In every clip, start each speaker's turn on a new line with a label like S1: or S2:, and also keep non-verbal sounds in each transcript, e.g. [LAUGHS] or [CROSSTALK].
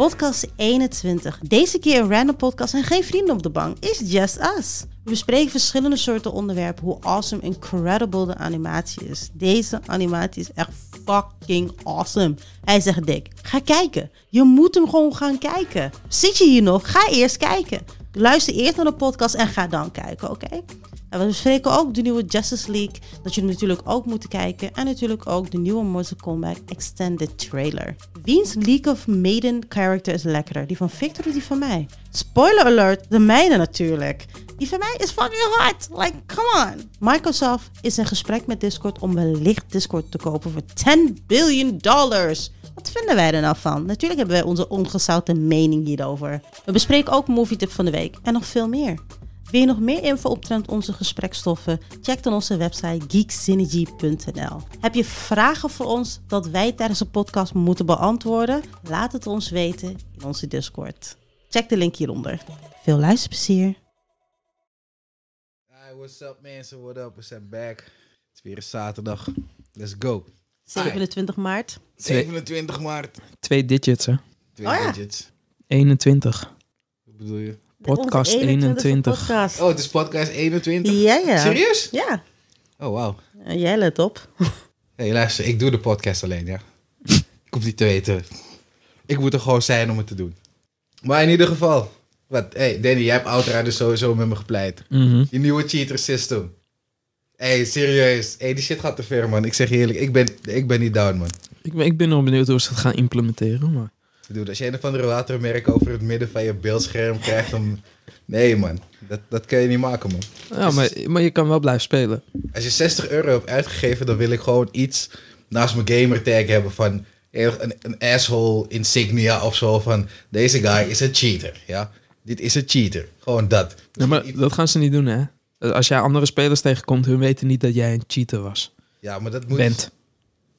S1: Podcast 21. Deze keer een random podcast en geen vrienden op de bank. It's just us. We bespreken verschillende soorten onderwerpen. Hoe awesome, incredible de animatie is. Deze animatie is echt fucking awesome. Hij zegt dik. Ga kijken. Je moet hem gewoon gaan kijken. Zit je hier nog? Ga eerst kijken. Luister eerst naar de podcast en ga dan kijken, oké? En we bespreken ook de nieuwe Justice League. Dat jullie natuurlijk ook moeten kijken. En natuurlijk ook de nieuwe Mortal Kombat Extended Trailer. Wiens League of Maiden character is lekkerder? Die van Victor of die van mij? Spoiler alert, de mijne natuurlijk. Die van mij is fucking hard. Like, come on. Microsoft is in gesprek met Discord om wellicht Discord te kopen voor 10 billion dollars. Wat vinden wij er nou van? Natuurlijk hebben wij onze ongezouten mening hierover. We bespreken ook Movie Tip van de Week en nog veel meer. Wil je nog meer info optrent onze gesprekstoffen? Check dan onze website geeksynergy.nl. Heb je vragen voor ons dat wij tijdens de podcast moeten beantwoorden? Laat het ons weten in onze Discord. Check de link hieronder. Veel luisterplezier.
S2: Hey, what's up mensen? What up? We zijn back. Het is weer een zaterdag. Let's go.
S1: 27 maart.
S2: 27 maart.
S3: Twee digits, hè?
S2: Twee
S1: Oh ja.
S2: digits.
S3: 21.
S2: Wat bedoel je?
S3: Podcast
S1: Onze 21ste
S3: 21.
S1: Podcast.
S2: Oh, het is podcast 21?
S1: Ja, ja.
S2: Serieus?
S1: Ja,
S2: Oh, wauw.
S1: Eh, jij let op.
S2: hey, luister. Ik doe de podcast alleen, ja. ik hoef niet te weten. Ik moet er gewoon zijn om het te doen. Maar in ieder geval. Wat? hey, Danny, jij hebt Outra dus sowieso met me gepleit.
S3: Mhm.
S2: Je nieuwe cheater system. hey, serieus. hey, die shit gaat te ver, man. Ik zeg je eerlijk, ik ben, ik ben niet down, man.
S3: ik, ben- ik ben wel benieuwd hoe ze het gaan implementeren, maar...
S2: Ik bedoel, als je een of andere watermerk over het midden van je beeldscherm krijgt, dan... Nee, man. Dat, dat kun je niet maken, man.
S3: Ja, maar, maar je kan wel blijven spelen.
S2: Als je 60 euro hebt uitgegeven, dan wil ik gewoon iets naast mijn gamertag hebben van... Een, een asshole insignia of zo van... Deze guy is een cheater, ja? Dit is een cheater. Gewoon dat.
S3: Ja, maar
S2: Iets-
S3: dat gaan ze niet doen, hè? Als jij andere spelers tegenkomt, hun weten niet dat jij een cheater was.
S2: Ja, maar dat moet...
S3: Bent.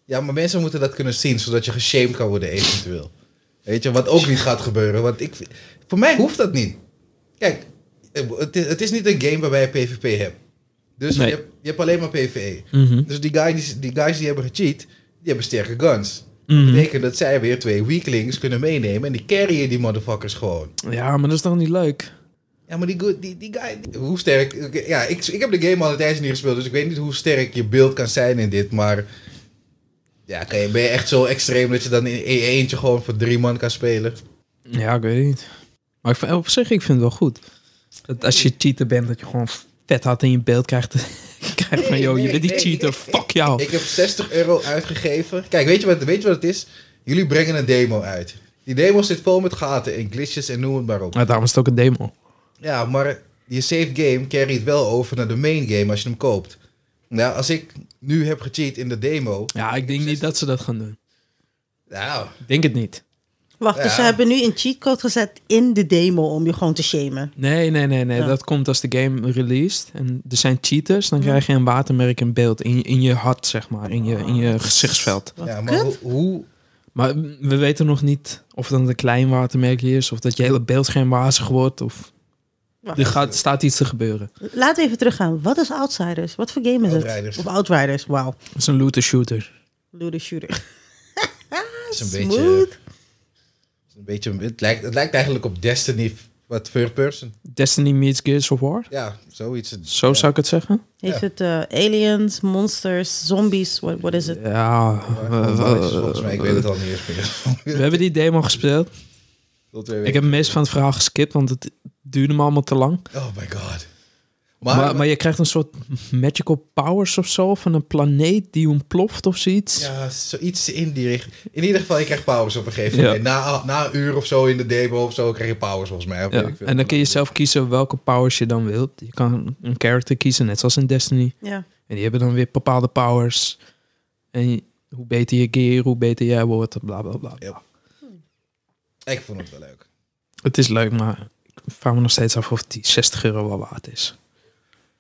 S2: Ja, maar mensen moeten dat kunnen zien, zodat je geshamed kan worden eventueel. Weet je, wat ook niet gaat gebeuren. Want ik, voor mij hoeft dat niet. Kijk, het is, het is niet een game waarbij je PvP hebt. Dus
S3: Nee.
S2: je, hebt, je hebt alleen maar PvE.
S3: Mhm.
S2: Dus die guys, die guys die hebben gecheat, die hebben sterke guns. Dat
S3: Mhm.
S2: betekent dat zij weer twee weaklings kunnen meenemen en die carryen die motherfuckers gewoon.
S3: Ja, maar dat is toch niet leuk?
S2: Ja, maar die, go- die, die guy, die- hoe sterk... oké, ja, ik, ik heb de game al een tijdje niet gespeeld, dus ik weet niet hoe sterk je beeld kan zijn in dit, maar... Ja, kan je, ben je echt zo extreem dat je dan in in je eentje gewoon voor drie man kan spelen?
S3: Ja, ik weet het niet. Maar ik, vind- op zich, ik vind het wel goed. Dat als je cheater bent, dat je gewoon vet hard in je beeld krijgt. [LAUGHS] krijgt van, yo, je bent die cheater, fuck jou.
S2: Ik heb 60 euro uitgegeven. Kijk, weet je, wat, weet je wat het is? Jullie brengen een demo uit. Die demo zit vol met gaten en glitches en noem het maar op.
S3: Maar daarom is het ook een demo.
S2: Ja, maar je save game carryt wel over naar de main game als je hem koopt. Nou, als ik nu heb gecheat in de demo...
S3: Ja, ik denk niet dat ze dat gaan doen.
S2: Nou,
S3: Ik denk het niet.
S1: Wacht, dus
S2: Ja.
S1: ze hebben nu een cheatcode gezet in de demo om je gewoon te shamen.
S3: Nee, nee, nee, nee.
S1: Ja.
S3: Dat komt als de game released. En er zijn cheaters, dan krijg je een watermerk in beeld. In, je- in je hart, zeg maar. In je, in je gezichtsveld.
S1: Wat
S2: ja, maar
S1: kut.
S2: hoe- hoe,
S3: Maar we weten nog niet of dat een klein watermerkje is. Of dat je hele beeldscherm wazig wordt. Of
S1: Wacht.
S3: er gaat, staat iets te gebeuren.
S1: Laten we even teruggaan. Wat is Outsiders? Wat voor game is
S2: Outriders.
S1: het? Of Outriders, wauw.
S3: Dat is een looter shooter.
S1: Looter shooter.
S2: Het is een
S1: Smooth.
S2: beetje. het is Een beetje het, lijkt, het lijkt eigenlijk op Destiny, wat third person.
S3: Destiny meets Gears of War.
S2: Ja, zoiets.
S3: Zo
S2: Ja.
S3: zou ik het zeggen.
S1: Heeft het eh, aliens, monsters, zombies? What, what is it?
S3: Ja.
S2: Maar
S3: eh,
S2: dan is het Volgens mij, ik weet het al niet eens
S3: we
S2: [LAUGHS] meer.
S3: hebben die demo gespeeld.
S2: Tot twee
S3: Ik
S2: weken.
S3: heb het meest van het verhaal geskipt, want het duurde me allemaal te lang.
S2: Oh my god. Maar,
S3: Maar, maar, je krijgt een soort magical powers of zo van een planeet die ontploft of zoiets.
S2: ja, zoiets in die richting. In ieder geval, je krijgt powers op een gegeven
S3: Ja.
S2: moment. Na, na een uur of zo in de demo of zo krijg je powers volgens mij. Of
S3: Ja,
S2: weet ik veel.
S3: En dan kun je zelf kiezen welke powers je dan wilt. Je kan een character kiezen, net zoals in Destiny.
S1: Ja.
S3: En die hebben dan weer bepaalde powers. En je- hoe beter je gear, hoe beter jij wordt, bla bla bla.
S2: Ja. Ik vond het wel leuk.
S3: Het is leuk, maar ik vraag me nog steeds af of die 60 euro wel waard is.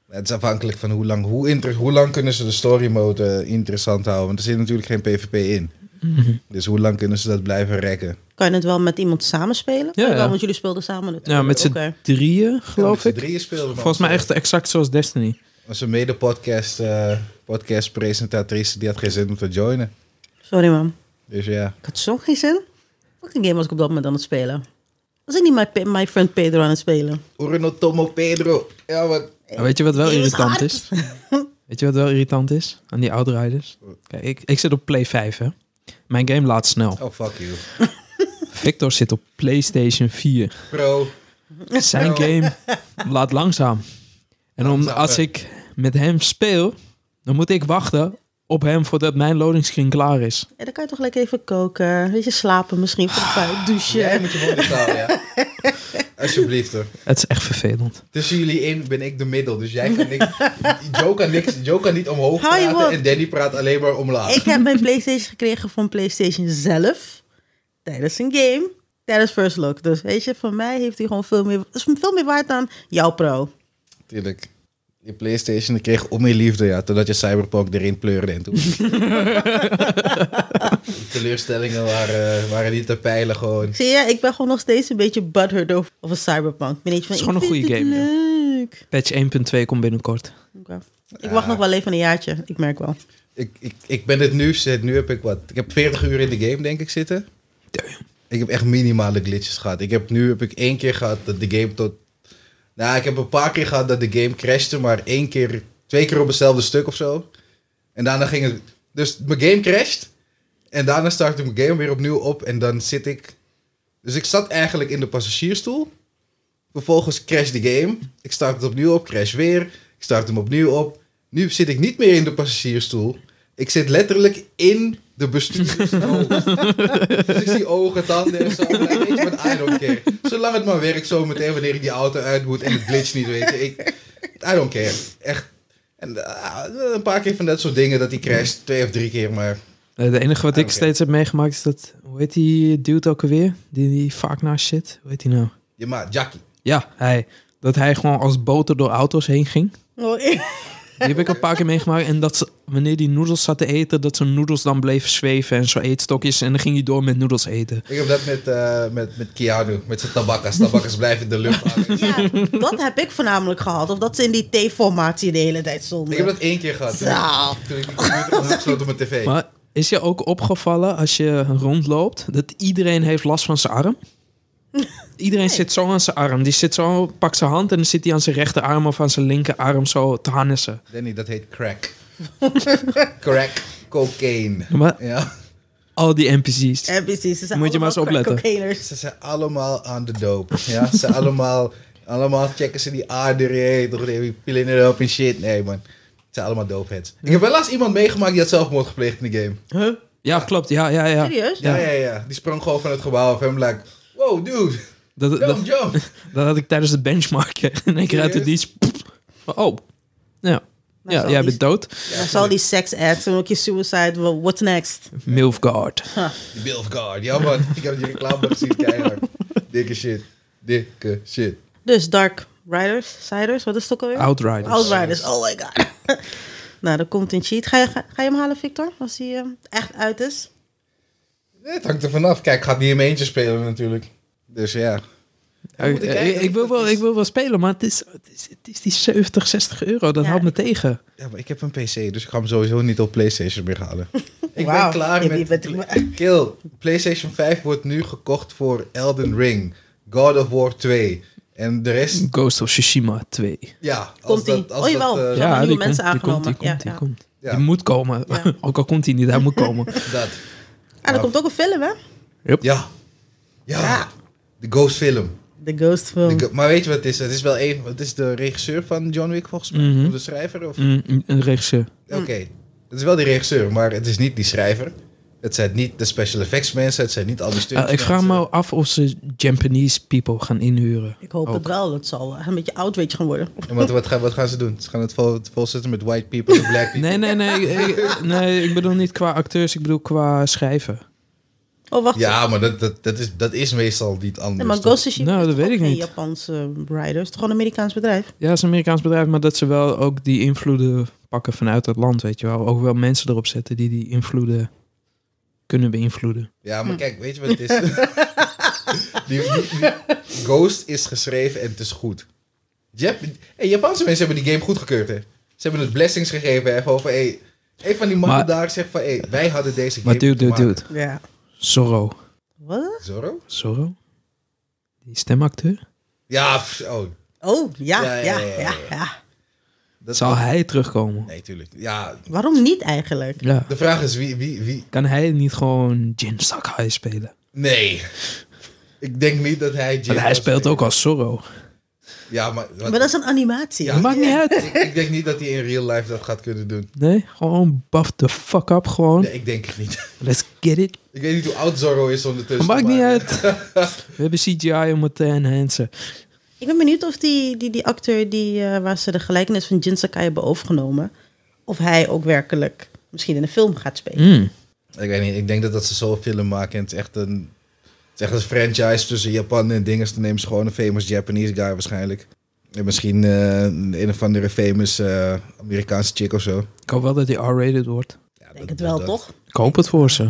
S2: Het is afhankelijk van hoe lang, hoe, inter- hoe lang kunnen ze de story mode eh, interessant houden. Want er zit natuurlijk geen PvP in.
S3: Mhm.
S2: Dus hoe lang kunnen ze dat blijven rekken?
S1: Kan je het wel met iemand samenspelen?
S3: Ja, ja.
S1: Want jullie speelden samen natuurlijk.
S3: Ja, met z'n
S1: Oké.
S3: drieën, geloof
S2: Ja, met z'n
S3: ik.
S2: drieën speelden we
S3: Volgens mij
S2: ons,
S3: echt exact zoals Destiny.
S2: Onze mede-podcast eh, podcastpresentatrice, die had geen zin om te joinen.
S1: Sorry man,
S2: Dus ja,
S1: ik had zo geen zin. Fucking game was ik op dat moment aan het spelen. Was ik niet My, Pe- my Friend Pedro aan het spelen?
S2: Urno Tomo Pedro. Ja, wat.
S3: Maar Eh, weet je wat wel
S1: Eeuw, is
S3: irritant
S1: hard.
S3: is? [LAUGHS] Weet je wat wel irritant is aan die oudrijders? Kijk, ik, ik zit op Play 5, hè. Mijn game laat snel.
S2: Oh, fuck you.
S3: Victor zit op PlayStation 4.
S2: Bro.
S3: Zijn game laat langzaam. En om,
S2: Langzaam,
S3: als
S2: hè.
S3: ik met hem speel, dan moet ik wachten op hem voordat mijn loading screen klaar is.
S1: Ja, dan kan je toch lekker even koken. Weet je, slapen misschien. Voor de puin, douchen.
S2: Jij moet je gewoon betalen, ja. Alsjeblieft, hoor.
S3: Het is echt vervelend.
S2: Tussen jullie in ben ik de middel, dus jij kan niks... Joe kan, niks, Joe kan niet omhoog
S1: Hou je mond.
S2: praten en Danny praat alleen maar omlaag.
S1: Ik heb mijn PlayStation gekregen van PlayStation zelf. Tijdens een game. Tijdens First Look. Dus weet je, van mij heeft hij gewoon veel meer, is veel meer waard dan jouw pro.
S2: Tuurlijk. Je Playstation kreeg om je liefde, ja, totdat je Cyberpunk erin pleurde en toen... De teleurstellingen waren, waren niet te peilen gewoon.
S1: Zie je, ik ben gewoon nog steeds een beetje butthurt over, over Cyberpunk. Ik ben niet van,
S3: Het is gewoon
S1: ik
S3: een
S1: vind
S3: goede
S1: het
S3: game, ja.
S1: leuk.
S3: Patch 1.2 komt binnenkort.
S1: Oké. Ik wacht
S2: Ja.
S1: nog wel even een jaartje. Ik merk wel.
S2: Ik, ik, ik ben het nu, zet- nu heb ik wat. Ik heb 40 uur in de game, denk ik, zitten. Ik heb echt minimale glitches gehad. Ik heb nu heb ik één keer gehad dat de game tot. Nou, ik heb een paar keer gehad dat de game crashte, maar één keer, twee keer op hetzelfde stuk of zo. En daarna ging het. Dus mijn game crasht. En daarna start ik mijn game weer opnieuw op. En dan zit ik. Dus ik zat eigenlijk in de passagiersstoel. Vervolgens crash de game. Ik start het opnieuw op, crash weer. Ik start hem opnieuw op. Nu zit ik niet meer in de passagiersstoel. Ik zit letterlijk in de bestuurdersstoel. [LAUGHS] dus ik zie ogen, tanden en zo. Maar Niks met I don't care. Zolang het maar werkt zo meteen wanneer ik die auto uit moet en het glitch niet weet. je. Ik, I don't care. Echt. En ah, een paar keer van dat soort dingen dat hij crasht. Twee of drie keer, maar...
S3: Eh, Het enige wat ik
S2: Ah, Oké.
S3: steeds heb meegemaakt is dat... Hoe heet die dude ook alweer? Die, die vaak naast shit. Hoe heet die nou?
S2: Je maat, Jackie.
S3: Ja, hij. Dat hij gewoon als boter door auto's heen ging.
S1: Oh,
S3: Die heb ik een paar keer meegemaakt. En dat ze, wanneer die noedels zat te eten, dat zijn noedels dan bleven zweven en zo eetstokjes. En dan ging hij door met noedels eten.
S2: Ik heb dat met, eh, met, met Keanu, met zijn tabakkas. Tabakkas blijven in de lucht hangen.
S1: ja, dat heb ik voornamelijk gehad. Of dat ze in die T-formatie de hele tijd stonden.
S2: Ik heb dat één keer gehad. Toen
S1: Zo.
S2: ik- Toen ik die computer had gesloten op mijn tv.
S3: Maar is je ook opgevallen als je rondloopt dat iedereen heeft last van zijn arm? Iedereen zit zo aan zijn arm. Die zit zo, pak zijn hand en dan zit hij aan zijn rechterarm of aan zijn linkerarm zo te harnessen.
S2: Danny, dat heet crack. [LAUGHS] crack, cocaine.
S3: Maar
S2: Ja.
S3: al die NPC's.
S1: Ja, precies. Ze zijn
S3: Moet je maar eens
S1: allemaal
S3: opletten.
S1: crack-cocaïners.
S2: Ze zijn allemaal aan de doop. Ja, ze zijn allemaal, allemaal checken ze die aarderen. Toch die pillen erop en shit. Nee, man. Het zijn allemaal doopheads. Ik heb wel laatst iemand meegemaakt die had zelfmoord gepleegd in de game.
S1: Huh?
S3: Ja, klopt. Ja, ja, ja.
S1: Serieus?
S2: Ja, ja, ja. Die sprong gewoon van het gebouw af. En like, wow, dude.
S3: Dat, dat,
S2: Jump, jump.
S3: dat had ik tijdens de benchmark. [LAUGHS] hè. En ik uit de dienst. Oh. Ja.
S1: Nou,
S3: ja,
S1: zal
S3: jij
S1: die-
S3: bent dood.
S1: Dan zal die sex ads en ook je suicide. well, What's next?
S3: Milf guard.
S2: Die Bilf Guard. Ja, man. Ik heb die reclame gezien. Keihard. Dikke shit. Dikke shit.
S1: Dus Dark Riders, Siders, wat is het ook alweer?
S3: Outriders.
S1: Outriders, oh my god. [LAUGHS] nou, er komt een cheat. Ga je, ga, ga je hem halen, Victor? Als hij eh, echt uit is?
S2: Nee, Het hangt er vanaf. Kijk, ik ga het niet in mijn eentje spelen natuurlijk. Dus ja.
S3: Ja, ik,
S2: moet ik kijken.
S3: ik- ik wil wel, ik wil wel spelen, maar het is, het is, het is die 70, 60 euro. Dat
S1: Ja.
S3: houdt me tegen.
S2: Ja, maar ik heb een PC, dus ik ga hem sowieso niet op PlayStation meer halen. [LAUGHS] ik
S1: Wauw.
S2: ben klaar
S1: Je
S2: met...
S1: bent- [LAUGHS]
S2: Pla- Kill. PlayStation 5 wordt nu gekocht voor Elden Ring, God of War 2 en de rest...
S3: Ghost of Tsushima 2.
S2: Ja, als
S1: Komt-ie.
S2: dat... Als
S1: Oh,
S2: dat,
S1: jawel.
S2: eh,
S1: Ja, nieuwe mensen aangenomen.
S3: die komt,
S1: Ja,
S3: die
S1: ja.
S3: komt.
S2: Ja.
S3: Die moet komen.
S1: Ja.
S3: [LAUGHS] Ook al komt hij niet, hij moet
S1: [LAUGHS]
S3: komen.
S2: dat.
S1: Ah, er komt ook een film, hè?
S2: Ja. Ja.
S1: Ja. Oh.
S2: De Ghost film.
S1: The Ghost
S2: De
S1: Film.
S2: go- maar weet je wat het is? Het is wel een... Het is de regisseur van John Wick volgens mij.
S3: Mhm.
S2: Of de schrijver? Of...
S3: Mm, mm, een regisseur.
S2: Oké. Het is wel die regisseur, maar het is niet die schrijver. Het zijn niet de special effects mensen. Het zijn niet al die
S3: Eh,
S2: stunts
S3: ik vraag
S2: mensen.
S3: me af of ze Japanese people gaan
S1: [LAUGHS]
S3: inhuren.
S1: Ik hoop
S3: Ook.
S1: het wel. Het zal eh, een beetje outrage gaan worden.
S2: En wat, wat, gaan, wat gaan ze doen? Ze gaan het vol, volzetten met white people en black people.
S3: [LAUGHS] Nee, nee, nee. ik, nee, ik bedoel niet qua acteurs, ik bedoel qua schrijven.
S1: Oh, wacht.
S2: Ja, dus maar dat, dat, dat, is, dat is meestal niet anders.
S1: Nee, maar Ghost Tsushima
S3: Nou,
S1: is
S3: dat
S1: toch
S3: weet
S1: ook
S3: ik
S1: geen
S3: niet.
S1: Japanse ehm, rider. Het is toch gewoon een Amerikaans bedrijf?
S3: Ja, het is een Amerikaans bedrijf, maar dat ze wel ook die invloeden pakken vanuit het land, weet je wel. Ook wel mensen erop zetten die die invloeden kunnen beïnvloeden.
S2: Ja,
S1: Hm.
S2: maar kijk, weet je wat het is? [LAUGHS] die, die- die- Ghost is geschreven en het is goed. Jap hey, Japanse mensen hebben die game goedgekeurd, hè? Ze hebben het blessings gegeven, hè? Gewoon van, hey, een van die mannen
S3: Maar-
S2: daar zegt van, hey, wij hadden deze game
S3: Maar dude,
S2: moeten
S3: dude,
S2: maken.
S3: dude.
S1: Ja.
S3: Zorro.
S1: Wat?
S2: Zorro?
S3: Zorro? Die stemacteur?
S2: Ja, pff, oh.
S1: Oh, ja,
S2: Ja,
S1: ja,
S2: ja,
S1: ja.
S2: ja,
S1: ja,
S2: ja. Dat
S3: Zal hij terugkomen?
S2: Nee, tuurlijk. Ja,
S1: Waarom niet eigenlijk?
S3: Ja.
S2: de vraag is wie, wie, wie...
S3: Kan hij niet gewoon Jin Sakai spelen?
S2: Nee. Ik denk niet dat hij... Jim
S3: Want hij
S2: was.
S3: speelt ook als Zorro.
S2: Ja, maar... wat-
S1: Maar dat is een animatie.
S2: Ja.
S3: Dat maakt niet uit.
S2: ik, ik denk niet dat hij in real life dat gaat kunnen doen.
S3: Nee, gewoon buff the fuck up gewoon.
S2: Nee, ik denk het niet.
S3: Let's get it.
S2: Ik weet niet hoe oud Zorro is ondertussen.
S3: maakt niet
S2: maar- [LAUGHS]
S3: uit. We hebben CGI om het te enhancen.
S1: Ik ben benieuwd of die, die, die acteur die, eh, waar ze de gelijkenis van Jin Sakai hebben overgenomen, of hij ook werkelijk misschien in een film gaat spelen.
S3: Mm.
S2: Ik weet niet, ik denk dat, dat ze zo'n film maken. En het is echt een... Het is echt een franchise tussen Japan en dingen. Dan nemen ze gewoon een famous Japanese guy waarschijnlijk. En misschien eh, een of andere famous eh, Amerikaanse chick of zo.
S3: Ik hoop wel dat hij R-rated wordt.
S2: Ja,
S1: Ik denk het wel, toch?
S3: Ik hoop het voor ze.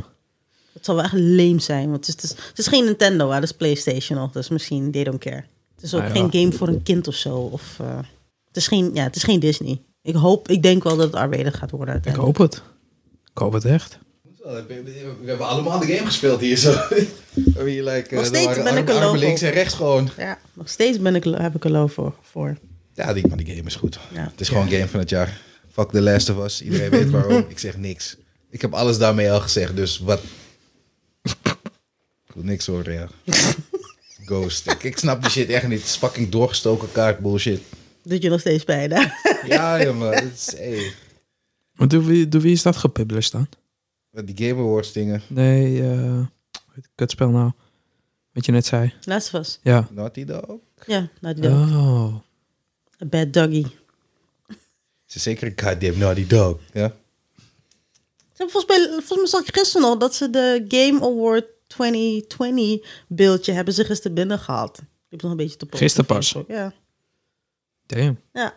S1: Het zal wel echt leem zijn, want het is, het is, het is geen Nintendo, hè, het is PlayStation nog, dus misschien they don't care. Het is ook
S3: Ah, ja.
S1: geen game voor een kind of zo. Of, eh, het, is geen, ja, het is geen Disney. Ik hoop, ik denk wel dat het R-rated gaat worden
S3: Ik
S1: uiteindelijk.
S3: hoop het. Ik hoop het echt.
S2: We hebben allemaal de game gespeeld hier zo. [LAUGHS] We like, eh,
S1: Nog steeds ben ik een
S2: arm,
S1: logo.
S2: links en rechts gewoon.
S1: Ja, nog steeds ben ik, heb ik er loof voor. voor.
S2: Ja, die, maar die game is goed.
S1: Ja.
S2: Het is gewoon game van het jaar. Fuck The Last of Us. Iedereen
S1: [LAUGHS]
S2: weet waarom. Ik zeg niks. Ik heb alles daarmee al gezegd, dus wat... Ik wil niks horen, ja.
S1: [LAUGHS]
S2: Ghost. Ik, ik snap die shit echt niet. Het is fucking doorgestoken kaart bullshit.
S1: Doet je nog steeds pijn, [LAUGHS] hè?
S2: Ja, jongen. Het is, hey.
S3: Maar door wie, door wie is dat gepublished dan?
S2: Die Game Awards dingen.
S3: Nee, eh hoe heet het kutspel nou? Wat je net zei.
S1: Laatst was.
S3: Ja.
S2: Naughty Dog.
S1: Ja, nou, het wil.
S3: Oh.
S1: A bad doggy.
S2: Het is zeker een goddamn Naughty Dog. Ja?
S1: Ze hebben volgens mij, volgens mij zag ik gisteren nog dat ze de Game Award 2020 beeldje hebben ze gisteren binnen gehad. Ik heb nog een beetje te posten.
S3: Gisteren pas?
S1: Ja.
S3: Damn.
S1: ja.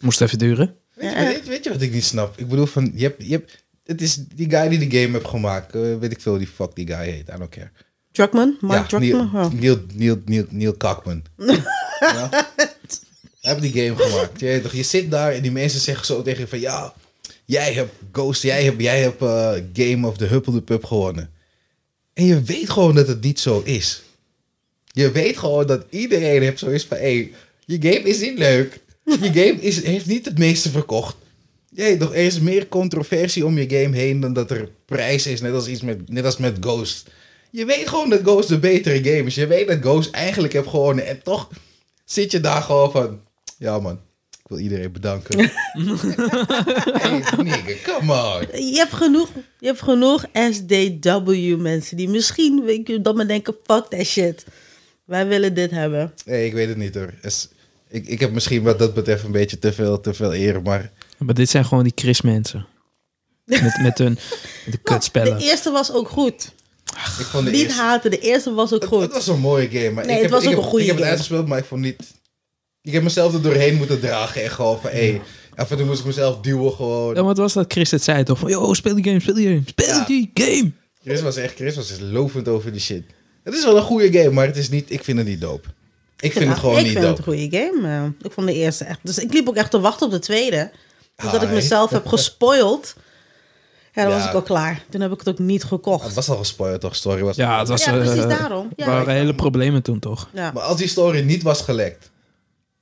S3: Moest even duren.
S2: Weet,
S1: Ja,
S2: je, weet, weet je wat ik niet snap? Ik bedoel, van, je hebt, je hebt, het is die guy die de game heeft gemaakt. eh, weet ik veel hoe die fuck die guy heet. I don't care.
S1: Druckmann? Mark
S2: ja, Neil,
S1: Druckmann? Oh.
S2: Neil, Neil, Neil, Neil
S1: [LAUGHS]
S2: Cockman. ja? Hij heeft die game gemaakt. Je, weet toch, je zit daar en die mensen zeggen zo tegen je van... Ja, jij hebt Ghost, jij hebt, jij hebt eh, Game of the Huppel de Pup gewonnen. En je weet gewoon dat het niet zo is. Je weet gewoon dat iedereen heeft zoiets van... Hey, je game is niet leuk. Je game is, heeft niet het meeste verkocht. Jee, toch, er is meer controversie om je game heen dan dat er prijs is. Net als, iets met, net als met Ghost. Je weet gewoon dat Ghost de betere game is. Je weet dat Ghost eigenlijk heb gewonnen. En toch zit je daar gewoon van... Ja man, ik wil iedereen bedanken. hey nigga, come on.
S1: Je hebt genoeg, je hebt genoeg SDW mensen die misschien weet je, dat me denken, fuck that shit. Wij willen dit hebben.
S2: Nee, ik weet het niet hoor. Is- ik, ik heb misschien wat dat betreft een beetje te veel, te veel eer, maar...
S3: Maar dit zijn gewoon die Chris-mensen. Met, met
S1: [LAUGHS]
S3: hun met de
S1: De
S3: kutspellen.
S1: eerste was ook goed.
S2: Ik vond de
S1: Niet
S2: eerste...
S1: haten, de eerste was ook
S2: Het, het
S1: goed.
S2: was een mooie game, maar
S1: Nee,
S2: ik,
S1: het
S2: heb,
S1: was
S2: ik,
S1: ook
S2: heb,
S1: een goede
S2: ik heb het
S1: game.
S2: uitgespeeld, maar ik vond niet... Ik heb mezelf er doorheen moeten dragen en gewoon van... Hey, af en toe moest ik mezelf duwen gewoon.
S3: Ja, wat was dat Chris het zei toch? Van, Yo, speel die game, speel die game, speel
S2: Ja.
S3: die game.
S2: Chris was echt, Chris was echt lovend over die shit. Het is wel een goede game, maar het is niet, ik vind het niet dope. Ik vind het gewoon
S1: ik
S2: niet
S1: vind het
S2: dope.
S1: een goede game. eh. ik vond de eerste echt. Dus ik liep ook echt te wachten op de tweede. Omdat ik
S2: Hi.
S1: mezelf
S2: [LAUGHS]
S1: heb gespoild. Ja, dan
S2: Ja.
S1: was ik al klaar. Toen heb ik het ook niet
S2: Het
S1: gekocht.
S2: was al gespoilerd toch, story was...
S3: Ja, het was...
S1: Ja, precies
S3: eh,
S1: daarom. Ja.
S3: waren hele problemen toen toch?
S1: Ja.
S2: Maar als die story niet was gelekt,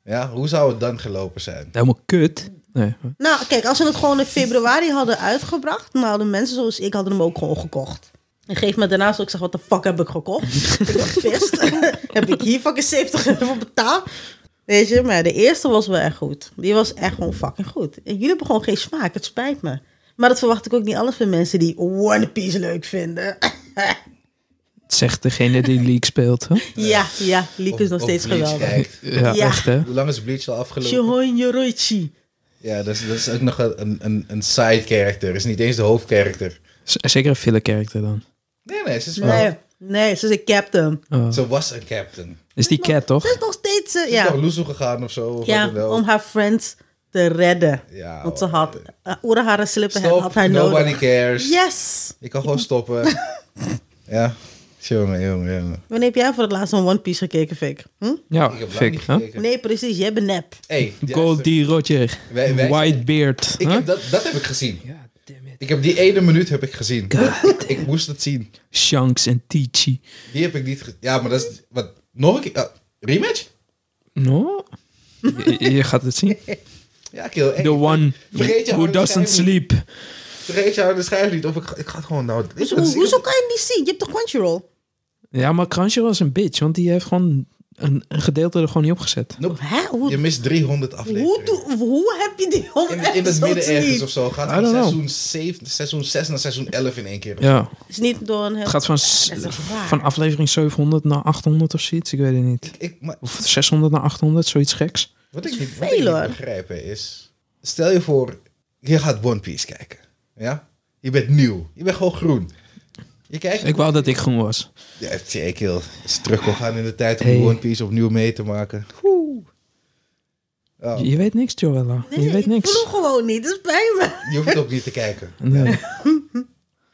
S2: ja, hoe zou het dan gelopen zijn?
S3: Helemaal kut. Nee.
S1: Nou, kijk, als ze het gewoon in februari hadden uitgebracht, nou, hadden mensen zoals ik hadden hem ook gewoon gekocht. En geef me daarnaast ook zeg, wat de fuck heb ik gekocht? ik was pissed. [LAUGHS] heb ik hier fucking 70 euro voor betaald? Weet je, maar de eerste was wel echt goed. Die was echt gewoon fucking goed. En jullie hebben gewoon geen smaak, het spijt me. Maar dat verwacht ik ook niet alles van mensen die One Piece leuk vinden. [LAUGHS]
S3: Zegt degene die League speelt. Hè?
S1: ja, ja, Liek is
S2: Of-
S1: nog
S2: of
S1: steeds
S2: Bleach
S1: geweldig. [LAUGHS]
S2: kijkt.
S3: Ja,
S1: Ja.
S3: echt hè.
S2: Hoe lang is Bleach al afgelopen?
S1: Shihon Yoroichi.
S2: Ja, dat is, dat is ook nog een, een, een side character. Is niet eens de hoofdcharacter.
S3: Z- zeker een filler character dan.
S2: Nee, nee, ze is wel...
S1: Nee, nee, ze is een captain.
S3: Oh.
S2: Ze was een captain.
S3: Is die cat toch?
S1: Ze is nog steeds... eh,
S2: Ze
S1: ja.
S2: is toch loezo gegaan of zo? Of wat dan
S1: Ja,
S2: ook.
S1: om haar friends te redden.
S2: Ja,
S1: Want ze had uh, oerharen slippen
S2: Stop,
S1: had hij
S2: nobody
S1: nodig.
S2: cares.
S1: Yes!
S2: Ik kan gewoon
S1: [LAUGHS]
S2: stoppen. ja. Jongen, jongen, jongen.
S1: Wanneer heb jij voor het laatst een One Piece gekeken, Fik? Hm?
S3: Ja,
S2: Ik heb lang
S3: fik.
S2: niet
S3: Hè?
S2: gekeken.
S1: Nee, precies. Jij bent nep.
S2: Hey, luister.
S3: Goldie Roger.
S2: Wij- wij-
S3: Whitebeard.
S2: Ik
S3: hè?
S2: heb dat, dat heb ik gezien.
S3: Ja, damn it.
S2: Ik heb die ene minuut heb ik gezien. Ik moest het zien.
S3: Shanks en Tichi.
S2: Die heb ik niet gezien. Ja, maar dat is... Wat? Nog een keer? Ah, rematch?
S3: No? Je, je gaat het zien.
S2: Ja, kill.
S3: [LAUGHS] The one
S2: [LAUGHS] Vergeet je
S3: who
S2: harde
S3: doesn't
S2: schijf niet.
S3: sleep.
S2: Vergeet je oude schrijf niet. Of ik, ga- ik ga het gewoon... Nou, ik-
S1: Hoezo,
S2: het is-
S1: Dus hoezo kan je het niet zien? Je hebt toch Crunchyroll?
S3: Ja, maar Crunchyroll was een bitch, want die heeft gewoon een, een gedeelte er gewoon niet opgezet.
S2: Nope.
S1: Hè?
S2: Je
S1: Hoe,
S2: mist 300
S1: hoe,
S2: afleveringen.
S1: doe- hoe heb je die honderd
S2: In, in het midden
S1: episodes
S2: ergens
S1: niet?
S2: of zo. Gaat
S3: I
S2: van
S3: don't know.
S2: seizoen, 7, seizoen 6 naar seizoen 11 in één keer.
S3: Ja,
S1: Is niet door een heel...
S3: het gaat van, s-
S1: Dat is echt waar.
S3: van aflevering 700 naar 800 of zoiets, ik weet het niet.
S2: Ik, maar
S3: Of 600 naar 800, zoiets geks.
S2: Wat ik niet, wat
S1: veel,
S2: ik niet
S1: hoor.
S2: begrijp hè, is... Stel je voor, je gaat One Piece kijken. Ja? Je bent nieuw. Je bent gewoon groen. Je kijkt...
S3: Ik wou dat ik groen was.
S2: Ja, zeker. Als je terug kon gaan in de tijd om
S3: Hey.
S2: One Piece opnieuw mee te maken. Oh,
S3: Je, je weet niks, Joella.
S1: Nee,
S3: je weet
S1: ik voel
S3: niks.
S1: hem gewoon niet. Dat is bij
S2: [LAUGHS]
S1: me.
S2: je hoeft ook niet te kijken.
S3: [LAUGHS] Nee.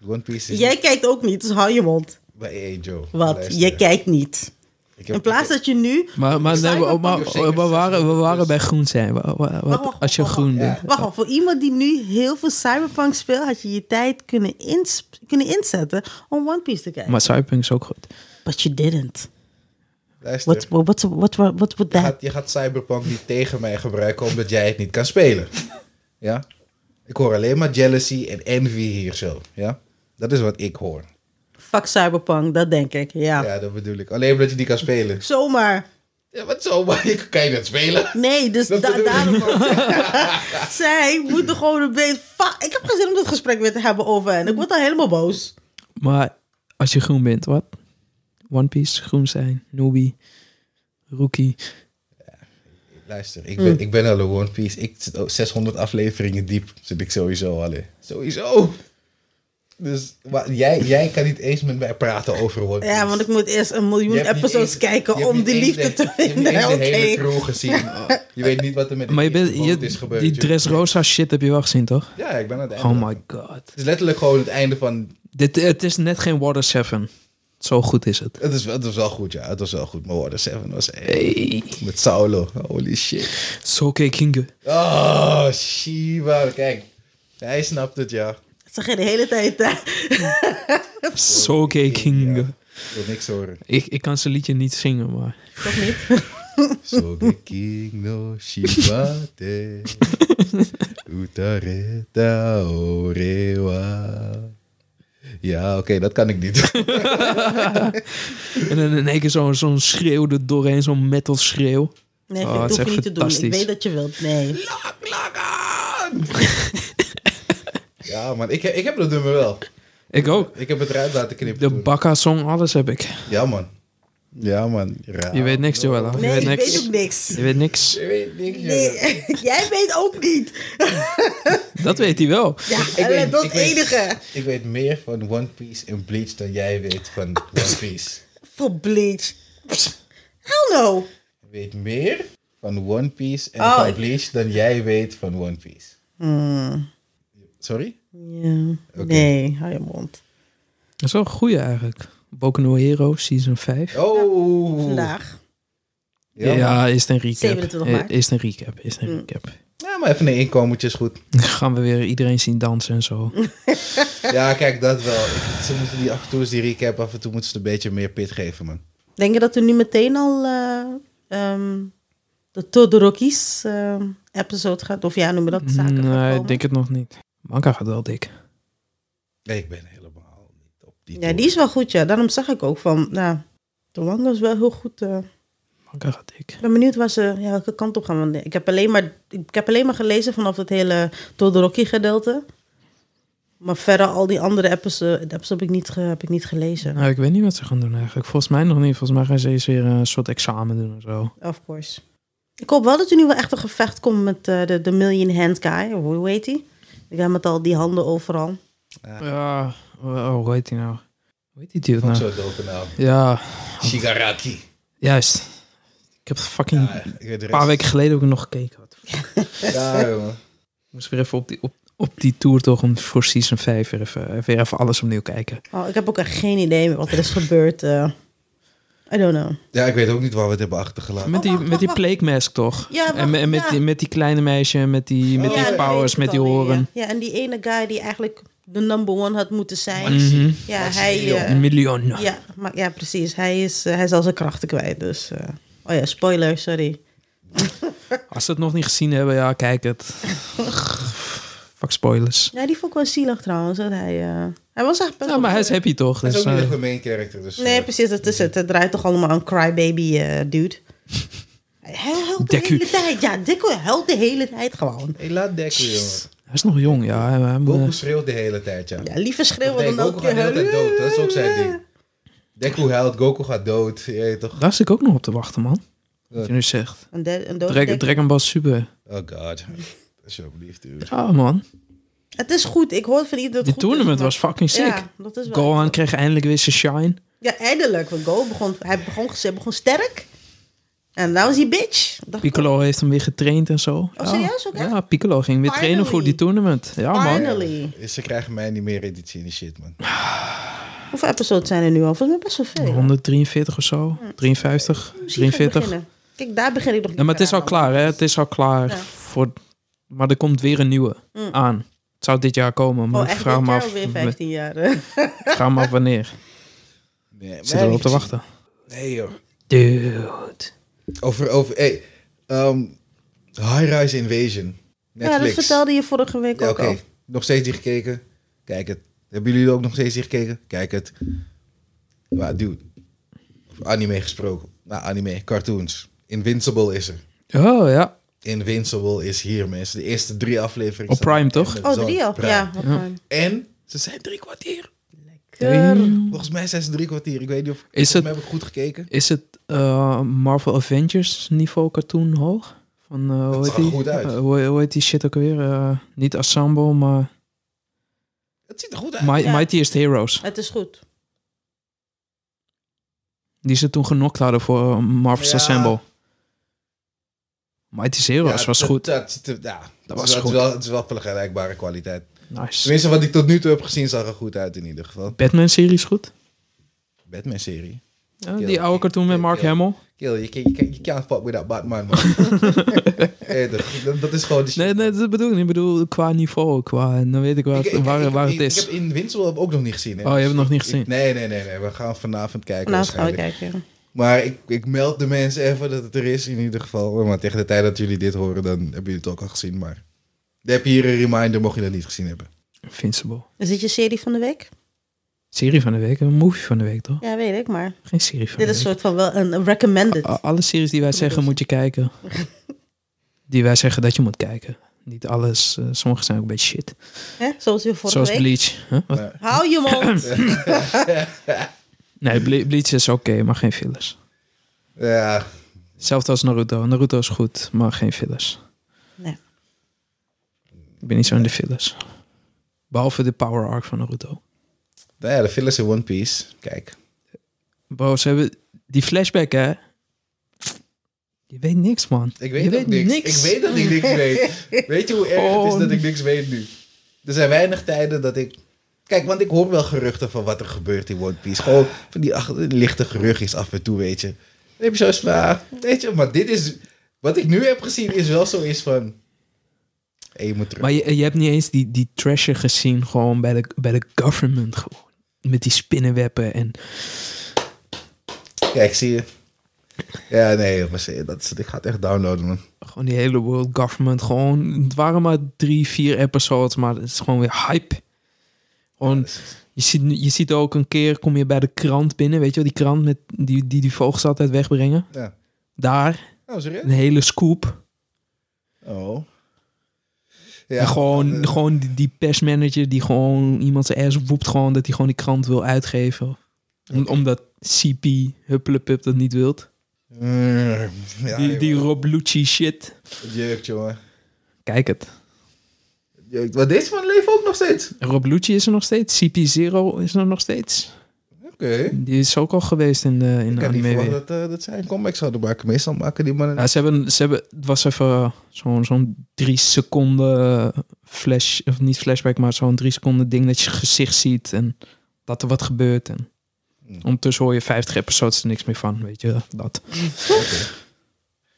S2: One Piece is...
S1: Jij kijkt ook niet, dus hou je mond.
S2: Bij hey, Joe.
S1: Wat?
S2: luister.
S1: Jij kijkt niet.
S2: Ik heb-
S1: In plaats dat je nu...
S3: Maar, maar, nee, we,
S2: Cyberpunk
S3: maar
S2: heeft
S3: we,
S2: zeker
S3: waren, we
S2: 600
S3: waren
S2: plus.
S3: bij groen zijn. Wa- wa- wat-
S1: Wacht, wacht,
S3: als je
S1: wacht,
S3: groen
S2: wacht.
S3: bent.
S1: Wacht al, voor iemand die nu heel veel cyberpunk speelt... had je je tijd kunnen, ins- kunnen inzetten om One Piece te kijken.
S3: Maar Cyberpunk is ook goed.
S1: But you didn't.
S2: luister.
S1: What, what, what, what, what, what would
S2: Je
S1: that...
S2: gaat, je gaat Cyberpunk niet tegen mij gebruiken omdat jij het niet kan spelen. Ja? Ik hoor alleen maar jealousy en envy hier zo. Ja? Dat is wat ik hoor.
S1: Fuck cyberpunk, dat denk ik, ja.
S2: Ja, dat bedoel ik. Alleen omdat je die kan spelen.
S1: Zomaar.
S2: Ja, wat zo, maar ik kan [LAUGHS] je dat spelen.
S1: Nee, dus
S2: Dat
S1: da-
S2: bedoel ik.
S1: daarom...
S2: [LAUGHS]
S1: Zij moeten gewoon een beetje... Fuck, ik heb geen zin om dit gesprek weer te hebben over hen. Ik word al helemaal boos.
S3: Maar als je groen bent, wat? One Piece, groen zijn, newbie, rookie.
S2: Luister, ik ben, ik ben al een One Piece. Ik zit al 600 afleveringen diep. Zit ik sowieso al in. Sowieso. Dus maar jij, jij kan niet eens met mij praten over One Piece.
S1: Ja, want ik moet eerst een miljoen
S2: Je hebt niet
S1: episodes
S2: eens- je
S1: kijken
S2: hebt
S1: om
S2: niet
S1: die
S2: eens
S1: liefde
S2: de-
S1: te
S2: Je
S1: vinden.
S2: hebt
S1: Oké. [LAUGHS]
S2: niet eens de hele crew gezien. Je weet niet wat er met de
S3: Maar je bent,
S2: eerste boot
S3: je,
S2: is gebeurd.
S3: die
S2: Je-
S3: Dressrosa shit heb je wel gezien, toch?
S2: Ja, ik ben aan het einde.
S3: Oh my god.
S2: Het is letterlijk gewoon het einde van...
S3: Dit, het is net geen Water 7. Zo goed is het.
S2: Het, is, wel- het was wel goed, ja. Het was wel goed. Maar Water 7 was... Hey. Met Saulo. Holy shit.
S3: Soke Kinge.
S2: Oh, Shiva. Kijk, hij snapt het, ja.
S1: Dat zeg je de hele tijd. eh, [LAUGHS] hè.
S3: Soke Kinge.
S2: Ik wil niks horen.
S3: Ik, ik kan zijn liedje niet zingen, maar... [LAUGHS]
S2: Sogeking no shibate. Utareta orewa. Ja, oké, dat kan ik niet.
S3: En dan in één keer zo'n zo'n schreeuw er doorheen, zo'n metal schreeuw.
S1: Nee,
S3: Oh,
S1: vind ik
S3: het
S1: hoef je
S3: is echt
S1: niet te doen. Ik
S3: fantastisch.
S1: weet dat je wilt. Nee.
S2: Lak, lak aan! [LAUGHS] Ja, man, ik, heb- ik heb dat nummer wel.
S3: Ik ook.
S2: Ik heb het eruit laten knippen.
S3: De
S2: toen.
S3: Bakka-song, alles heb ik.
S2: Ja, man. Ja, man. Raar.
S3: Je weet niks, Joella. Je
S1: Nee,
S3: weet
S1: ik
S3: niks.
S1: weet ook niks.
S3: Je weet niks.
S2: Je weet niks,
S1: [LAUGHS]
S2: Joella.
S1: Nee, jij weet ook niet.
S3: Dat weet hij wel.
S1: Ja,
S2: Ik weet-
S1: en dat
S2: ik
S1: is
S2: weet-
S1: enige.
S2: Ik weet meer van One Piece en Bleach dan jij weet van One Piece.
S1: Voor Bleach. Pst. Hell no.
S2: Ik weet meer van One Piece en
S1: Oh,
S2: van
S1: ik-
S2: Bleach dan jij weet van One Piece.
S1: Hmm.
S2: Sorry?
S1: Ja. Nee, hou je mond.
S3: Dat is wel een goeie eigenlijk. Boku no Hero, season 5.
S2: Oh!
S1: Vandaag.
S2: Ja,
S3: Ja,
S2: maar-
S3: is het een recap.
S1: 27 maart. Mm.
S3: Eh, Is het een recap, is het een recap.
S2: ja, maar even een inkomertje is goed.
S3: Dan gaan we weer iedereen zien dansen en zo.
S2: Ja, kijk, dat wel. Ik- Ze moeten die af en toe eens die recap, af en toe moeten ze een beetje meer pit geven, man.
S1: Denk je dat er nu meteen al eh, ehm, de Todoroki's ehm, episode gaat? Of ja, noem je dat? Zaken gaat
S3: Mm, Nee, ik
S1: komen?
S3: denk het nog niet. Manga gaat wel dik.
S2: Nee, ik ben helemaal niet op die
S1: Ja, die is wel goed, ja. Daarom zag ik ook van, nou, de manga is wel heel goed. eh.
S3: Manga gaat dik.
S1: Ik ben benieuwd waar ze, ja, welke kant op gaan. Want ik heb alleen maar, ik heb alleen maar gelezen vanaf het hele Todoroki gedeelte. Maar verder al die andere episodes, episodes heb, ik niet ge- heb ik niet gelezen.
S3: Nou, ik weet niet wat ze gaan doen eigenlijk. Volgens mij nog niet. Volgens mij gaan ze eens weer een soort examen doen of zo.
S1: Of course. Ik hoop wel dat er nu wel echt een gevecht komt met eh, de, de Million Hand Guy. Hoe hoe heet die? Ik heb met al die handen overal.
S3: Ja, oh, hoe heet die nou? Hoe heet die dude
S2: Ook
S3: nou?
S2: zo'n dope naam.
S3: Ja,
S2: Shigaraki.
S3: juist. Ik heb het fucking
S2: Ja, ik weet de
S3: een paar
S2: rest.
S3: weken geleden ook nog gekeken. Wat-
S2: Ja, jongen.
S3: Ik moest weer even op die, op, op die tour toch om voor season 5 weer even, weer even alles opnieuw kijken.
S1: Oh, ik heb ook echt geen idee meer wat er is gebeurd. eh. I don't know.
S2: Ja, ik weet ook niet waar we het hebben achtergelaten.
S3: Met die,
S1: wacht,
S3: met die
S1: wacht,
S3: plague mask toch?
S1: Ja, wacht,
S3: en met, en met,
S1: ja.
S3: die, met die kleine meisje, met die, met
S2: Oh,
S3: die
S2: ja, dat
S3: powers,
S1: weet ik
S3: met die
S1: alweer,
S3: horen.
S1: Ja. Ja, en die ene guy die eigenlijk de number one had moeten zijn.
S3: Mhm.
S1: Ja,
S2: Maxi
S1: hij,
S2: Leon.
S1: eh,
S3: Miljoen. Nou,
S1: ja, maar, ja, precies. Hij is, eh, hij is al zijn krachten kwijt. Dus, eh, oh ja, spoiler, sorry.
S3: Als ze het nog niet gezien hebben, ja, kijk
S1: [LAUGHS]
S3: het. Fuck spoilers.
S1: Ja, die vond ik wel zielig trouwens. Dat hij, eh, hij was echt best
S3: Ja, maar hij is
S1: wel-
S3: happy toch?
S2: Hij is
S3: Dus,
S2: ook niet
S3: eh,
S2: echt een main character. Dus,
S1: Nee,
S2: eh,
S1: precies, dat is het. Het draait toch allemaal aan crybaby eh,
S3: [LAUGHS]
S1: dude. Hij huilt de
S3: Deku.
S1: hele tijd. Ja, Deku huilt de hele tijd gewoon.
S2: hey, laat Deku, jongen.
S3: hij is nog jong, ja. Hij, hij-
S2: Goku schreeuwt de hele tijd, ja.
S1: Ja, liever
S2: Of
S1: schreeuwen
S2: nee,
S1: dan
S2: Goku
S1: ook.
S2: gaat de hele tijd dood. Dat is ook zijn ding. Deku huilt, Goku gaat dood. Je weet toch?
S3: eh, daar zit ik ook nog op te wachten, man. Wat
S2: Wat?
S3: je nu zegt.
S1: Een, de- een dode
S3: Dragon,
S1: Deku.
S3: Dragon Ball Super.
S2: Oh god. Alsjeblieft, dude.
S3: Ja, man.
S1: Het is goed. Ik hoor van iedereen dat het
S3: Dit
S1: goed is,
S3: tournament
S1: maar-
S3: was fucking sick.
S1: Ja, dat is wel.
S3: Gohan kreeg eindelijk weer zijn shine.
S1: Ja, eindelijk. Want Go begon, hij begon, hij begon sterk. En nou is hij bitch. Dacht ik,
S3: Piccolo heeft hem weer getraind en zo.
S1: Oh, serieus ook echt?
S3: Ja, Piccolo ging weer trainen voor die
S1: Finally.
S3: tournament. Ja, man.
S1: Finally.
S2: Ze krijgen mij niet meer in die zin shit, man.
S1: Hoeveel episodes zijn er nu al? Volgens mij best wel veel.
S3: 143 of zo. 53,
S1: Misschien ga ik
S3: 43.
S1: beginnen. Kijk, daar begin ik nog
S3: Ja, maar het is al
S1: aan.
S3: klaar, hè? Het is al klaar.
S1: Ja. Mm.
S3: Voor... Maar er komt weer een nieuwe aan. Het zou dit jaar komen, maar
S1: Oh,
S3: ik
S1: echt?
S3: vraag
S1: Dit
S3: me,
S1: jaar
S3: af,
S1: alweer
S3: ik
S1: 15 jaar. hè?
S3: vraag me af
S1: [LAUGHS]
S3: wanneer.
S2: Nee,
S3: Ik zit erop te wachten.
S2: Nee, joh.
S3: Dude.
S2: Over, over, hey, ehm, High Rise Invasion. Netflix.
S1: Ja, dat vertelde je vorige week
S2: Ja,
S1: ook
S2: Oké,
S1: al.
S2: nog steeds niet gekeken. Kijk het. Hebben jullie ook nog steeds niet gekeken? Kijk het. Maar dude, over anime gesproken. Nou, anime, cartoons. Invincible is er.
S3: Oh ja.
S2: Invincible is hier, mensen. De eerste drie afleveringen.
S3: Op Prime, toch?
S1: Oh, drie al. Ja, wat fijn.
S2: En ze zijn drie kwartier.
S1: Lekker.
S2: Volgens mij zijn ze drie kwartier. Ik weet niet of
S3: Is
S2: volgens
S3: het- Oh,
S2: mij heb ik goed gekeken.
S3: Is het eh, Marvel Avengers niveau cartoon hoog? Van, eh, hoe, heet
S2: zag
S3: die?
S2: er goed uit.
S3: Eh, hoe, hoe heet die shit ook weer? Eh, niet Assemble, maar
S2: Het ziet er goed uit.
S3: My,
S1: Ja.
S3: Mightiest Heroes.
S1: Het is goed.
S3: Die ze toen genokt hadden voor eh, Marvel's
S2: Ja.
S3: Assemble. Mightiest Heroes
S2: Ja,
S3: was
S2: dat-
S3: goed.
S2: Dat, ziet er- ja, dat
S3: was
S2: was
S3: goed.
S2: Wel, het is wel vergelijkbare kwaliteit.
S3: Nice.
S2: Tenminste, wat ik tot nu toe heb gezien, zag er goed uit in ieder geval.
S3: Batman-serie is goed.
S2: Batman-serie.
S3: Ja,
S2: Kill.
S3: die oude cartoon met
S2: Kill,
S3: Mark
S2: kill.
S3: Hamill.
S2: Kill, je can't, you can't fuck with that Batman,
S3: [LAUGHS]
S2: man. Hey, dat- dat, dat is gewoon de shit.
S3: Nee, nee, dat bedoel ik niet. Ik bedoel qua niveau, qua... Dan weet ik, wat,
S2: Ik- ik-
S3: waar,
S2: ik-
S3: waar
S2: ik-
S3: het is.
S2: Ik heb Invincible ook nog niet gezien. Hè.
S3: oh, je hebt het nog niet
S2: Ik-
S3: gezien.
S2: nee, nee, nee, nee. We gaan vanavond kijken
S1: Nou, gaan we
S2: waarschijnlijk.
S1: kijken.
S2: Maar ik, ik meld de mensen even dat het er is in ieder geval. Maar tegen de tijd dat jullie dit horen, dan hebben jullie het ook al gezien. Maar dan heb je hier een reminder, mocht je dat niet gezien hebben.
S3: Invincible.
S1: Is dit je serie van de week?
S3: Serie van de week. Een movie van de week, toch?
S1: Ja, weet ik, maar
S3: Geen serie van
S1: dit
S3: de
S1: is
S3: week.
S1: soort van wel een recommended.
S3: A- Alle series die wij zeggen moet je kijken. Die wij zeggen dat je moet kijken. Niet alles. eh, sommige zijn ook een beetje shit.
S1: Hè? Zoals je vorige
S3: Zoals
S1: week.
S3: Bleach. Huh? Wat?
S2: Maar,
S1: Hou je mond.
S3: [CLEARS THROAT] Nee, Ble- Bleach is oké, maar geen fillers.
S2: ja,
S3: Hetzelfde als Naruto. Naruto is goed, maar geen fillers.
S1: Nee.
S3: Ik ben niet zo in de fillers. Behalve de power arc van Naruto.
S2: nou ja, de fillers in One Piece. Kijk.
S3: Bro, ze hebben die flashback, hè? Je weet niks, man.
S2: Ik weet,
S3: je
S2: ook niks. Ik weet dat ik niks
S3: [LAUGHS]
S2: weet. Weet je hoe erg het
S3: Oh.
S2: is dat ik niks weet nu? Er zijn weinig tijden dat ik... Kijk, want ik hoor wel geruchten van wat er gebeurt in One Piece. Gewoon van die ach- lichte geruchtjes af en toe, weet je. Dan heb je zoiets van, ah, weet je, maar dit is... Wat ik nu heb gezien is wel zoiets van... Hé, je moet terug.
S3: Maar je, je hebt niet eens die, die trasher gezien gewoon bij de, bij de government gewoon. Met die spinnenwebben en...
S2: Kijk, zie je. Ja, nee, jongens, eh, dat is, ik ga het echt downloaden, man.
S3: Gewoon die hele world government. Gewoon, het waren maar drie, vier episodes, maar het is gewoon weer hype. Gewoon, je ziet, nu- je ziet ook een keer, kom je bij de krant binnen, weet je wel, die krant met, die, die die vogels altijd wegbrengen.
S2: Ja.
S3: Daar,
S2: Oh, serieus?
S3: een hele scoop.
S2: Oh.
S3: en gewoon,
S2: eh,
S3: gewoon die, die persmanager die gewoon iemand zijn ass woept gewoon dat hij gewoon die krant wil uitgeven. Om- Omdat CP, Huppelepup, dat niet wilt.
S2: mm, ja,
S3: die die
S2: jongen.
S3: Rob Lucci shit.
S2: Het jeukt, jongen.
S3: Kijk het.
S2: Het jeukt. Maar deze man leeft ook nog steeds.
S3: Rob Lucci is er nog steeds. CP0 is er nog steeds.
S2: Oké.
S3: Die is ook al geweest in de, in
S2: Ik
S3: de
S2: had niet
S3: anime.
S2: verwacht
S3: weer.
S2: dat, eh, dat zij een comeback zouden maken. Meestal maken die mannen...
S3: Ja, ze hebben, ze hebben, het was even eh, zo'n zo'n drie seconden flash, of niet flashback, maar zo'n drie seconden ding dat je gezicht ziet en dat er wat gebeurt. En
S2: Hmm.
S3: ondertussen hoor je 50 episodes er niks meer van, weet je dat.
S2: Oké.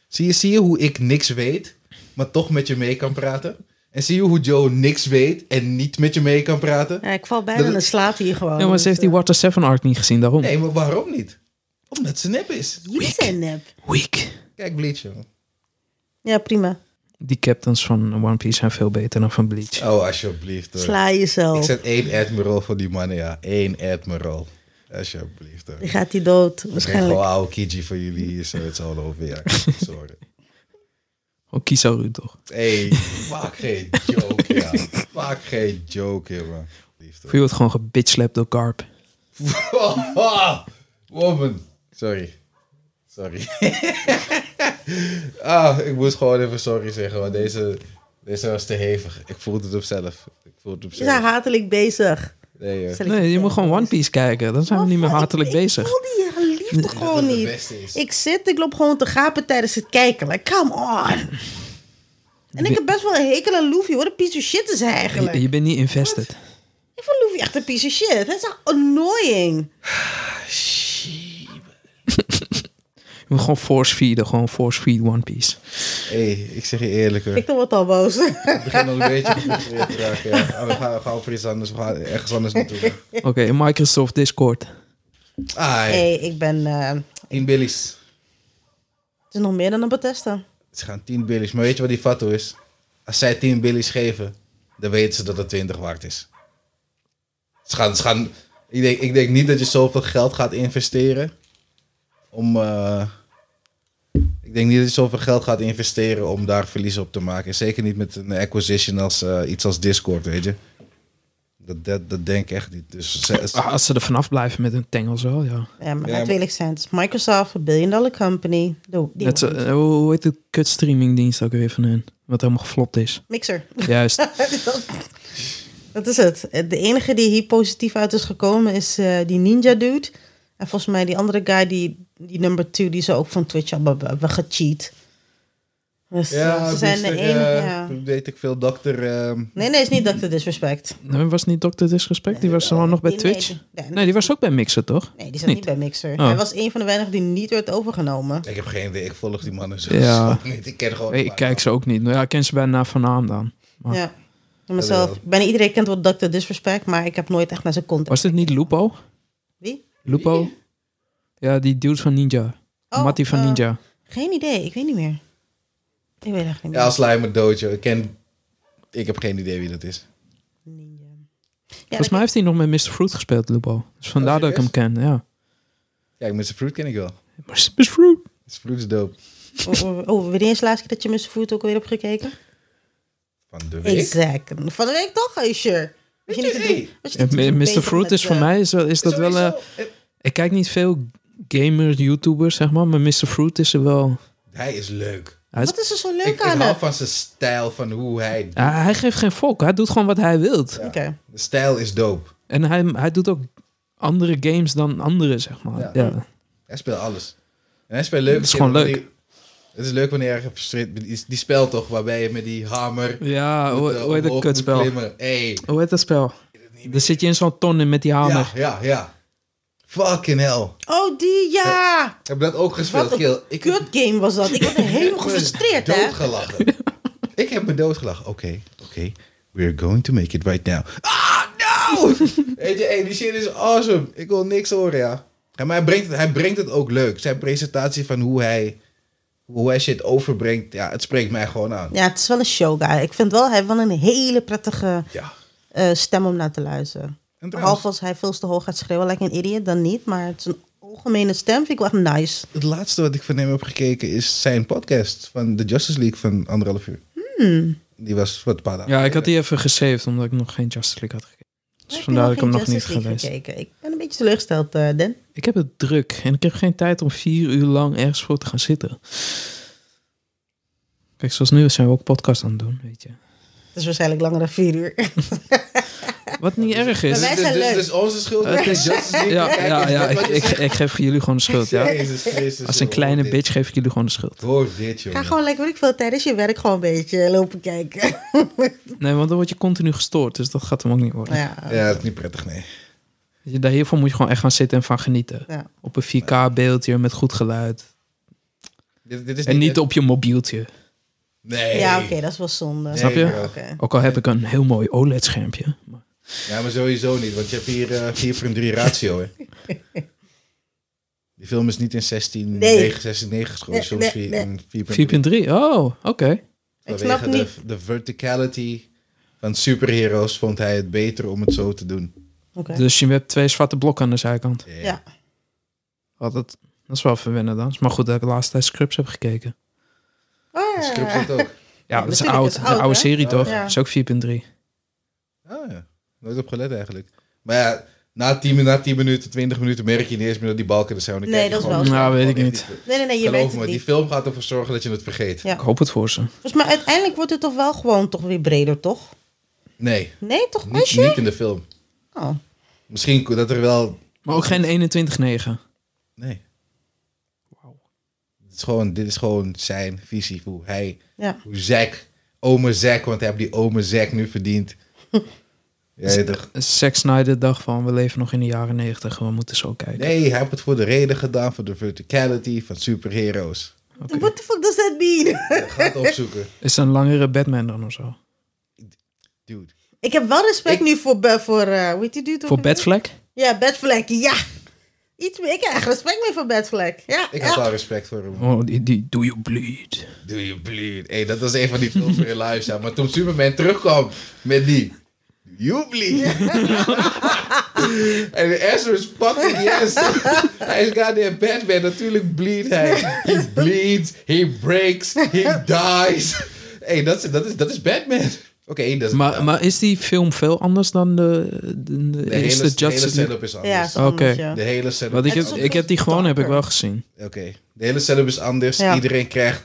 S2: Zie, je, zie je hoe ik niks weet, maar toch met je mee kan praten? En zie je hoe Joe niks weet en niet met je mee kan praten?
S1: Ja, ik val bijna
S2: Dat-
S1: in slaap hier gewoon.
S3: Ja, maar ze heeft
S1: eh,
S3: die Water 7 arc niet gezien, daarom.
S2: Nee, maar waarom niet? Omdat ze nep is.
S1: Jullie zijn nep.
S3: Weak.
S2: Kijk, Bleach, jongen.
S1: Ja, prima.
S3: Die captains van One Piece zijn veel beter dan van Bleach.
S2: Oh, alsjeblieft. hoor.
S1: Sla jezelf.
S2: Ik zet één admiral voor die mannen, ja. Eén admiral. Alsjeblieft. hoor.
S1: Die gaat die dood,
S2: Ik krijg
S1: waarschijnlijk.
S2: gewoon oude Kiji voor jullie hier, zo het zal over. Ja, sorry.
S3: Oh, Kizaru toch?
S2: Hey, maak geen joke, ja. Maak geen joke, ja, man.
S3: [LAUGHS]
S2: Liefde.
S3: Voor je wordt gewoon gebitchlapt door Garp.
S2: Woman. Sorry. Sorry. [LAUGHS] ah, ik moest gewoon even sorry zeggen, want deze, deze was te hevig. Ik voelde het op zelf. Ik voelde het op
S1: Ze zijn
S2: zelf.
S1: hatelijk bezig.
S2: Nee, joh.
S1: Stel ik
S3: Nee, je moet gewoon One Piece kijken. Dan zijn we niet meer
S1: Maar
S3: hatelijk
S1: ik, Ik
S3: bezig.
S1: voel die eh, liefde gewoon
S2: het
S1: niet.
S2: beste is.
S1: Ik zit, ik loop gewoon te gapen tijdens het kijken. Like, come on. En ik heb best wel een hekel aan Luffy. Wat een piece of shit is hij eigenlijk.
S3: Je, je bent niet invested.
S1: Ik vond Luffy echt een piece of shit. Hij is echt annoying.
S3: Je moet gewoon force feeden. Gewoon force feed One Piece.
S2: Hey, ik zeg je eerlijk hoor.
S1: Ik word al boos. [LAUGHS]
S2: Ik begin al een beetje gefrustreerd te raken. Ja. Oh, we gaan we gaan voor iets anders. We gaan ergens anders naartoe.
S3: Oké, Microsoft Discord.
S2: Ah,
S1: hey, ik ben... eh,
S2: tien billies.
S1: het is nog meer dan een Bethesda.
S2: Ze gaan 10 billies. Maar weet je wat die fatto is? Als zij 10 billies geven, dan weten ze dat het 20 waard is. Ze gaan, ze gaan, ik, denk, ik denk niet dat je zoveel geld gaat investeren. Om, eh, ik denk niet dat je zoveel geld gaat investeren om daar verlies op te maken. En zeker niet met een acquisition als eh, iets als Discord, weet je. Dat, dat, dat denk ik echt niet. Dus ze- ze-
S3: Ah, als ze er vanaf blijven met hun tengels wel, ja.
S1: Ja, maar
S2: maar-
S1: laten we eerlijk zijn. Het is Microsoft, een billion dollar company. Doe, die
S3: Net zo, eh, hoe hoe heet de kut streamingdienst ook weer van hun? Wat helemaal geflopt
S1: [LAUGHS]
S3: is.
S1: Mixer.
S3: Juist.
S1: dat, [LAUGHS] dat is het. De enige die hier positief uit is gekomen is eh, die ninja dude. En volgens mij die andere guy, die, die number two, die ze ook van Twitch hebben, hebben gecheat. Dus eh, ze zijn de
S2: Mr.,
S1: enige.
S2: eh,
S1: ja.
S2: Weet ik veel, dokter. ehm,
S1: Nee, nee, is niet Dr. Disrespect.
S3: Nee, was niet Dr. Disrespect? Die was gewoon nog bij
S1: Eh, Die-
S3: Twitch.
S1: Nee, nee,
S3: Nee, die was ook bij Mixer, toch?
S1: nee, die zat niet
S3: niet.
S1: bij Mixer.
S3: Oh.
S1: Hij was een van de weinigen die niet werd overgenomen.
S2: Ik heb geen idee. Ik volg die mannen zo
S3: Ja.
S2: zo niet. [LAUGHS] Ik ken gewoon.
S3: Nee, ik kijk ze ook niet. Nou ja, ik ken ze bijna van naam dan. Maar
S1: Ja. Ik mezelf, bijna iedereen kent wel Dr. Disrespect, maar ik heb nooit echt naar zijn content.
S3: Was dit niet Lupo?
S1: Wie?
S3: Lupo? Ja, die dude van Ninja.
S1: Oh,
S3: Mattie van
S1: eh,
S3: Ninja.
S1: Geen idee, ik weet niet meer. Ik weet echt niet meer.
S2: Ja, Slimer Dojo. Ik ken. Ik heb geen idee wie dat is.
S1: Ninja. Ja, dat-
S3: Volgens mij heeft hij nog met Mr. Fruit gespeeld, Lupo. Dus vandaar dat ik hem ken, ja.
S2: Kijk, Mr. Fruit ken ik wel.
S3: Mr. Fruit.
S2: Mr. Fruit is dope.
S1: Oh, oh, oh, wanneer is de laatste keer dat je Mr. Food ook alweer hebt gekeken?
S2: Van de week.
S1: Exact. Van de week toch, als je. Was je
S2: Weet
S1: niet
S2: je,
S1: te doen-
S2: hey.
S1: was je
S3: Ja,
S1: niet te doen
S3: Mr.
S1: bezig
S3: Fruit
S1: met,
S3: is voor
S1: eh,
S3: mij, is, wel- is dat wel... eh,
S2: Sowieso, eh,
S3: ik kijk niet veel gamers, YouTubers, zeg maar. Maar Mr. Fruit is er wel...
S2: hij is leuk.
S3: Hij, is-
S1: Wat is er zo
S2: Ik,
S1: leuk
S2: ik
S1: aan
S2: hou
S1: hem?
S2: van zijn stijl, van hoe hij.
S3: Ja, hij geeft geen volk. Hij doet gewoon wat hij wilt.
S1: Oké.
S2: De stijl is dope.
S3: En hij, hij doet ook andere games dan anderen, zeg maar.
S2: Ja.
S3: Ja.
S2: Hij speelt alles. En hij speelt leuk.
S3: Het is gewoon leuk.
S2: Wanneer- Het is leuk wanneer hij gefrustreerd bent. Die- Die spel toch, waarbij je met die hamer.
S3: Ja, hoe,
S2: eh,
S3: hoe heet dat
S2: omhoog moet
S3: kutspel?
S2: klimmen. Hey.
S3: Hoe heet dat spel? Dan zit je in zo'n ton met die hamer.
S2: Ja, ja, ja. Fucking hell.
S1: Oh, die, ja!
S2: Ik heb dat ook gespeeld,
S1: Wat een
S2: Kiel. Ik
S1: Kut game was dat. Ik was
S2: [LAUGHS]
S1: helemaal gefrustreerd, hè?
S2: Doodgelachen. [LAUGHS] ik heb me doodgelachen. Oké, oké. We're going to make it right now. Ah, no! [LAUGHS] Weet je, hey, die shit is awesome. Ik wil niks horen, ja. Ja, maar hij brengt, het, hij brengt het ook leuk. Zijn presentatie van hoe hij, hoe hij shit overbrengt, ja, het spreekt mij gewoon aan.
S1: Ja, het is wel een show guy. Ik vind wel, hij heeft wel een hele prettige
S2: Ja.
S1: eh, stem om naar te luisteren.
S2: En trouwens,
S1: Behalve als hij veel te hoog gaat schreeuwen, lijkt een idiot, dan niet. Maar het is een algemene stem, vind ik wel echt nice.
S2: het laatste wat ik van hem heb gekeken is zijn podcast van de Justice League van anderhalf uur.
S1: Hmm.
S2: Die was wat een paar dagen.
S3: Ja, ik had die even gesaved omdat ik nog geen Justice League had gekeken. Dus vandaar dat ik hem nog niet
S1: Justice League
S3: geweest.
S1: gekeken. Ik ben een beetje teleurgesteld, eh Den.
S3: Ik heb het druk en ik heb geen tijd om vier uur lang ergens voor te gaan zitten. Kijk, zoals nu zijn we ook podcast aan het doen, weet je.
S1: Het is waarschijnlijk langer dan vier uur. [LAUGHS]
S3: Wat niet erg
S1: Maar
S3: is.
S1: wij-
S2: Dus, dus,
S1: zijn
S2: dus,
S1: leuk.
S2: dus onze schuld
S3: Het
S2: is
S3: is-
S2: Justice League.
S3: [LAUGHS] Ja,
S2: Kijk,
S3: ja,
S2: is
S3: ja
S2: dit
S3: ik,
S2: wat je
S3: ik, ik geef jullie gewoon de schuld, ja.
S2: Jezus Christus,
S3: Als een
S2: joh,
S3: kleine
S2: dit.
S3: bitch geef ik jullie gewoon de schuld.
S2: Hoor dit, joh.
S1: Ga gewoon lekker, weet ik veel, tijdens je werk gewoon een beetje lopen kijken.
S3: Nee, want dan word je continu gestoord, dus dat gaat hem ook niet worden.
S1: ja.
S2: [LAUGHS] Ja, dat is niet prettig, nee.
S3: Weet je, daar hiervoor moet je gewoon echt gaan zitten en van genieten.
S1: Ja.
S3: Op een 4K beeldje met goed geluid.
S2: Dit, dit is
S3: En niet op je mobieltje.
S2: Nee.
S1: Ja, oké, dat is wel zonde.
S2: Nee,
S3: Snap je?
S2: bro.
S1: Oké.
S3: Ook al heb ik een heel mooi E OLED-schermpje. maar-
S2: Ja, maar sowieso niet, want je hebt hier eh, 4 voor 3 ratio, hè.
S1: [LAUGHS]
S2: Die film is niet in 16,
S1: Nee.
S2: 9, 16, 9 geschoten.
S1: Nee,
S2: soms
S1: nee,
S2: vier-
S1: nee.
S2: in 4.3.
S3: 4.3, oh, oké.
S1: Ik
S2: Vanwege
S1: snap
S2: de,
S1: niet.
S2: de verticality van superheroes vond hij het beter om het zo te doen.
S1: Oké.
S3: Dus je hebt twee zwarte blokken aan de zijkant.
S1: Ja.
S3: Oh, dat, dat is wel verwennen dan. Maar goed dat ik de laatste tijd Scrubs heb gekeken.
S1: Oh,
S2: De
S1: ja.
S2: script zit
S1: [LAUGHS]
S2: ook.
S3: Ja,
S1: Ja,
S3: dat is
S1: natuurlijk,
S3: oud.
S1: het is
S3: de
S1: oud,
S3: oude
S1: hè?
S3: serie toch?
S1: Ja.
S3: is ook 4.3.
S2: Ah, ja. Nooit op gelet eigenlijk. Maar ja, na 10, na 10 minuten, 20 minuten merk je niet eens meer dat die balken er zijn. Dan
S1: Nee,
S2: kijk je
S1: dat is
S2: gewoon-
S1: wel
S3: Nou, weet ik
S2: gewoon
S3: niet.
S2: echt
S1: Nee, nee, nee, je weet
S2: Geloof
S1: het
S2: me, die
S1: niet.
S2: film gaat ervoor zorgen dat je het vergeet.
S1: Ja.
S3: Ik hoop het voor ze.
S1: Dus, maar uiteindelijk wordt het toch wel gewoon toch weer breder, toch?
S2: Nee,
S1: Nee, toch?
S2: niet,
S1: Meisje?
S2: niet in de film.
S1: Oh.
S2: Misschien ko- dat er wel...
S3: Maar ook geen 21-9.
S2: Nee.
S3: Wauw.
S2: Het is gewoon, dit is gewoon zijn visie. Hoe hij,
S1: Ja.
S2: hoe Zack, ome Zack, want hij heeft die ome Zack nu
S1: [LAUGHS]
S2: verdiend. Ja, je toch?
S3: Zack Snyder dacht van, we leven nog in de jaren 90. We moeten zo kijken.
S2: Nee, hij heeft het voor de reden gedaan, voor de verticality van
S1: [LAUGHS]
S2: superheroes.
S3: Oké.
S1: What the fuck does that mean? [LAUGHS]
S2: Ga het opzoeken.
S3: Is er een langere Batman dan of zo?
S2: Dude.
S1: Ik heb wel respect
S2: Ik-
S1: nu voor, Be- voor eh, hoe heet die dude? ook
S3: Voor
S1: alweer?
S3: Batfleck?
S1: Ja, bedvlek, ja. Iets meer, ik heb echt respect meer voor bedvlek. Ja,
S2: Ik
S1: ja.
S2: had wel respect voor hem.
S3: Oh, die, die Do You Bleed.
S2: Do you bleed? Hey, dat was een van die films in live zijn. Maar toen Superman terugkwam met die... Do you bleed? [LAUGHS] en Ezra is fucking yes. hij is goddamn Batman. Natuurlijk bleed hij. He bleeds. He breaks. He dies. hey, dat is, dat is, dat is Batman. Oké, dat is...
S3: Maar, maar is die film veel anders dan de, de, de
S2: de hele,
S3: eerste
S2: de hele
S3: Justice League?
S2: setup is
S1: Ja,
S2: anders.
S1: soms,
S3: Oké.
S1: ja.
S2: De hele setup
S3: Wat ik,
S2: is
S3: heb,
S1: Het is
S3: ik heb die gewoon, heb ik wel
S1: donker.
S3: gezien.
S2: Oké. De hele setup is anders.
S1: Ja.
S2: Iedereen krijgt.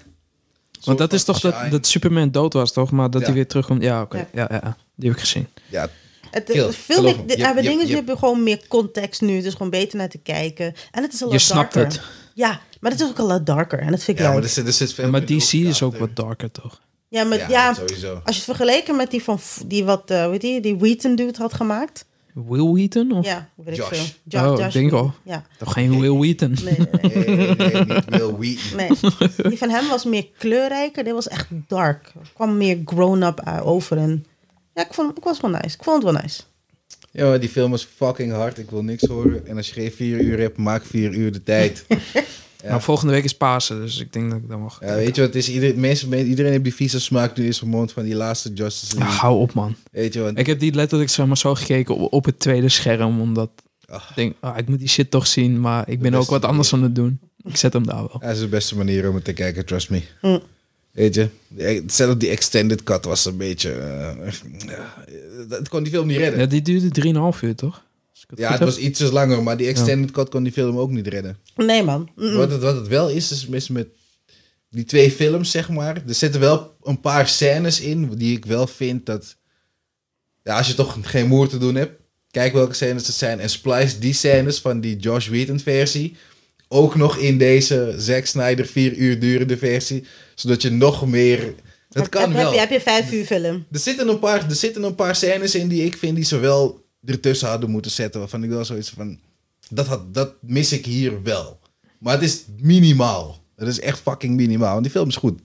S2: soort
S3: Want dat is
S2: van
S3: toch dat,
S2: shine.
S3: dat Superman dood was, toch? Maar dat
S2: Ja.
S3: hij weer terugkomt. Ja, oké.
S1: Ja.
S3: Ja. Ja, ja, die heb ik gezien.
S2: Ja,
S1: Het,
S2: Kill,
S1: het film,
S2: geloof me.
S1: ik, de,
S2: Je-
S1: aan de
S2: je-
S1: dingen
S2: je-
S1: heb je gewoon meer context nu. Het is gewoon beter naar te kijken. En het is al
S3: Je snapt
S1: darker.
S3: het.
S1: Ja, maar het is ook al wat darker. En dat vind ik
S2: ja maar
S1: leuk.
S2: er zit, er zit veel
S3: maar
S2: meer
S3: DC is ook
S2: achter.
S3: wat darker, toch?
S1: ja, maar,
S2: Ja,
S1: ja,
S2: sowieso.
S1: als je het vergeleken met die van F- die wat, eh weet je, die Wheaton dude had gemaakt.
S3: Will Wheaton? Of?
S1: Ja, weet
S2: Josh.
S1: ik veel.
S3: Oh, denk al.
S1: Ja,
S3: Toch geen Will Wheaton?
S1: nee, nee, nee.
S2: Nee, nee, nee, niet Will Wheaton. [LAUGHS]
S1: nee. Die van hem was meer kleurrijker. Dit was echt dark. Er kwam meer grown-up eh, over. En ja, ik vond, ik was wel nice. Ik vond het wel nice.
S2: Ja, maar die film is fucking hard. Ik wil niks horen. En als je geen vier uur hebt, maak vier uur de [LAUGHS] tijd. Ja.
S3: Nou, volgende week is Pasen, dus ik denk dat ik dan mag.
S2: Ja, weet je wat, het is ieder, mensen, men- iedereen heeft die vieze smaak nu in zijn mond van die laatste Justice League.
S3: hou op, man.
S2: Weet je, want
S3: Ik heb die letterlijk zeg maar, zo gekeken op, op het tweede scherm, omdat
S2: Ach.
S3: ik denk, ah, ik moet die shit toch zien, maar ik ben ook
S2: beste
S3: wat anders aan het doen. Ik zet hem daar wel.
S2: dat is de beste manier om het te kijken, trust me.
S1: Hm.
S2: Weet je, de- zelfs die extended cut was een beetje... eh, ja, dat kon die film niet redden.
S3: Ja, die duurde 3,5 uur, toch? Als ik het
S2: Ja, het
S3: goed heb.
S2: was ietsjes langer, maar die extended cut kon die film ook niet redden.
S1: Nee, man. Mm. Mm-mm.
S2: Wat het, wat het wel is, is mis met die twee films, zeg maar. Er zitten wel een paar scènes in die ik wel vind dat... Ja, als je toch geen moer te doen hebt, kijk welke scènes het zijn. En splice die scènes van die Josh Whedon versie ook nog in deze Zack Snyder vier uur durende versie. Zodat je nog meer...
S1: Heb-
S2: Dat
S1: heb,
S2: kan
S1: Heb,
S2: wel.
S1: je- heb je vijf uur film?
S2: Er zitten, een paar, er zitten een paar scènes in die ik vind die ze wel ertussen hadden moeten zetten. Waarvan ik wel zoiets van... Dat, had, dat mis ik hier wel. Maar het is minimaal. Het is echt fucking minimaal. Want die film is goed. De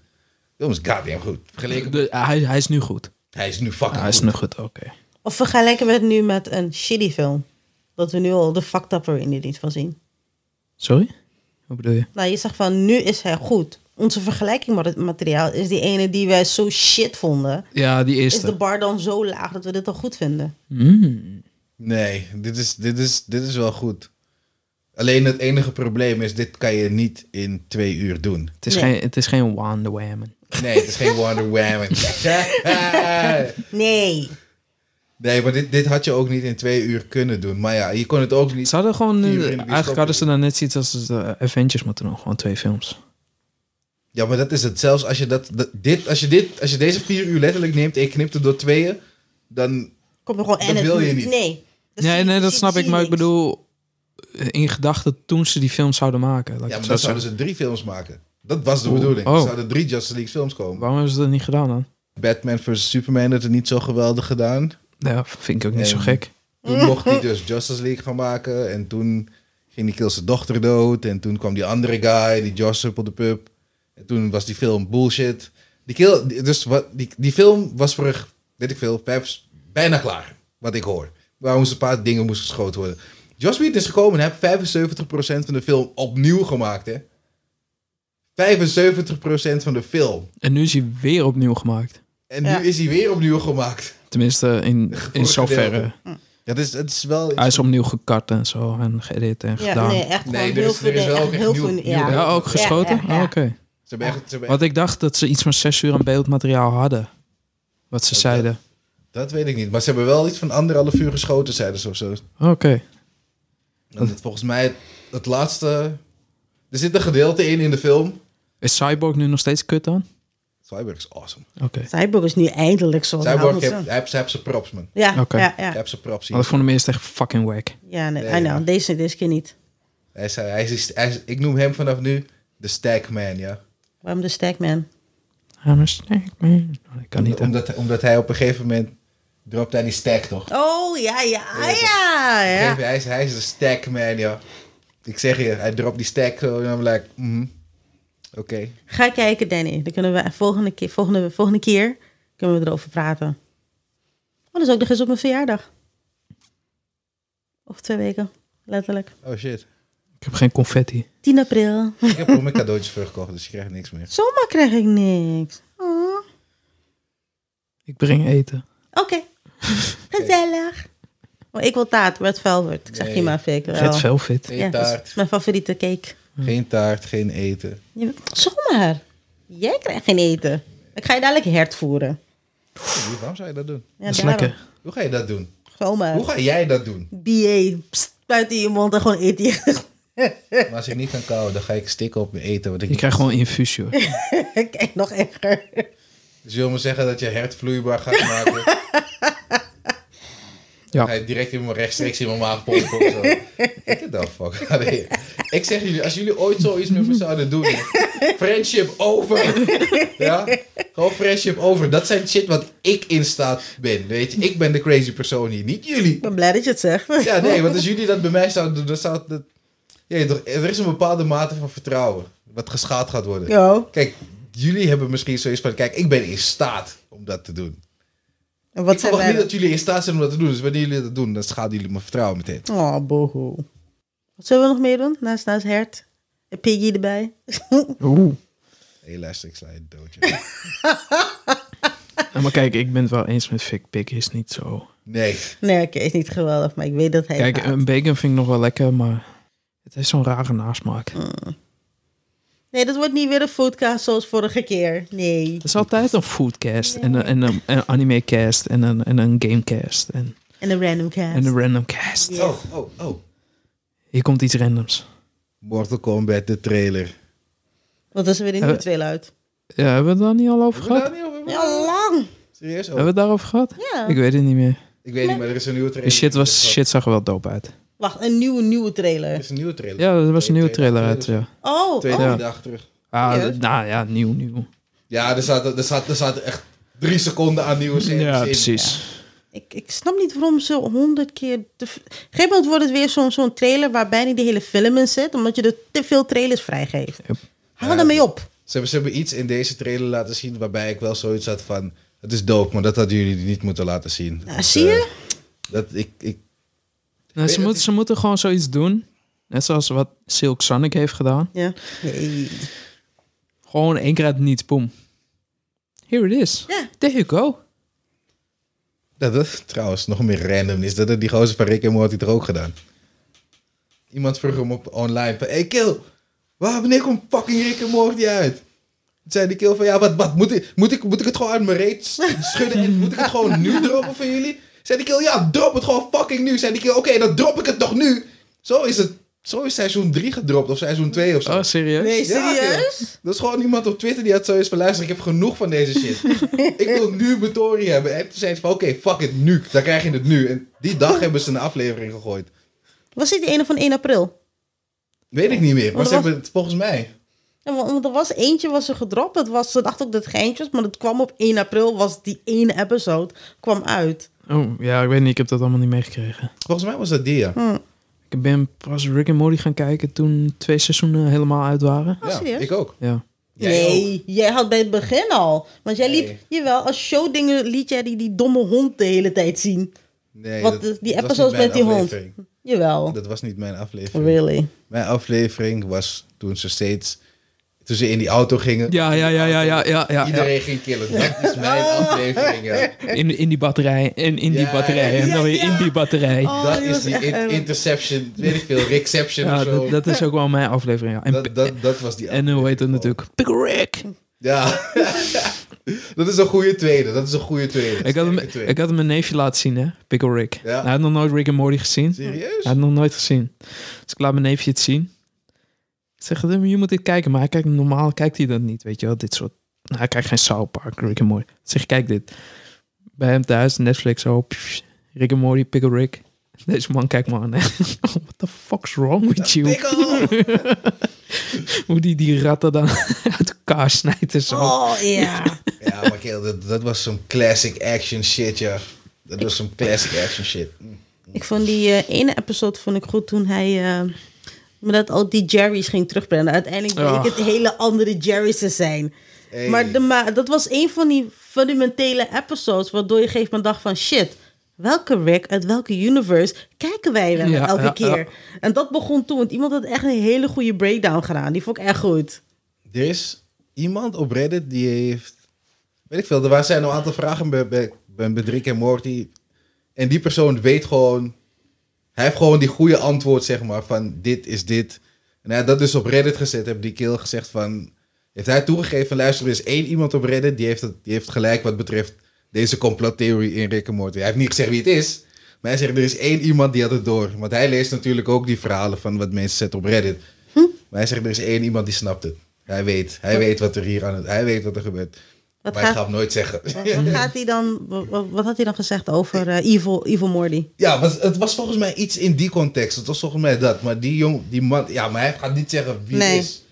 S2: film is goddamn goed. Vergeleken met...
S3: De- ah, hij, hij is nu goed.
S2: Hij is nu fucking
S3: hij is
S2: Ah, goed.
S3: nu goed, oké.
S1: Of vergelijken we het nu met een shitty film? Dat we nu al de fucked upper in dit niet van zien.
S3: Sorry? Wat bedoel je?
S1: Nou, je zegt van nu is hij goed. Onze vergelijking met het materiaal is die ene die wij zo shit vonden.
S3: Ja, die
S1: Is de
S3: eerste.
S1: bar dan zo laag dat we dit al goed vinden?
S3: Mm.
S2: Nee, dit is, dit, is, dit is wel goed. Alleen het enige probleem is, dit kan je niet in twee uur doen.
S3: Het, is
S1: Nee.
S3: geen, het is geen Wonder Woman.
S2: Nee, het is
S3: [LAUGHS]
S2: geen Wonder Woman. [LAUGHS]
S1: Nee.
S2: nee, maar dit, dit had je ook niet in twee uur kunnen doen. Maar ja, je kon het ook niet...
S3: Ze hadden gewoon... eh,
S2: Vier uur in de bioscoop.
S3: eigenlijk hadden ze dan net zoiets als de Avengers moeten doen. Gewoon twee films.
S2: Ja, maar dat is het. Zelfs als je, dat, dat- dit, als je, dit, als je deze vier uur letterlijk neemt en je knipt het door tweeën, dan...
S1: Kom er gewoon
S2: Dat
S1: en het
S2: wil je niet.
S1: Nee. Dus
S3: nee,
S1: zie-
S3: nee, dat
S1: zie-
S3: snap
S1: zie
S3: ik. Maar ik
S1: niks.
S3: bedoel, eh, in gedachten toen ze die films zouden maken. laat ik
S2: Ja,
S3: het
S2: maar
S3: zo
S2: dan
S3: zeggen.
S2: zouden ze drie films maken. Dat was de
S3: Oeh.
S2: bedoeling.
S3: Oh.
S2: Er zouden drie Justice League films komen.
S3: Waarom hebben ze dat niet gedaan dan?
S2: Batman vs. Superman had het niet zo geweldig gedaan.
S3: Ja, vind ik ook niet zo
S2: En-
S3: gek.
S2: Toen mocht hij dus Justice League gaan maken. En toen ging die kill zijn dochter dood. En toen kwam die andere guy, die Josh Supple de Pub. En toen was die film bullshit. Die, kill, die- dus wat, die, die film was voor, een- weet ik veel, vijf, bijna klaar. Wat ik hoor. Waar moesten een paar dingen moesten geschoten worden. Joss Whedon is gekomen en heeft 75% van de film opnieuw gemaakt, hè. 75% van de film.
S3: En nu is hij weer opnieuw gemaakt.
S2: En
S1: Ja.
S2: nu is hij weer opnieuw gemaakt.
S3: Tenminste, in, in
S2: Vorige
S3: zoverre.
S2: gedeelte. Dat is, het is wel...
S3: Hij is opnieuw gekart en zo en geëdit en
S1: Ja,
S3: gedaan.
S1: nee, echt
S2: Nee,
S1: gewoon
S2: er
S1: heel
S2: is-
S1: veel.
S2: er is
S1: nee,
S2: wel
S1: echt
S2: ook echt
S1: heel
S2: nieuw-
S1: veel.
S2: nieuw
S1: ja.
S3: Ja, ook geschoten?
S1: Ja, ja,
S3: Ah,
S1: ja.
S3: Oké.
S2: Ze hebben echt- ze hebben echt-
S3: Wat ik dacht dat ze iets van zes uur aan beeldmateriaal hadden. Wat ze
S2: Dat-
S3: zeiden.
S2: dat weet ik niet. Maar ze hebben wel iets van anderhalf uur geschoten, zeiden ze of zo.
S3: Oh, Oké.
S2: En dat volgens mij het, het laatste... Er zit een gedeelte in in de film.
S3: Is Cyborg nu nog steeds kut dan?
S2: Cyborg is awesome.
S3: Oké.
S1: Cyborg is nu eindelijk zo.
S2: Cyborg, heeft,
S1: handelzaam.
S2: hij heeft, hij heeft zijn props, man.
S1: Ja,
S3: Oké.
S1: ja,
S2: Hij
S1: ja.
S2: heeft zijn props.
S3: Maar
S2: Hier.
S3: dat vond ik eerst echt fucking whack.
S1: ja nee,
S2: Nee,
S1: I know.
S2: ja.
S1: Deze, deze keer niet.
S2: Hij is, hij is, hij is- ik noem hem vanaf nu de Stackman, ja.
S1: Waarom de Stackman?
S3: I'm a snack man. Oh, dat kan niet. hè.
S2: omdat, omdat hij op een gegeven moment dropt hij die stack, toch?
S1: Oh, ja, ja, ja, ja.
S2: Hij, is, hij is de Stackman, ja. Ik zeg je, hij dropt die stack zo en dan ben ik, mhm, oké.
S1: Ga kijken, Danny. Dan kunnen we volgende keer, volgende, volgende keer kunnen we erover praten. Oh, dat is ook nog eens op mijn verjaardag. Of twee weken, letterlijk.
S2: Oh shit.
S3: Ik heb geen confetti.
S1: 10 april.
S2: Ik heb al mijn cadeautjes teruggekocht, dus je krijgt niks meer.
S1: Zomaar krijg ik niks. Oh.
S3: Ik breng eten.
S1: Oké.
S2: [LAUGHS]
S1: Gezellig. Oh, ik wil taart, red velvet. Ik zeg
S2: Nee.
S1: je maar, Fik. wel.
S3: Red Velvet.
S2: Geen
S1: Ja, dat is
S2: taart,
S1: mijn favoriete cake.
S2: geen taart, geen eten.
S1: Je- Zomaar. Jij krijgt geen eten. Ik ga je dadelijk hert voeren.
S2: Oeh, Waarom zou je dat doen?
S1: Ja,
S3: dat is
S1: daarom.
S3: lekker.
S2: Hoe ga je dat doen?
S1: Zomaar.
S2: Hoe ga jij dat doen?
S1: BA. Pst, buiten je mond en gewoon eten.
S2: Maar als ik niet kan kauwen, dan ga ik stikken op mijn eten. Wat ik
S3: Je
S2: niet-
S3: krijgt gewoon infusie hoor.
S1: [LAUGHS] Kijk, nog erger.
S2: Dus je wil me zeggen dat je hert vloeibaar gaat maken?
S3: [LAUGHS] Ja.
S2: Ga je direct in mijn rechtstreeks in mijn maag pompen of zo. Ik the fuck [LAUGHS] out of here. Ik zeg jullie, als jullie ooit zoiets met me zouden doen... Friendship over. [LAUGHS] Ja? Gewoon friendship over. Dat zijn shit wat ik in staat ben. Weet je, ik ben de crazy persoon hier, niet jullie.
S1: Ik ben blij dat je het zegt. [LAUGHS]
S2: Ja, nee, want als jullie dat bij mij zouden doen, dan zou het... Dat... Ja, toch, er is een bepaalde mate van vertrouwen wat geschaad gaat worden.
S1: Yo.
S2: Kijk, jullie hebben misschien zoiets van... Kijk, ik ben in staat om dat te doen.
S1: En wat
S2: ik
S1: zijn wij?
S2: verwacht niet dat jullie in staat zijn om dat te doen. Dus wanneer jullie dat doen, dan schaden jullie mijn vertrouwen meteen.
S1: dan? Oh, boho. Wat zullen we nog meer doen? Naast, naast hert. Een piggy erbij. [LAUGHS]
S3: Oeh.
S2: Hé, luister, ik sla je dood. joh.
S3: Ja, maar kijk, ik ben het wel eens met Vic Pig is niet zo.
S2: Nee.
S1: Nee, oké, is niet geweldig, maar ik weet dat hij. het
S3: Kijk, eh,
S1: haat.
S3: een bacon vind ik nog wel lekker, maar het heeft zo'n rare nasmaak.
S1: Nee, dat wordt niet weer een foodcast zoals vorige keer. Nee.
S3: Het is altijd een foodcast en een, en een, en een animecast en een, en een gamecast en,
S1: En een randomcast.
S3: en een randomcast.
S2: Oh, oh, oh.
S3: Hier komt iets randoms.
S2: Mortal Kombat, de trailer.
S1: Want dat is weer een nieuwe
S3: Hebben-
S1: trailer uit.
S3: Ja, hebben we het daar niet al over
S2: Hebben we
S3: gehad?
S2: daar niet over?
S1: Ja, lang.
S2: Serieus? Oh,
S3: Hebben we het daarover gehad?
S1: Ja.
S3: Ik weet het niet meer.
S2: ik weet niet, maar er is een nieuwe
S3: De
S2: trailer.
S3: shit, was,
S2: Er
S3: shit zag er wel dope uit.
S1: Wacht, een nieuwe, nieuwe trailer.
S2: is een nieuwe trailer.
S3: Ja, er was een nieuwe
S2: Twee
S3: trailer
S2: dagen
S3: uit,
S2: terug.
S3: ja.
S1: Oh,
S2: Twee,
S1: oh.
S2: drie
S3: Ja.
S2: dagen terug.
S3: Ah,
S1: Serieus?
S3: d- nou ja, nieuw, nieuw.
S2: Ja, er zaten, er, zaten, er zaten echt drie seconden aan nieuwe series
S3: Ja,
S2: in.
S3: precies.
S1: Ik, ik snap niet waarom ze honderd keer... Te... v- Op een gegeven moment wordt het weer zo'n zo'n trailer waar bijna de hele film in zit. Omdat je er te veel trailers vrijgeeft.
S3: Yep.
S1: Hou ermee op.
S2: Ze hebben, ze hebben iets in deze trailer laten zien waarbij ik wel zoiets had van... Het is dope, maar dat hadden jullie niet moeten laten zien.
S1: Nou,
S2: Dus,
S1: zie je?
S2: eh, dat ik, ik,
S3: Nou, ze,
S2: het
S3: moeten
S2: is-
S3: ze moeten gewoon zoiets doen. Net zoals wat Silk Sonic heeft gedaan.
S1: Eh, Ja. Nee.
S3: Gewoon één keer uit het niets, boom. Here it is.
S1: Ja.
S3: There you go.
S2: dat, dat trouwens nog meer random is. Dat had die gozer van Rick en Morty er ook gedaan. Iemand vroeg hem op online van... Hey Kill, waar, wanneer komt fucking Rick en Morty uit? Toen zei die Kill van... Ja, wat, wat moet, ik, moet, ik, moet ik het gewoon uit mijn reet s- schudden? En moet ik het gewoon nu droppen voor jullie? Zei die Kill, ja, drop het gewoon fucking nu. Zei die Kill, oké, dan drop ik het toch nu. Zo is het... Zo is seizoen 3 gedropt of seizoen 2 of zo.
S3: Oh, serieus?
S1: Nee,
S2: Ja, oké.
S1: serieus?
S2: Dat is gewoon iemand op Twitter die had zoiets van... luister, ik heb genoeg van deze
S1: [LAUGHS]
S2: shit. ik wil nu Batory hebben. En toen zei ze van... oké, fuck it, nu. Dan krijg je het nu. En die dag hebben ze een aflevering gegooid.
S1: Was dit die ene van 1 april?
S2: Weet ik niet meer. Maar
S1: Wat
S2: ze
S1: was-
S2: hebben het volgens mij...
S1: Ja, want- want er was eentje was er gedropt. Het was, ze dachten ook dat het geintje was, maar het kwam op 1 april. Was die ene episode kwam uit.
S3: Oh, ja, ik weet niet. Ik heb dat allemaal niet meegekregen.
S2: Volgens mij was dat die, ja.
S1: Oh,
S3: Ik ben pas Rick en Morty gaan kijken toen twee seizoenen helemaal uit waren.
S1: Oh,
S2: ja
S1: serieus?
S2: ik ook.
S3: Ja.
S2: Jij
S1: nee, jij had bij het begin al. Want jij liep,
S2: Nee.
S1: jawel, als showdingen liet jij die, die domme hond de hele tijd zien.
S2: Nee,
S1: Wat
S2: dat-
S1: de- die
S2: dat was
S1: episodes
S2: niet mijn
S1: met die hond.
S2: aflevering.
S1: Jawel.
S2: Dat was niet mijn aflevering.
S1: Really.
S2: Mijn aflevering was toen ze steeds... Toen ze in die auto gingen.
S3: Ja, ja, ja, ja, ja, ja. ja,
S2: Iedereen ging killen. Dat is
S1: [LAUGHS]
S2: mijn
S1: Oh.
S2: aflevering, ja.
S3: In, in die batterij, en in die
S2: Ja,
S3: batterij, en
S1: ja,
S3: dan weer in
S1: ja.
S3: die batterij.
S1: Oh,
S2: dat
S1: die
S2: is
S1: was
S2: die
S1: echt
S2: in-
S1: erg.
S2: interception, weet ik veel, Rickception
S3: Ja,
S2: of zo.
S3: dat, dat is ook wel mijn aflevering, ja. En,
S2: dat, dat, dat was die
S3: en hoe heet dat
S2: aflevering.
S3: natuurlijk? Pickle Rick!
S2: Ja. [LAUGHS] dat is een goede tweede. Dat is een goede tweede.
S3: Ik had, hem,
S2: Sterke tweede.
S3: ik had hem mijn neefje laten zien, hè? Pickle Rick.
S2: Ja.
S3: Hij had nog nooit Rick en Morty gezien.
S2: Serieus?
S3: Hij had nog nooit gezien. Dus ik laat mijn neefje het zien. Ik zeg, je moet dit kijken. Maar hij kijkt, normaal kijkt hij dat niet, weet je wel. Dit soort... Nou, Hij kijkt geen South Park, Rick en Morty. Ik zeg, kijk dit. Bij hem thuis, Netflix, oh, pff, Rick en Morty, Pickle Rick. Deze man kijkt me aan. hè. [LAUGHS] What the fuck's wrong with you? [LAUGHS]
S2: Pikkel!
S3: Hoe die die ratten dan [LAUGHS] uit elkaar snijdt en zo.
S1: Oh, ja.
S2: ja, maar kerel, dat, dat was zo'n classic action shit, ja. Dat was zo'n classic action shit. Hm.
S1: Ik vond die eh, ene episode vond ik goed toen hij... eh, maar dat al die Jerry's ging terugbrengen. Uiteindelijk bleek
S3: Ja.
S1: het hele andere Jerry's te zijn.
S2: Hey.
S1: Maar de ma- dat was een van die fundamentele episodes... waardoor je geeft een dag van shit... Welke Rick uit welke universe kijken wij wel
S3: Ja,
S1: elke
S3: ja,
S1: keer?
S3: ja.
S1: En dat begon toen, want iemand had echt een hele goede breakdown gedaan. Die vond ik echt goed.
S2: Er is iemand op Reddit die heeft... Weet ik veel, er waren- zijn nog een aantal vragen bij, bij, bij, bij Rick en Morty. En die persoon weet gewoon... Hij heeft gewoon die goede antwoord, zeg maar, van dit is dit. En hij had dat dus op Reddit gezet, heb die keel gezegd van... Heeft hij toegegeven van, luister, er is één iemand op Reddit... die heeft, het, die heeft gelijk wat betreft deze complottheorie in Rick en Morty. Hij heeft niet gezegd wie het is... Maar hij zegt, er is één iemand die had het door. Want hij leest natuurlijk ook die verhalen van wat mensen zetten op Reddit.
S1: Hm?
S2: Maar hij zegt, er is één iemand die snapt het. Hij weet. Hij weet wat er hier aan het... Hij weet wat er gebeurt.
S1: Wat
S2: maar hij
S1: gaat-
S2: gaat hem nooit zeggen.
S1: Wat, gaat hij dan, wa- wa- wat, had hij dan gezegd over eh, Evil, Evil Morty?
S2: ja, was, het was volgens mij iets in die context. Het was volgens mij dat. Maar die jong... Die man... Ja, maar hij gaat niet zeggen wie
S1: Nee.
S2: het is.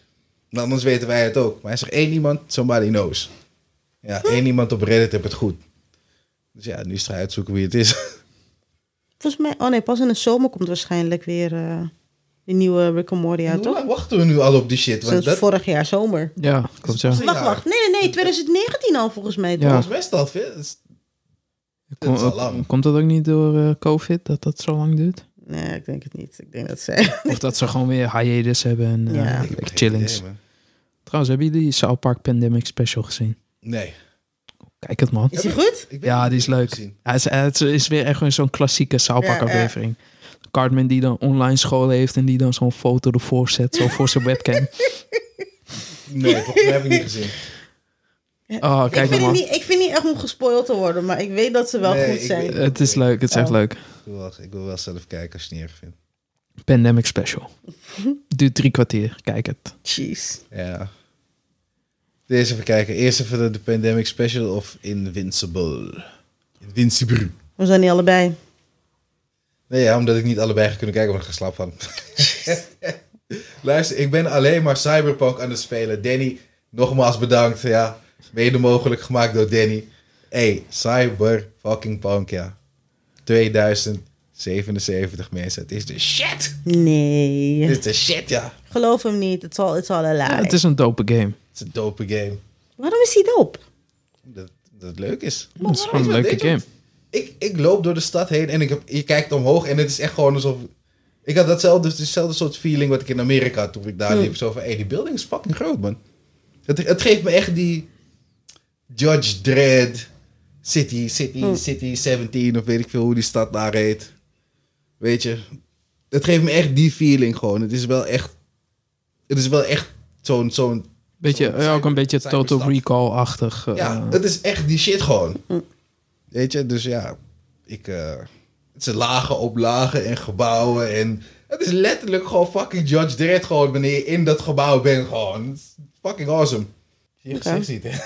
S2: Want anders weten wij het ook. Maar hij zegt, één iemand, somebody knows. Ja,
S1: Hm.
S2: één iemand op Reddit heeft het goed. Dus ja, nu is hij uitzoeken wie het is.
S1: Volgens mij, oh nee, pas in de zomer komt waarschijnlijk weer eh de nieuwe Rick and Morty uit,
S2: Hoe
S1: toch?
S2: lang wachten we nu al op die shit? Want
S1: Sinds
S2: dat
S1: vorig jaar zomer.
S3: Ja, klopt ja.
S2: Ja.
S1: Wacht, wacht. Nee, nee, nee. 2019 al volgens mij.
S3: Ja.
S1: toch?
S2: is best al veel. Het is-
S3: Kom-
S2: is al lang.
S3: Komt dat ook niet door eh, COVID, dat dat zo lang duurt?
S1: Nee, ik denk het niet. Ik denk dat zij...
S3: Of dat ze gewoon weer hiatus hebben en eh,
S1: Ja.
S2: Ik heb geen
S3: chillings.
S2: idee, man.
S3: Trouwens, hebben jullie die South Park Pandemic Special gezien?
S2: Nee.
S3: Kijk het man.
S1: [LAUGHS] Is hij goed?
S2: Ik weet
S3: Ja,
S2: niet
S3: die is
S2: of ik het
S3: leuk.
S2: heb gezien.
S3: Hij is, eh, het is weer echt gewoon zo'n klassieke South Park
S1: Ja, ja.
S3: aflevering. Cartman die dan online school heeft en die dan zo'n foto ervoor zet, zo voor zijn webcam.
S2: Nee, volgens mij heb
S1: [LAUGHS]
S2: ik niet gezien.
S3: Oh,
S1: Ik
S3: kijk
S1: vind,
S3: nou
S1: het
S3: man.
S1: niet, ik vind niet echt om gespoild te worden, maar ik weet dat ze wel
S2: Nee,
S1: goed
S2: ik
S1: zijn.
S2: weet-
S3: Het is leuk, het is echt
S1: Oh.
S3: leuk.
S2: Ik wil, wel, ik wil wel zelf kijken als je het niet erg vindt.
S3: Pandemic Special. Duurt drie kwartier, kijk het.
S1: Jeez.
S2: Ja. Eerst even kijken. Eerst even de, de Pandemic Special of Invincible. Invincible.
S1: We zijn niet allebei.
S2: Nee, ja, omdat ik niet allebei ga kunnen kijken, want ik ga slaap van. Luister, ik ben alleen maar Cyberpunk aan het spelen. Danny, nogmaals bedankt. Ja, mede mogelijk gemaakt door Danny. Hey, Cyber fucking punk, ja. 2077 mensen. Het is de shit. Het
S1: Nee.
S2: is de shit, ja.
S1: Geloof hem niet. Het zal, het zal een
S3: Ja,
S1: lie.
S3: het is een dope game.
S2: Het is een dope game.
S1: Waarom is hij dope?
S2: Dat, dat het leuk is.
S3: Het is gewoon een leuke game.
S2: Ik, ik loop door de stad heen en ik heb, je kijkt omhoog en het is echt gewoon alsof... Ik had datzelfde, hetzelfde soort feeling wat ik in Amerika had toen ik daar liep. Zo van, hey, die building is fucking groot, man. Het, het geeft me echt die Judge Dredd, City, City, City 17 of weet ik veel hoe die stad daar heet. Weet je, het geeft me echt die feeling gewoon. Het is wel echt, het is wel echt zo'n, zo'n...
S3: Beetje,
S2: zo'n
S3: ja, ook een
S2: cyber-
S3: beetje Total
S2: cyberstad.
S3: Recall-achtig. eh,
S2: Ja, het is echt die shit gewoon.
S1: Hm.
S2: Weet je, dus ja, ik. eh, het is lagen op lagen en gebouwen en. Het is letterlijk gewoon fucking Judge Dredd gewoon wanneer je in dat gebouw bent gewoon. Het is fucking awesome. Je
S1: Oké. Eh,
S2: gezicht ziet, hè?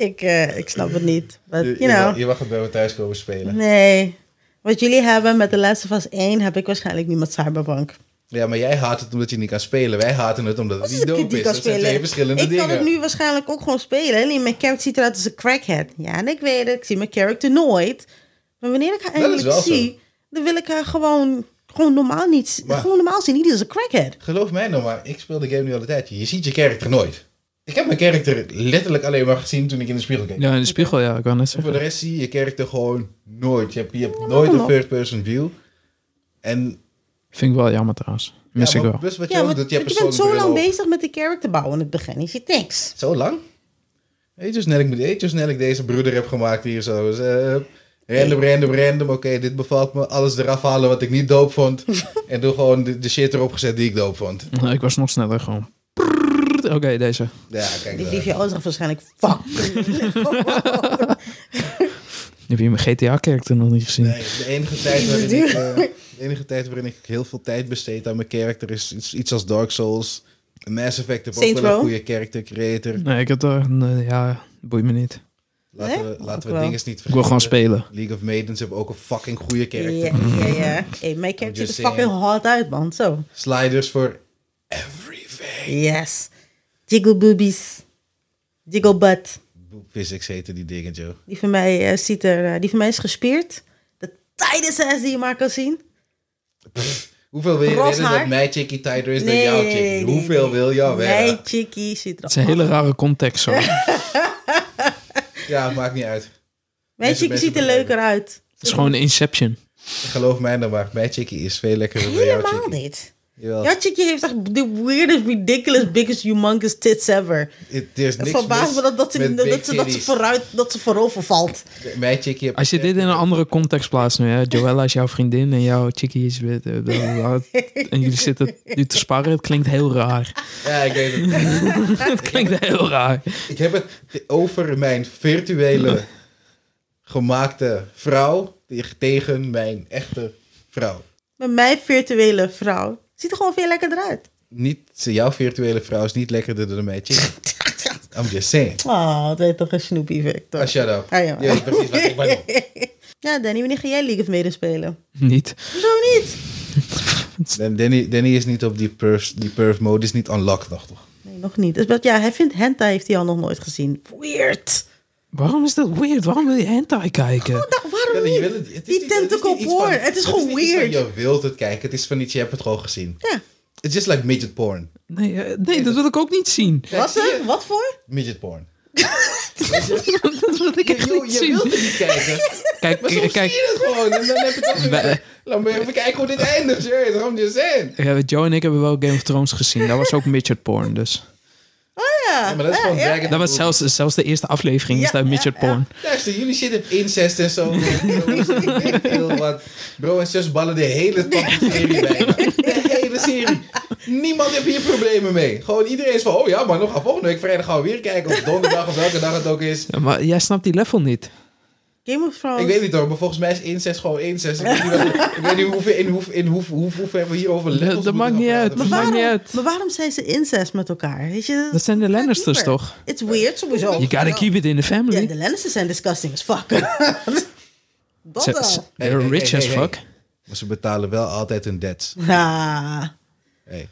S1: Ik, eh, ik snap het niet. But,
S2: Je,
S1: you
S2: je, mag,
S1: know.
S2: je mag het bij me thuis komen spelen.
S1: Nee. Wat jullie hebben met de Last of Us 1 heb ik waarschijnlijk niet met Cyberpunk.
S2: Ja, maar jij haat het omdat je niet kan spelen. Wij haten het omdat het
S1: Als
S2: niet
S1: ik
S2: dope
S1: die
S2: is.
S1: kan
S2: Dat zijn twee
S1: spelen.
S2: verschillende
S1: ik
S2: dingen.
S1: kan het nu waarschijnlijk ook gewoon spelen. Alleen mijn character ziet eruit als een crackhead. Ja, en ik weet het. Ik zie mijn character nooit. Maar wanneer ik haar
S2: is
S1: eindelijk
S2: wel zo.
S1: zie, dan wil ik haar gewoon Gewoon normaal niet.
S2: Maar-
S1: gewoon normaal zien. Niet als een crackhead.
S2: Geloof mij nou maar, ik speel de game nu al een tijdje. Je ziet je karakter nooit. Ik heb mijn karakter letterlijk alleen maar gezien toen ik in de spiegel keek.
S3: Ja, in de spiegel, ja, ik wou net
S2: Voor de
S3: zeggen.
S2: rest zie je je karakter gewoon nooit. Je hebt, je hebt nooit een
S1: op.
S2: first-person view. En
S3: Vind ik wel jammer trouwens. Mis
S2: ja,
S3: ik
S2: maar
S3: wel.
S2: plus wat je
S1: Ja,
S2: ook
S1: want
S2: doet,
S1: want
S2: je hebt
S1: je bent zo
S2: persoonlijke
S1: lang
S2: bril op.
S1: bezig met de character bouwen in het begin. Je ziet niks.
S2: Zo lang? Weet je hoe snel ik, moet- weet je hoe snel ik deze broeder heb gemaakt hier zo? Dus, eh, random, random, random. Oké, dit bevalt me. Alles eraf halen wat ik niet doop
S1: [LAUGHS]
S2: vond. en doe gewoon de, de shit erop gezet die ik doop vond.
S3: Nou, ik was nog sneller gewoon. Prrrr. Oké, deze.
S2: Ja, kijk
S1: Die
S2: daar.
S1: lief je ouders zegt waarschijnlijk, fuck.
S3: Heb je mijn GTA-character nog niet gezien?
S2: Nee, de enige tijd waarin ik, eh, de enige tijd waarin ik heel veel tijd besteed aan mijn character is iets, iets als Dark Souls. Mass Effect heb ook
S1: Saints
S2: wel een
S1: Row?
S2: goede character creator.
S3: Nee, ik heb daar... nee, ja, boeit me niet.
S2: Laten
S1: Nee?
S2: we, laten we
S1: Ook wel.
S2: dingen niet vergeten.
S3: Ik wil gewoon spelen.
S2: League of Maidens hebben ook een fucking goede
S1: Ja,
S2: character.
S1: ja,
S2: [LAUGHS]
S1: ja. Hey, mijn character
S2: just
S1: ziet er fucking
S2: saying.
S1: hard uit, man. Zo.
S2: Sliders voor everything.
S1: Yes. Jiggle boobies. Jiggle butt.
S2: Boep Physics heten die dingen, Joe.
S1: Die van mij, eh, ziet er, eh, die van mij is gespeerd. De tijdensass die je maar kan zien.
S2: Hoeveel wil je
S1: Ros
S2: weten dat
S1: haar?
S2: mijn chickie tighter is dan jouw chickie? Hoeveel wil jou
S1: Mijn
S2: weten?
S1: chickie ziet er
S3: Het is een hele rare context zo. Het
S2: Ja, maakt niet uit.
S1: Mijn
S2: Mensen-
S1: chickie ziet er
S2: mensen
S1: leuker uit.
S3: is gewoon Inception.
S2: Geloof mij dan maar, mijn chickie is veel lekkerder dan jouw
S1: Helemaal
S2: chickie.
S1: niet.
S2: Jawel,
S1: Jouw chickie heeft echt de weirdest, ridiculous, biggest, humongous tits ever.
S2: het- er is
S1: Het
S2: niks
S1: verbaast
S2: mis
S1: me dat, dat, ze,
S2: met
S1: dat,
S2: big
S1: ze, dat, ze
S2: titties.
S1: vooruit, dat ze voorover valt.
S2: Mijn chickie heeft
S3: Als je dit in een andere context plaatst nu, hè. Joella is jouw vriendin en jouw chickie is... wit, eh, bla, bla, bla. En jullie zitten nu te sparren. Het klinkt heel raar. [LAUGHS]
S2: Ja, ik weet het.
S3: Het klinkt heel raar.
S2: Ik heb het over mijn virtuele gemaakte vrouw teg- tegen mijn echte vrouw.
S1: Maar mijn virtuele vrouw ziet er gewoon veel lekkerder uit.
S2: Niet, jouw virtuele vrouw is niet lekkerder dan mijn
S1: [LAUGHS]
S2: chickie. I'm just saying.
S1: Oh, dat weet toch een snoepie, Victor.
S2: Ah, shut up.
S1: Ah, ja.
S2: Je weet precies wat ik bedoel.
S1: [LAUGHS] Ja, Danny, wanneer ga jij League of Mede spelen?
S3: Niet.
S1: Hoezo niet?
S2: Dan- Danny, Danny is niet op die perf, die perf mode, is niet unlocked nog toch?
S1: Nee, nog niet. Dus, wat- ja, hij vindt hentai heeft hij al nog nooit gezien. Weird.
S3: Waarom is dat weird? Waarom wil je hentai kijken?
S1: Nou, waarom
S2: je
S1: niet?
S2: wil het- het is
S1: die
S2: niet- het is
S1: tentacle
S2: niet iets van-
S1: porn. Het is gewoon
S2: niet iets van
S1: weird.
S2: Je wilt het kijken, het is van iets, je hebt het gewoon gezien.
S1: Ja.
S2: It's just like midget porn.
S3: Nee, eh, nee, dat wil ik ook niet zien.
S1: Wat,
S2: zie
S1: hè? wat voor?
S2: Midget porn.
S3: Dat wil ik echt
S2: Je, je,
S3: niet
S2: je wilt
S3: zien.
S2: het niet
S1: [LAUGHS]
S2: kijken.
S3: Kijk,
S2: Maar soms
S3: kijk.
S2: zie je het gewoon. En dan heb ik dat
S3: [LAUGHS] Wij-
S2: weer. Laat me even kijken hoe dit eindigt. Je weet waarom je zijn.
S3: Ja, Joe en ik hebben wel Game of Thrones gezien. Dat was ook [LAUGHS] midget porn, dus.
S1: Ja,
S2: Ja, maar dat is gewoon dragon.
S3: Dat was zelfs, zelfs de eerste aflevering is
S1: Ja,
S3: daar
S1: ja,
S3: midget porn.
S2: Luister, jullie zitten op incest en
S3: [LAUGHS]
S2: zo. Ik wil wat. Bro en zus ballen de hele fucking serie bij. De hele serie. Niemand heeft hier problemen mee. Gewoon iedereen is van, oh ja, maar nog gaan volgende week vrijdag gaan we weer kijken. Of donderdag of welke dag het ook is.
S3: Ja, maar jij snapt die level
S1: Oh,
S3: niet.
S1: Game of Thrones.
S2: Ik weet niet hoor, maar volgens mij is incest gewoon incest. Ik weet niet, wel- ik weet niet hoeveel, in, hoe, in hoe, hoe, hoe ver we hierover letters
S3: dat
S2: moeten
S3: maakt
S2: gaan
S3: niet
S2: praten.
S3: uit.
S1: maar,
S3: dat maakt
S1: waarom,
S3: niet uit.
S1: maar waarom zijn ze incest met elkaar? Weet je,
S3: Dat zijn de
S1: gaat
S3: Lannisters
S1: dieper.
S3: toch?
S1: It's weird sowieso.
S3: You gotta keep it in the
S1: Ja,
S3: family.
S1: de Lannisters zijn disgusting as fuck. [LAUGHS] Wat
S3: Ze-
S1: dan?
S3: ze- They're
S2: Hey, hey,
S3: rich
S2: hey,
S3: as
S2: hey.
S3: fuck.
S2: Maar ze betalen wel altijd hun debts.
S1: Ah.
S2: Hey.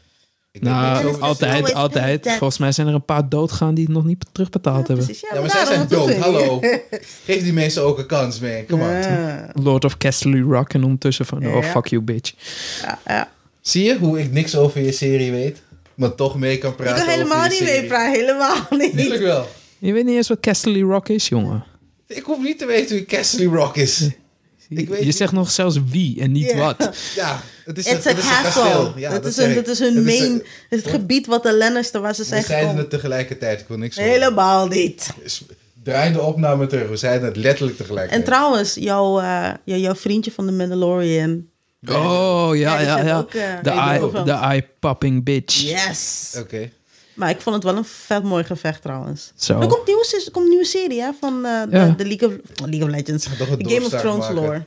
S2: Ik weet niks
S3: Nou,
S2: over-
S3: altijd,
S1: always
S3: altijd.
S1: that.
S3: Volgens mij zijn er een paar doodgaan die het nog niet terugbetaald hebben.
S1: Precies,
S2: Ja, maar zij
S1: daarom,
S2: zijn
S1: nou, dat
S2: dood,
S1: hoef ik. [LAUGHS]
S2: hallo. Geef die mensen ook een kans, man. Come on.
S1: Ja.
S3: Lord of Castle Rock en ondertussen van, oh
S1: Ja.
S3: fuck you bitch.
S1: Ja, ja.
S2: Zie je hoe ik niks over je serie weet, maar toch mee kan
S1: Ik
S2: praten
S1: wil
S2: over
S1: helemaal
S2: je
S1: niet
S2: serie?
S1: mee praten, helemaal niet.
S2: Tuurlijk wel.
S3: Je weet niet eens wat Castle Rock is, jongen.
S2: Ik hoef niet te weten wie Castle Rock is. Ik weet
S3: Je, je
S2: niet.
S3: zegt nog zelfs wie en niet
S1: Ja.
S3: wat.
S1: [LAUGHS]
S2: Ja, het is
S1: It's
S2: een,
S1: a
S2: het is een kasteel.
S1: castle.
S2: Ja,
S1: dat, is
S2: zeg
S1: hun,
S2: ik.
S1: dat is hun
S2: Het
S1: main,
S2: een-
S1: het is het gebied wat de Lannister waar ze zijn
S2: we zeiden
S1: gekomen.
S2: het tegelijkertijd. Ik wil niks horen.
S1: Helemaal niet.
S2: S- Draai de opname terug. We zeiden het letterlijk
S1: En
S2: tegelijkertijd.
S1: trouwens, jouw, eh, jou- jouw vriendje van de Mandalorian.
S3: Oh, ja,
S1: Ja, die
S3: ja,
S1: zijn
S3: ja.
S1: ook, eh,
S3: De
S1: die
S3: eye-
S1: doen ook
S3: de eye-popping bitch.
S1: Yes.
S2: Oké.
S1: Maar ik vond het wel een vet mooi gevecht trouwens.
S3: Zo.
S1: Er komt, nieuws, er komt een nieuwe serie hè, van eh,
S3: Ja.
S1: de, de League, of, League of Legends.
S2: toch een
S1: De Game of
S2: doorstart
S1: Thrones
S2: maken.
S1: lore.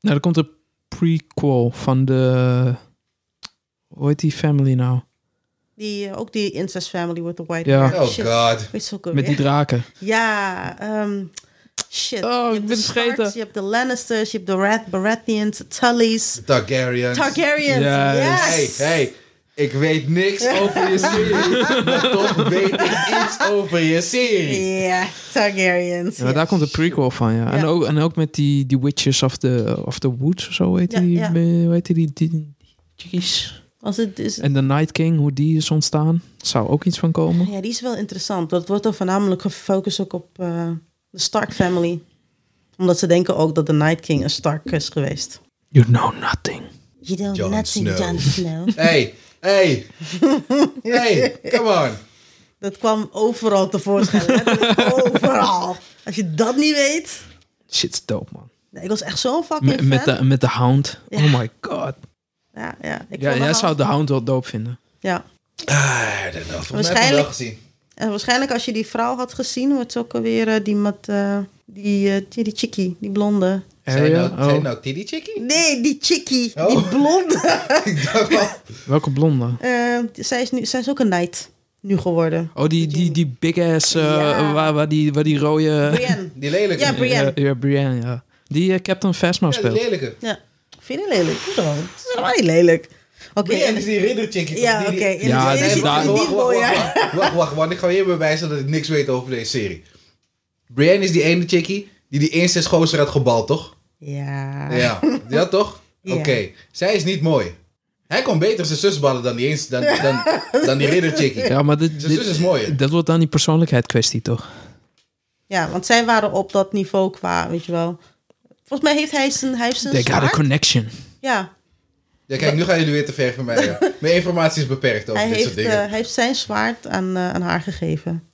S3: Nou, er komt een prequel van de... Hoe heet die family nou?
S1: Die, eh, ook die incest family with the white
S3: Ja.
S1: hair.
S2: Oh
S1: Shit.
S2: god.
S1: Weet ze ook alweer.
S3: Met die
S1: [LAUGHS]
S3: draken.
S1: Ja, ehm, shit.
S3: Oh,
S1: Je hebt
S3: ik ben
S1: de
S3: het vergeten.
S1: Starks, Je hebt de Lannisters, je hebt de Rath Baratheons, Tullys,
S2: Targaryen.
S1: Targaryens.
S3: Juist.
S1: Yes.
S2: Hey, hey. Ik weet niks over je serie, maar toch weet ik iets over je serie.
S1: Ja, Targaryens.
S3: Ja, maar daar komt de prequel van, ja. En,
S1: Ja.
S3: ook, en ook met die, die Witches of the, of the Woods of zo, heet
S1: Ja,
S3: die.
S1: ja.
S3: eh, Hoe heet die? die, die, die chickies?
S1: Als het dus is,
S3: En de Night King, hoe die is ontstaan. Zou ook iets van komen.
S1: ja, die is wel interessant. Dat wordt dan voornamelijk gefocust ook op eh, de Stark family. Omdat ze denken ook dat de Night King een Stark is geweest.
S3: You know nothing.
S1: You don't
S2: Jon
S1: not think
S2: Snow.
S1: Jon Snow.
S2: Hey, hey, hey, come on.
S1: [LAUGHS] Dat kwam overal tevoorschijn.
S2: [LAUGHS]
S1: letterlijk overal. Als je dat niet weet.
S3: Shit's dope, man.
S1: Nee, ik was echt zo'n fucking
S3: Met,
S1: fan.
S3: met, de, met de Hound.
S1: Ja.
S3: Oh my god.
S1: Ja, ja. Ik vond
S3: Ja, jij
S1: haar-
S3: zou de Hound wel dope vinden.
S1: Ja.
S2: Ah, I don't know. Volgens mij heb ik hem
S1: Waarschijnlijk-
S2: wel gezien.
S1: En waarschijnlijk als je die vrouw had gezien, wordt ze ook alweer eh, die met eh, die, eh, die, die chickie, die blonde.
S2: Zijn
S3: Area?
S2: nou, zijn
S3: Oh.
S2: nou Tiddy Chickie? [LAUGHS]
S1: Nee, die chickie, die
S2: Oh.
S1: blonde.
S2: [LAUGHS] Ik dacht wel.
S3: Welke blonde?
S1: Eh, zij, is nu, zij is ook een knight nu geworden.
S3: Oh, die, die, die big ass, eh,
S1: Ja.
S3: waar, waar, die, waar die rode...
S1: Brienne.
S2: Die lelijke.
S1: Ja, Brienne.
S3: Ja, ja, Brienne, ja. Die eh, Captain Phasma
S2: Ja, die
S3: speelt.
S2: lelijke.
S1: Ja. Vind je het lelijk? Hoezo? Het is helemaal niet lelijk. Oké.
S2: Brienne
S1: en-
S2: is die ridder chickie.
S1: Ja,
S2: toch? Die- die-
S1: oké. En
S3: Ja,
S1: dan- en
S3: die
S1: dan
S3: is
S1: zit
S3: daar-
S1: je
S2: wacht,
S1: die
S2: wacht,
S1: mooie-
S2: wacht, wacht, wacht, wacht, want ik ga je bewijzen dat ik niks weet over deze serie. Brienne is die ene chickie die die eerste gozer had gebald, toch?
S1: Ja.
S2: Ja, ja toch?
S1: Ja.
S2: Oké, zij is niet mooi. Hij kon beter zijn zus ballen dan die, eens, dan, dan, dan die ridder chickie.
S3: Ja, maar dit,
S2: Zijn
S3: dit-
S2: zus is mooier.
S3: dat wordt dan die persoonlijkheid kwestie, toch?
S1: Ja, want zij waren op dat niveau qua, weet je wel. Volgens mij heeft hij zijn, hij heeft zijn
S3: They got a
S1: zwaard.
S3: connection.
S1: Ja,
S2: Ja, kijk, nu gaan jullie weer te ver van mij. ja. Mijn informatie is beperkt over
S1: hij
S2: Oh, dit
S1: heeft,
S2: soort dingen.
S1: eh, hij heeft zijn zwaard aan, eh, aan haar gegeven.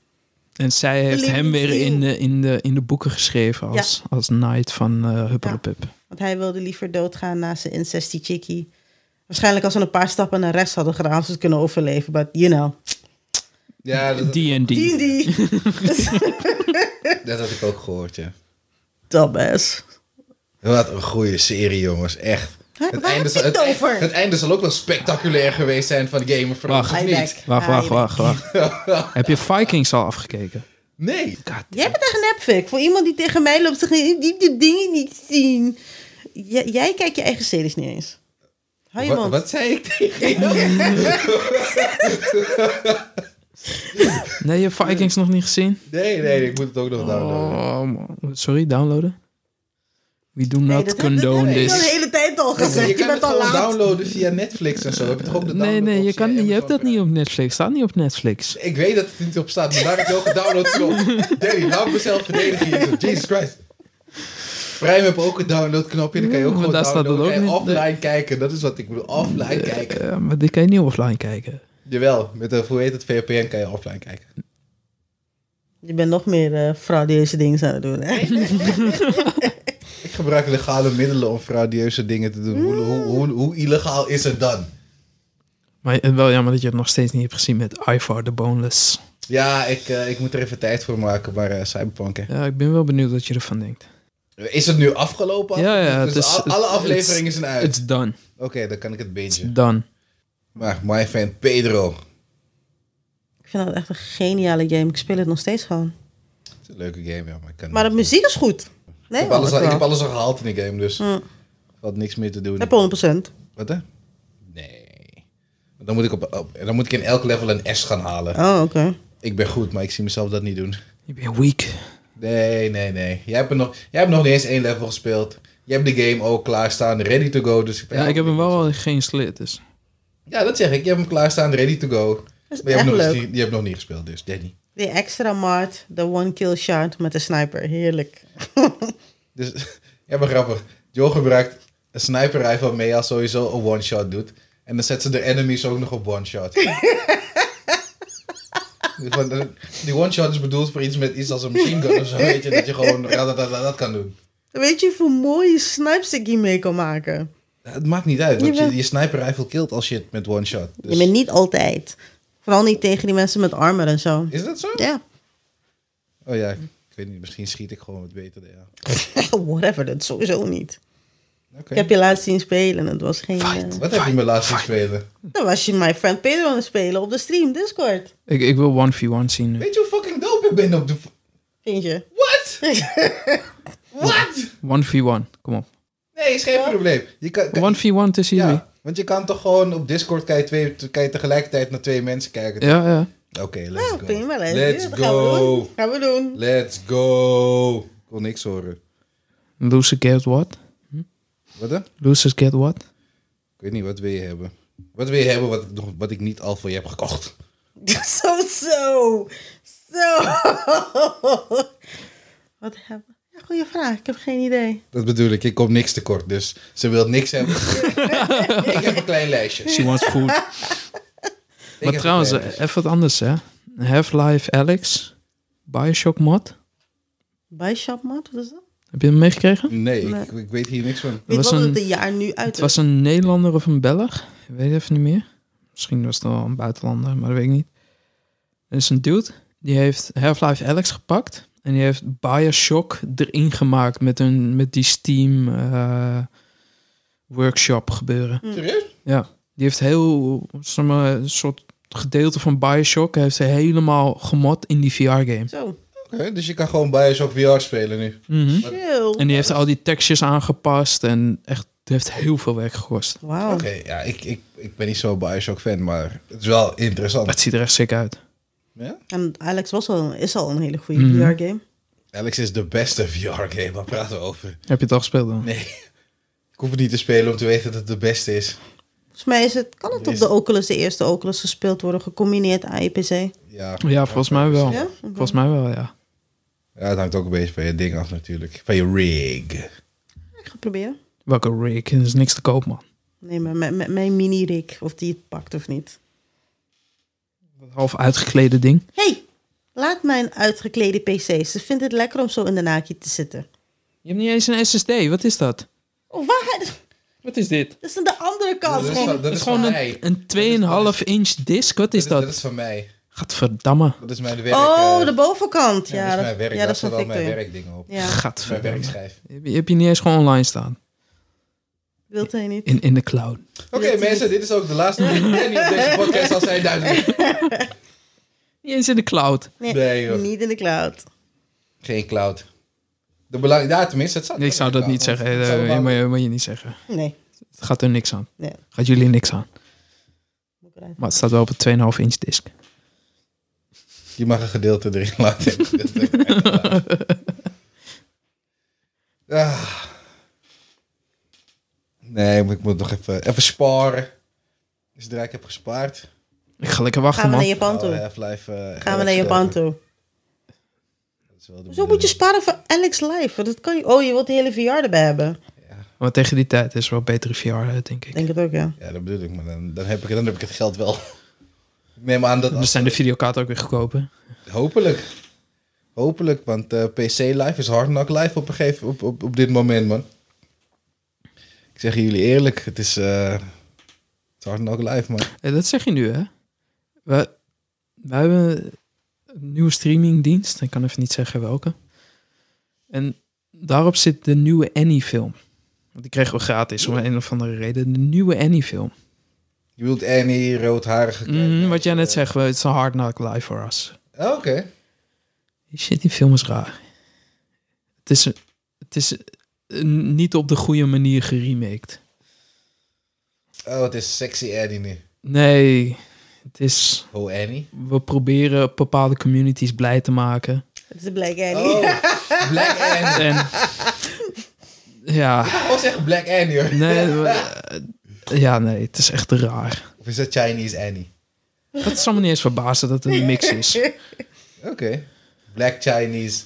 S3: En zij heeft
S1: Verliefd
S3: hem weer
S1: ziel.
S3: in de, in de, in de boeken geschreven als, als Knight van eh Huppelepup.
S1: Want hij wilde liever doodgaan na zijn incest, die chickie. Waarschijnlijk als ze een paar stappen naar rechts hadden gedaan, hadden ze het kunnen overleven. But you know.
S2: ja, dat,
S3: D&D.
S1: Die,
S2: [LAUGHS]
S1: die.
S2: dat had ik ook gehoord, ja.
S1: Dumbass.
S2: Wat een goede serie, jongens. Echt.
S1: Hè, waar heb je
S2: zal-
S1: het
S2: eind-
S1: over?
S2: het einde zal ook wel spectaculair geweest zijn van Game of Thrones,
S3: Wacht.
S2: of
S1: Hij
S2: niet?
S1: back.
S3: Wacht,
S1: Hij
S3: wacht,
S1: back.
S3: wacht, wacht. Heb je Vikings al afgekeken?
S2: Nee.
S3: God.
S1: Jij bent echt een nepfik. Voor iemand die tegen mij loopt, zeg je, die die dingen niet zien. J- jij kijkt je eigen series niet eens. Hou je
S2: Wat,
S1: mond.
S2: wat zei ik tegen je?
S3: Nee, je hebt Vikings nog niet gezien?
S2: Nee, nee, ik moet het ook nog downloaden.
S3: Oh, man. Sorry, downloaden? We do
S1: Nee,
S3: not
S1: dat heb-
S3: condone
S1: dat heb ik al
S3: this.
S1: de hele tijd al gezegd. Je,
S2: kan
S1: bent
S2: het
S1: al
S2: gewoon
S1: laat.
S2: downloaden via Netflix en zo. Heb je toch ook de
S3: Nee, nee, je,
S2: downloadoptie
S3: kan,
S2: en
S3: je hebt
S2: Amazon
S3: dat niet op Netflix. Staat niet op Netflix.
S2: Ik weet dat het niet op staat, maar daar heb ik wel gedownload knop. Danny, laat mezelf verdedigen hier. zo. Jesus Christ. Prime heb ook een downloadknopje. Dan kan je ook
S3: Ja, Mm,
S2: gewoon
S3: maar daar staat dat
S2: downloaden. Dan kan je
S3: ook niet.
S2: offline kijken. Dat is wat ik bedoel. Offline kijken.
S3: Eh, maar dit kan je niet offline kijken.
S2: Jawel, met een, hoe heet het, VPN kan je offline kijken.
S1: je bent nog meer eh frauduleuze dingen aan het doen. Hè?
S2: Ik gebruik legale middelen om frauduleuze dingen te doen. Hoe,
S3: Mm.
S2: hoe, hoe, hoe illegaal is het dan?
S3: Maar eh, wel jammer dat je het nog steeds niet hebt gezien met Ivar the Boneless.
S2: Ja, ik, eh, ik moet er even tijd voor maken, maar eh, Cyberpunk. hè.
S3: Ja, ik ben wel benieuwd wat je ervan denkt.
S2: Is het nu afgelopen?
S3: Ja, ja,
S2: dus
S3: het is-
S2: al- alle
S3: het-
S2: afleveringen zijn uit.
S3: It's done.
S2: Oké, dan kan ik het
S3: It's
S2: beetje.
S3: done.
S2: Maar my fan Pedro.
S1: Ik vind dat echt een geniale game. Ik speel het nog steeds gewoon.
S2: Het is een leuke game, ja, maar ik kan
S1: Maar de
S2: niet.
S1: muziek is goed. Nee,
S2: ik, heb alles
S1: wel,
S2: al, ik heb
S1: wel.
S2: alles al gehaald in die game, dus
S1: Hm.
S2: had niks meer te doen.
S1: Heb 100%.
S2: Wat hè? Nee. Dan moet, ik op, op- dan moet ik in elk level een S gaan halen.
S1: Oh, oké.
S2: Ik ben goed, maar ik zie mezelf dat niet doen.
S3: Je bent weak.
S2: Nee, nee, nee. Jij hebt, er nog, jij hebt nog niet eens één level gespeeld. Je hebt de game ook klaarstaan, ready to go. Dus
S3: Ja, ik heb hem wel geïnstalleerd, dus.
S2: Ja, dat zeg ik. Je hebt hem klaarstaan, ready to go.
S1: Dat is
S2: Maar je hebt,
S1: echt
S2: nog eens
S1: leuk.
S2: niet, je hebt nog niet gespeeld, dus Danny.
S1: Die extra mart, de one kill shot met de sniper. Heerlijk.
S2: Dus [LAUGHS] ja, maar grappig. Joe gebruikt een sniper rifle mee als sowieso een one-shot doet. En dan zet ze de enemies ook nog op [LAUGHS] one-shot. Van, eh, Die one-shot is bedoeld voor iets met iets als een machine gun of zo. Weet je, dat je [LAUGHS] gewoon dat, dat, dat kan doen.
S1: Weet je hoeveel mooie snipes ik hiermee kan maken?
S2: Het maakt niet uit, want
S1: Jawel.
S2: je, je sniper rifle killt als je het met one-shot.
S1: Je
S2: Dus,
S1: bent niet altijd. Vooral niet tegen die mensen met armor en zo.
S2: is dat zo?
S1: Ja.
S2: Oh ja, ik weet niet. Misschien schiet ik gewoon wat beter. Ja.
S1: [LAUGHS] Whatever, dat sowieso niet.
S2: Oké.
S1: Ik heb je laatst zien spelen. Het was geen...
S3: Fight.
S1: eh,
S2: Wat heb je me laatst gespeeld?
S1: dan was je My Friend Pedro aan het spelen op de stream, Discord.
S3: Ik, ik wil 1v1 zien nu.
S2: Weet je hoe fucking dope ik ben op de...
S1: Vind je? [LAUGHS]
S2: What? What?
S3: 1v1, kom op.
S2: Nee, is geen probleem. Je kan, kan-
S3: Eh, 1v1 tussen jullie.
S2: ja. Want je kan toch gewoon op Discord kan je, twee, kan je tegelijkertijd naar twee mensen kijken.
S3: Ja, ja.
S2: Oké, let's
S1: Nou,
S2: go.
S1: prima. Let's,
S2: Let's
S1: dat gaan we
S2: go.
S1: doen. Gaan we doen. [LAUGHS]
S2: Let's go. Ik kon niks horen.
S3: Losers get what?
S2: Wat dan?
S3: Losers get what?
S2: Ik weet niet, wat wil je hebben? Wat wil je hebben wat ik, nog- wat ik niet al voor je heb gekocht?
S1: Zo, zo. Zo. [LAUGHS] Wat hebben we? Ja, goeie vraag. Ik heb geen idee.
S2: Dat bedoel ik, ik kom niks tekort, dus ze wil niks
S1: [LAUGHS]
S2: hebben. ik heb een klein lijstje. Ik
S3: She wants [LAUGHS] food.
S2: heb
S3: maar
S2: een
S3: trouwens,
S2: klein lijstje.
S3: eh, even wat anders, hè. Half-Life Alex, Bioshock mod.
S1: Bishop Mat, wat is dat?
S3: Heb je hem meegekregen?
S2: Nee,
S1: Nee.
S2: Ik, ik weet hier niks van.
S1: Weet
S3: was
S1: je wat
S3: een-
S1: het een jaar nu uit
S3: Het was een Nederlander of een Belg. Ik weet even niet meer. Misschien was het wel een buitenlander, maar dat weet ik niet. Er is een dude, die heeft Half-Life Alex gepakt. En die heeft Bioshock erin gemaakt met, een, met die Steam eh, workshop gebeuren.
S2: Serieus?
S3: Die heeft heel, zeg maar, een soort gedeelte van Bioshock heeft hij helemaal gemod in die VR-game.
S1: Zo,
S2: Oké, dus je kan gewoon Bioshock VR spelen nu.
S1: chill.
S3: En die heeft al die tekstjes aangepast en echt, het heeft heel veel werk gekost.
S1: Wauw.
S2: Oké, ja, ik, ik, ik ben niet zo'n Bioshock fan, maar het is wel
S3: Maar
S2: interessant.
S3: het ziet er echt sick uit.
S1: En Alex was al, is al een hele goede
S3: Mhm.
S1: VR-game.
S2: Alex is de beste VR-game, waar praten we over?
S3: Heb je het al gespeeld dan?
S2: Nee, ik hoef het niet te spelen om te weten dat het de beste is.
S1: Volgens mij is het, kan het op
S2: Is-
S1: de Oculus, de eerste Oculus, gespeeld worden, gecombineerd aan je PC.
S2: Ja,
S3: Ja, volgens mij wel.
S1: Ja? Oké.
S3: Volgens mij wel, ja.
S2: ja, het hangt ook een beetje van je ding af natuurlijk. Van je rig.
S1: Ik ga proberen.
S3: Welke rig? Er is niks te koop, man.
S1: Nee, maar met, met mijn mini-rig, of die het pakt of niet.
S3: Dat half uitgeklede ding.
S1: hey, laat mijn uitgeklede PC. Ze vindt het lekker om zo in de naakje te zitten.
S3: Je hebt niet eens een SSD. Wat is dat?
S1: Oh, waar?
S3: Wat is dit?
S1: Dat is aan de andere kant.
S2: Dat is van-
S1: Gewoon-
S2: dat
S3: Dat
S2: is
S3: is gewoon
S2: van mij.
S3: een, een 2,5 inch disc. Wat is
S2: Dat
S3: dat?
S2: is van mij.
S3: Gadverdamme.
S2: Dat is mijn werk.
S1: Oh,
S2: eh,
S1: de bovenkant. Ja,
S2: ja, dat is mijn werk.
S1: ja, dat
S2: Daar
S1: is van
S2: staat al mijn
S1: Victor.
S2: werkdingen op.
S1: Ja,
S3: Gadverdamme.
S2: Mijn werkschijf.
S3: Heb je, heb je niet eens gewoon online staan?
S1: wilt hij niet.
S3: In, in de cloud.
S2: Oké mensen, dit is ook de laatste die op deze podcast al zijn duidelijk.
S3: Niet eens in de cloud.
S1: Nee,
S2: Nee, joh.
S1: niet in de cloud.
S2: Geen cloud. De belang... Ja, tenminste, het staat
S3: Ik zou dat niet zeggen.
S2: Het staat
S3: Eh,
S2: wel-
S3: Dat moet je- moet je niet zeggen.
S1: Nee,
S3: Het gaat er niks aan.
S1: nee.
S3: Gaat jullie niks aan.
S1: Moet ik eruit.
S3: Maar het staat wel op een 2,5 inch disc.
S2: Je mag een gedeelte erin [LAUGHS] laten. Een gedeelte eruit laten. Ah. Nee, maar ik moet nog even, even sparen. Dus zodra ik heb gespaard.
S3: Ik ga lekker wachten,
S1: Gaan we naar
S3: man.
S1: Japan
S2: gaan we
S1: toe.
S2: Half-Life, eh,
S1: Gaan we naar
S2: Alex
S1: Japan
S2: kopen.
S1: toe.
S2: Dat is wel de
S1: Zo moet je sparen voor Alex Live. want Dat kan je... Oh, je wilt de hele VR erbij hebben.
S3: Maar tegen die tijd is wel betere VR, denk
S1: Ik
S3: ik.
S1: denk het ook, ja.
S2: Ja, dat bedoel ik, maar dan, dan, heb ik, dan heb ik het geld wel. [LAUGHS] Ik neem aan dat...
S3: Dus zijn de videokaarten ook weer goedkoper.
S2: Hopelijk. Hopelijk, want eh, PC Live is hard knock live op, een gegeven, op, op, op dit moment, man. Ik zeg jullie eerlijk, het is, eh, het is hard knock live, man.
S3: Hé, Eh, dat zeg je nu, hè? We, we hebben een nieuwe streamingdienst. Ik kan even niet zeggen welke. En daarop zit de nieuwe Annie-film. Want die kregen we gratis, om een of andere reden. De nieuwe Annie-film.
S2: Je wilt Annie, roodharige...
S3: Mhm, wat jij net zegt, het is een hard knock live voor us.
S2: Oh, Oké.
S3: Shit, die film is raar. Het is, het is eh, niet op de goede manier geremaked.
S2: Oh, het is sexy Annie nu.
S3: Nee, het is...
S2: Oh, Annie.
S3: We proberen bepaalde communities blij te maken.
S1: Het is Black Annie.
S2: Oh, Black Annie.
S3: En... Ja,
S2: Oh, zeg Black Annie, hoor.
S3: nee... we- eh, Ja, nee, het is echt raar.
S2: Of is dat Chinese Annie?
S3: Dat zal me niet eens verbazen dat het een mix is.
S2: Oké. Black Chinese.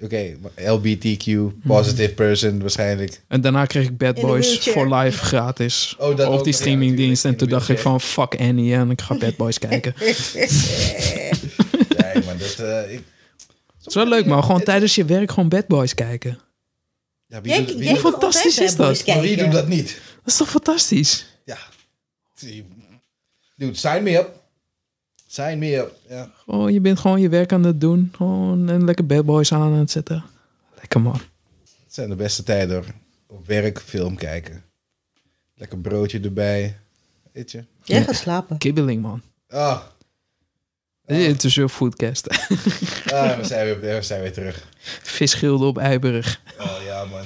S2: Oké, LBTQ,
S3: Mhm.
S2: positive person waarschijnlijk.
S3: En daarna kreeg ik Bad
S1: In een
S3: Boys
S1: wheelchair.
S3: for Life gratis
S2: Oh, dat
S3: op
S2: ook,
S3: die
S2: ja,
S3: streamingdienst. en
S2: natuurlijk, in
S3: toen
S2: een
S3: dacht ik van, fuck Annie, en ik ga Bad Boys
S1: [LAUGHS]
S3: kijken.
S2: Nee, maar dat... eh, ik...
S3: Het is wel leuk, man. Gewoon tijdens je werk gewoon Bad Boys kijken.
S2: Ja, wie,
S1: Jij,
S2: doet,
S1: jij
S2: wie,
S1: kan
S3: fantastisch
S1: altijd
S3: is
S1: Bad Boys
S3: dat?
S2: maar wie
S1: kijken.
S2: doet dat niet?
S3: Dat is toch fantastisch?
S2: Ja. Dude, sign me up. Sign me up. Ja.
S3: Oh, je bent gewoon je werk aan het doen. Gewoon en lekker Bad Boys aan aan het zetten. Lekker, man.
S2: Het zijn de beste tijden hoor. Op werk film kijken. Lekker broodje erbij. Weet je?
S1: Jij gaat slapen.
S3: Kibbeling, man.
S2: Ah,
S3: Eh, Het is weer foodcast. [LAUGHS]
S2: ah, we, zijn weer, we zijn weer terug.
S3: Visschilden op Eiburg.
S2: Oh ja man.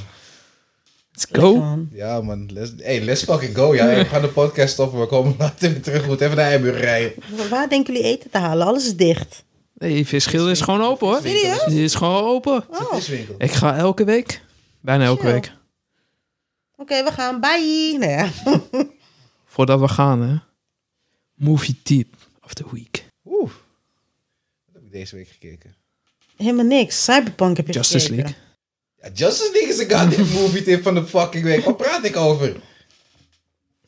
S3: Let's go.
S1: Gewoon.
S2: Ja, man. Let's, hey, let's fucking go. Ja, Hey, we gaan de podcast stoppen. We komen later weer terug. We moeten even naar Eiburg rijden.
S1: Waar denken jullie eten te halen? Alles is dicht.
S3: Hey, Visgilde is gewoon open hoor.
S1: Serieus?
S3: Die is gewoon open.
S2: Het is winkel.
S3: Ik ga elke week. Bijna elke
S1: Chill.
S3: week.
S1: Oké, we gaan. Bye. Nou ja. [LAUGHS]
S3: Voordat we gaan, hè. Movie tip of the week.
S2: Oeh. Wat heb ik deze week gekeken?
S1: Helemaal niks. Cyberpunk heb je
S3: Justice
S1: gekeken.
S3: League.
S2: Ja, Justice League is een goddamn movie tip van de fucking week. Waar praat ik over?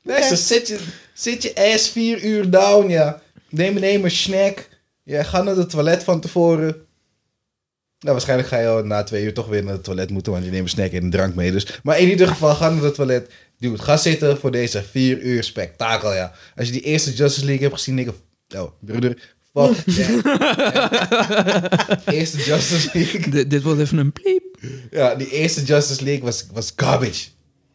S2: Luister, zit, je, zit je ass vier uur down, ja. Neem, neem een snack. Ja, ga naar het toilet van tevoren. Nou, waarschijnlijk ga je al na twee uur toch weer naar het toilet moeten, want je neemt een snack en een drank mee. Dus. Maar in ieder geval, ga naar het toilet. Dude, ga zitten voor deze vier uur spektakel, ja. Als je die eerste Justice League hebt gezien, denk ik... Oh, broeder, fuck that. Ja. Eerste Justice League.
S3: Dit- dit wordt even een bliep.
S2: Ja, die eerste Justice League was, was garbage.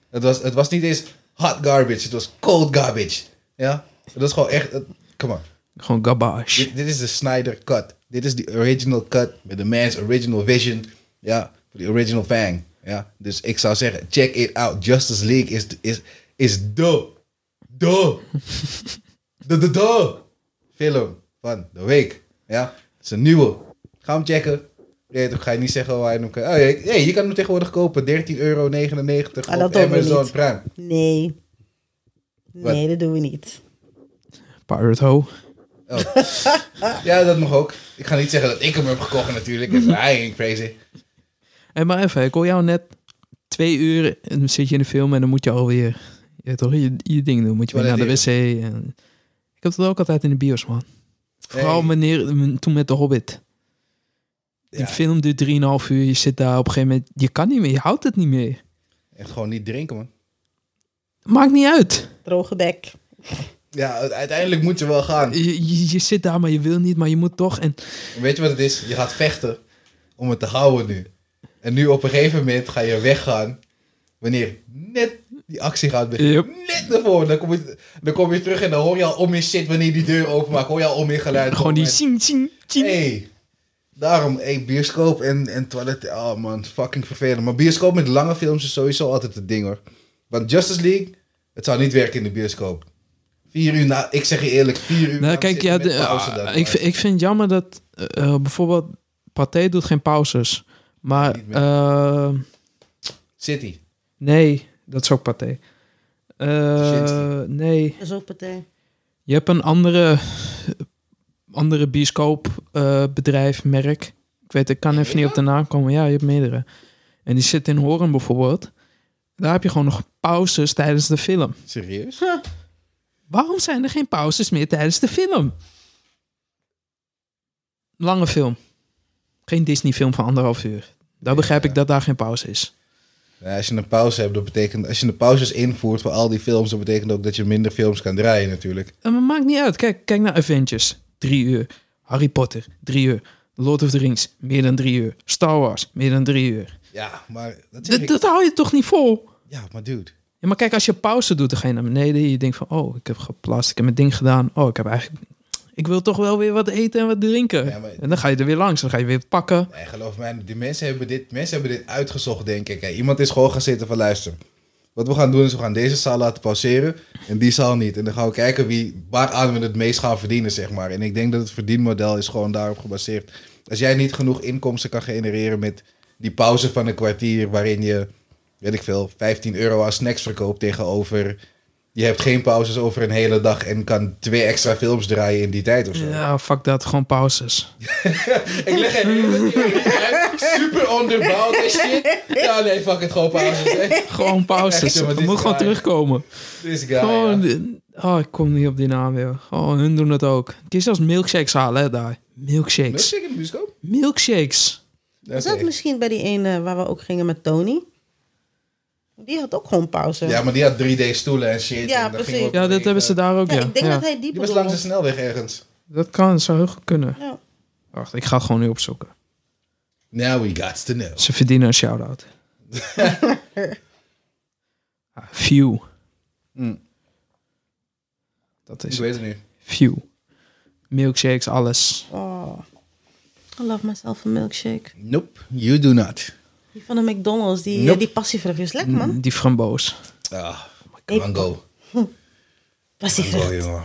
S2: Het was, het was niet eens hot garbage, het was cold garbage. Ja? Het was gewoon echt. het- Come on.
S3: Gewoon garbage.
S2: Dit, dit is de Snyder cut. Dit is de original cut met de man's original vision. Ja, voor de original fang. Ja, dus ik zou zeggen, check it out. Justice League is, is, is de, de,
S1: [LAUGHS]
S2: de, de, de film van de week. Ja, het is een nieuwe. Ga hem checken. Nee, dan ga je niet zeggen waar je hem kan... Oh, je, hey, je kan hem tegenwoordig kopen. 13,99 euro
S1: Ah, dat
S2: op
S1: doen we
S2: Amazon
S1: niet.
S2: Prime.
S1: Nee. Nee,
S2: Wat?
S1: dat doen we niet.
S3: Pirate Ho.
S2: Oh.
S1: [LAUGHS]
S2: Ja, dat mag ook. Ik ga niet zeggen dat ik hem heb gekocht
S1: [LAUGHS]
S2: natuurlijk. Dat is eigenlijk crazy.
S3: Hey, maar even, ik hoor jou net twee uur en dan zit je in de film en dan moet je alweer ja, toch, je, je ding doen. Moet je weer naar de wc. En... Ik heb dat ook altijd in de bios, man. Vooral
S2: Hey.
S3: wanneer, toen met The Hobbit. Die
S2: Ja.
S3: film duurt 3,5 uur. Je zit daar op een gegeven moment. Je kan niet meer. Je houdt het niet meer.
S2: En gewoon niet drinken, man.
S3: Maakt niet uit.
S1: Droge bek.
S2: Ja, u- uiteindelijk moet je wel gaan.
S3: Je, je, je zit daar, maar je wil niet. Maar je moet toch. En
S2: Weet je wat het is? Je gaat vechten om het te houden nu. En nu op een gegeven moment ga je weggaan. Wanneer net die actie gaat beginnen.
S3: Yep.
S2: Net ervoor. Dan kom, je, dan kom je terug en dan hoor je al om je shit wanneer die deur openmaakt. Hoor je al om je geluid.
S3: gewoon die
S2: komen.
S3: zing, zing, zing.
S2: Hey, daarom, hey, bioscoop en, en toilet. Oh man, fucking vervelend. Maar bioscoop met lange films is sowieso altijd het ding hoor. Want Justice League, het zou niet werken in de bioscoop. Vier uur na, ik zeg je eerlijk, vier uur
S3: Nou,
S2: lang
S3: kijk,
S2: zitten
S3: ja,
S2: met
S3: de-
S2: pauze
S3: ah,
S2: dan,
S3: ik,
S2: maar
S3: vind- ik vind het jammer dat eh, eh, bijvoorbeeld Pathé doet geen pauzes. Maar
S2: Niet meer.
S3: eh,
S2: City.
S3: nee, dat is ook Pathé. Eh,
S2: Shit.
S3: nee,
S1: Dat is ook partij.
S3: je hebt een andere, andere bioscoopbedrijf, merk. Ik weet, ik kan even niet op de naam komen. Ja, je hebt meerdere. En die zit in Horen bijvoorbeeld. Daar heb je gewoon nog pauzes tijdens de film.
S2: Serieus?
S3: Waarom zijn er geen pauzes meer tijdens de film? Lange film. Geen Disney-film van anderhalf uur. Daar begrijp ik dat daar geen pauze is.
S2: Nou, als je een pauze hebt, dat betekent, als je de pauzes invoert voor al die films, dat betekent ook dat je minder films kan draaien natuurlijk.
S3: En het Eh, maakt niet uit. Kijk, kijk naar Avengers. Drie uur. Harry Potter. Drie uur. Lord of the Rings. Meer dan drie uur. Star Wars. Meer dan drie uur.
S2: Ja, maar dat zeg
S3: Dat,
S2: ik.
S3: dat hou je toch niet vol?
S2: Ja, maar dude.
S3: Ja, maar kijk, als je pauze doet, dan ga je naar beneden. Je denkt van, oh, ik heb geplast. Ik heb mijn ding gedaan. Oh, ik heb eigenlijk... Ik wil toch wel weer wat eten en wat drinken.
S2: Ja, maar-
S3: En dan ga je er weer langs. Dan ga je weer pakken.
S2: Nee, geloof mij, die mensen hebben dit, mensen hebben dit uitgezocht, denk ik. Hè. Iemand is gewoon gaan zitten van luister. Wat we gaan doen is we gaan deze zaal laten pauzeren en die zaal niet. En dan gaan we kijken wie, waaraan we het meest gaan verdienen, zeg maar. En ik denk dat het verdienmodel is gewoon daarop gebaseerd. Als jij niet genoeg inkomsten kan genereren met die pauze van een kwartier... waarin je, weet ik veel, 15 euro aan snacks verkoopt tegenover... je hebt geen pauzes over een hele dag en kan twee extra films draaien in die tijd of zo.
S3: Ja, fuck dat. Gewoon pauzes.
S2: Ik leg even super onderbouwd en shit. Ja, nee, fuck het, gewoon pauzes. hè.
S3: Gewoon pauzes.
S2: [LAUGHS] Echt, jongen,
S3: Het
S2: dit
S3: moet
S2: is
S3: gewoon
S2: waar.
S3: terugkomen.
S2: This guy.
S3: Gewoon,
S2: ja.
S3: eh, Oh, ik kom niet op die naam weer. Oh, hun doen het ook. Kun je zelfs milkshakes halen, hè, daar. Milkshakes.
S2: Milkshake in de bioscoop?
S3: Milkshakes.
S1: Is dat
S2: Oké.
S1: misschien bij die ene waar we ook gingen met Tony? Die had ook gewoon pauze.
S2: Ja, maar die had 3D-stoelen en shit.
S1: Ja,
S2: en dan
S1: precies.
S2: gingen we
S3: Ja, dat
S2: even-
S3: hebben ze daar ook,
S1: Ja,
S3: ja.
S1: ik denk
S3: Ja.
S1: dat hij die
S2: Die was
S1: bedoelde.
S2: langs de snelweg ergens.
S3: Dat kan, zou heel goed kunnen.
S1: Ja.
S3: Wacht, ik ga het gewoon nu opzoeken.
S2: Now we got to know.
S3: Ze verdienen
S2: [LAUGHS]
S3: een shout-out. Ah, View.
S2: Hm.
S3: Dat is
S2: Ik
S3: het.
S2: weet het nu.
S3: View. Milkshakes, alles.
S1: Oh. I love myself a milkshake.
S2: Nope, you do not.
S1: Die van de McDonald's, die, eh,
S2: Nope. Mm.
S1: die passievrucht is lekker, man.
S3: Die framboos.
S2: Ah,
S3: Oh
S2: mango.
S1: Passievrucht.
S2: Mango, jongen.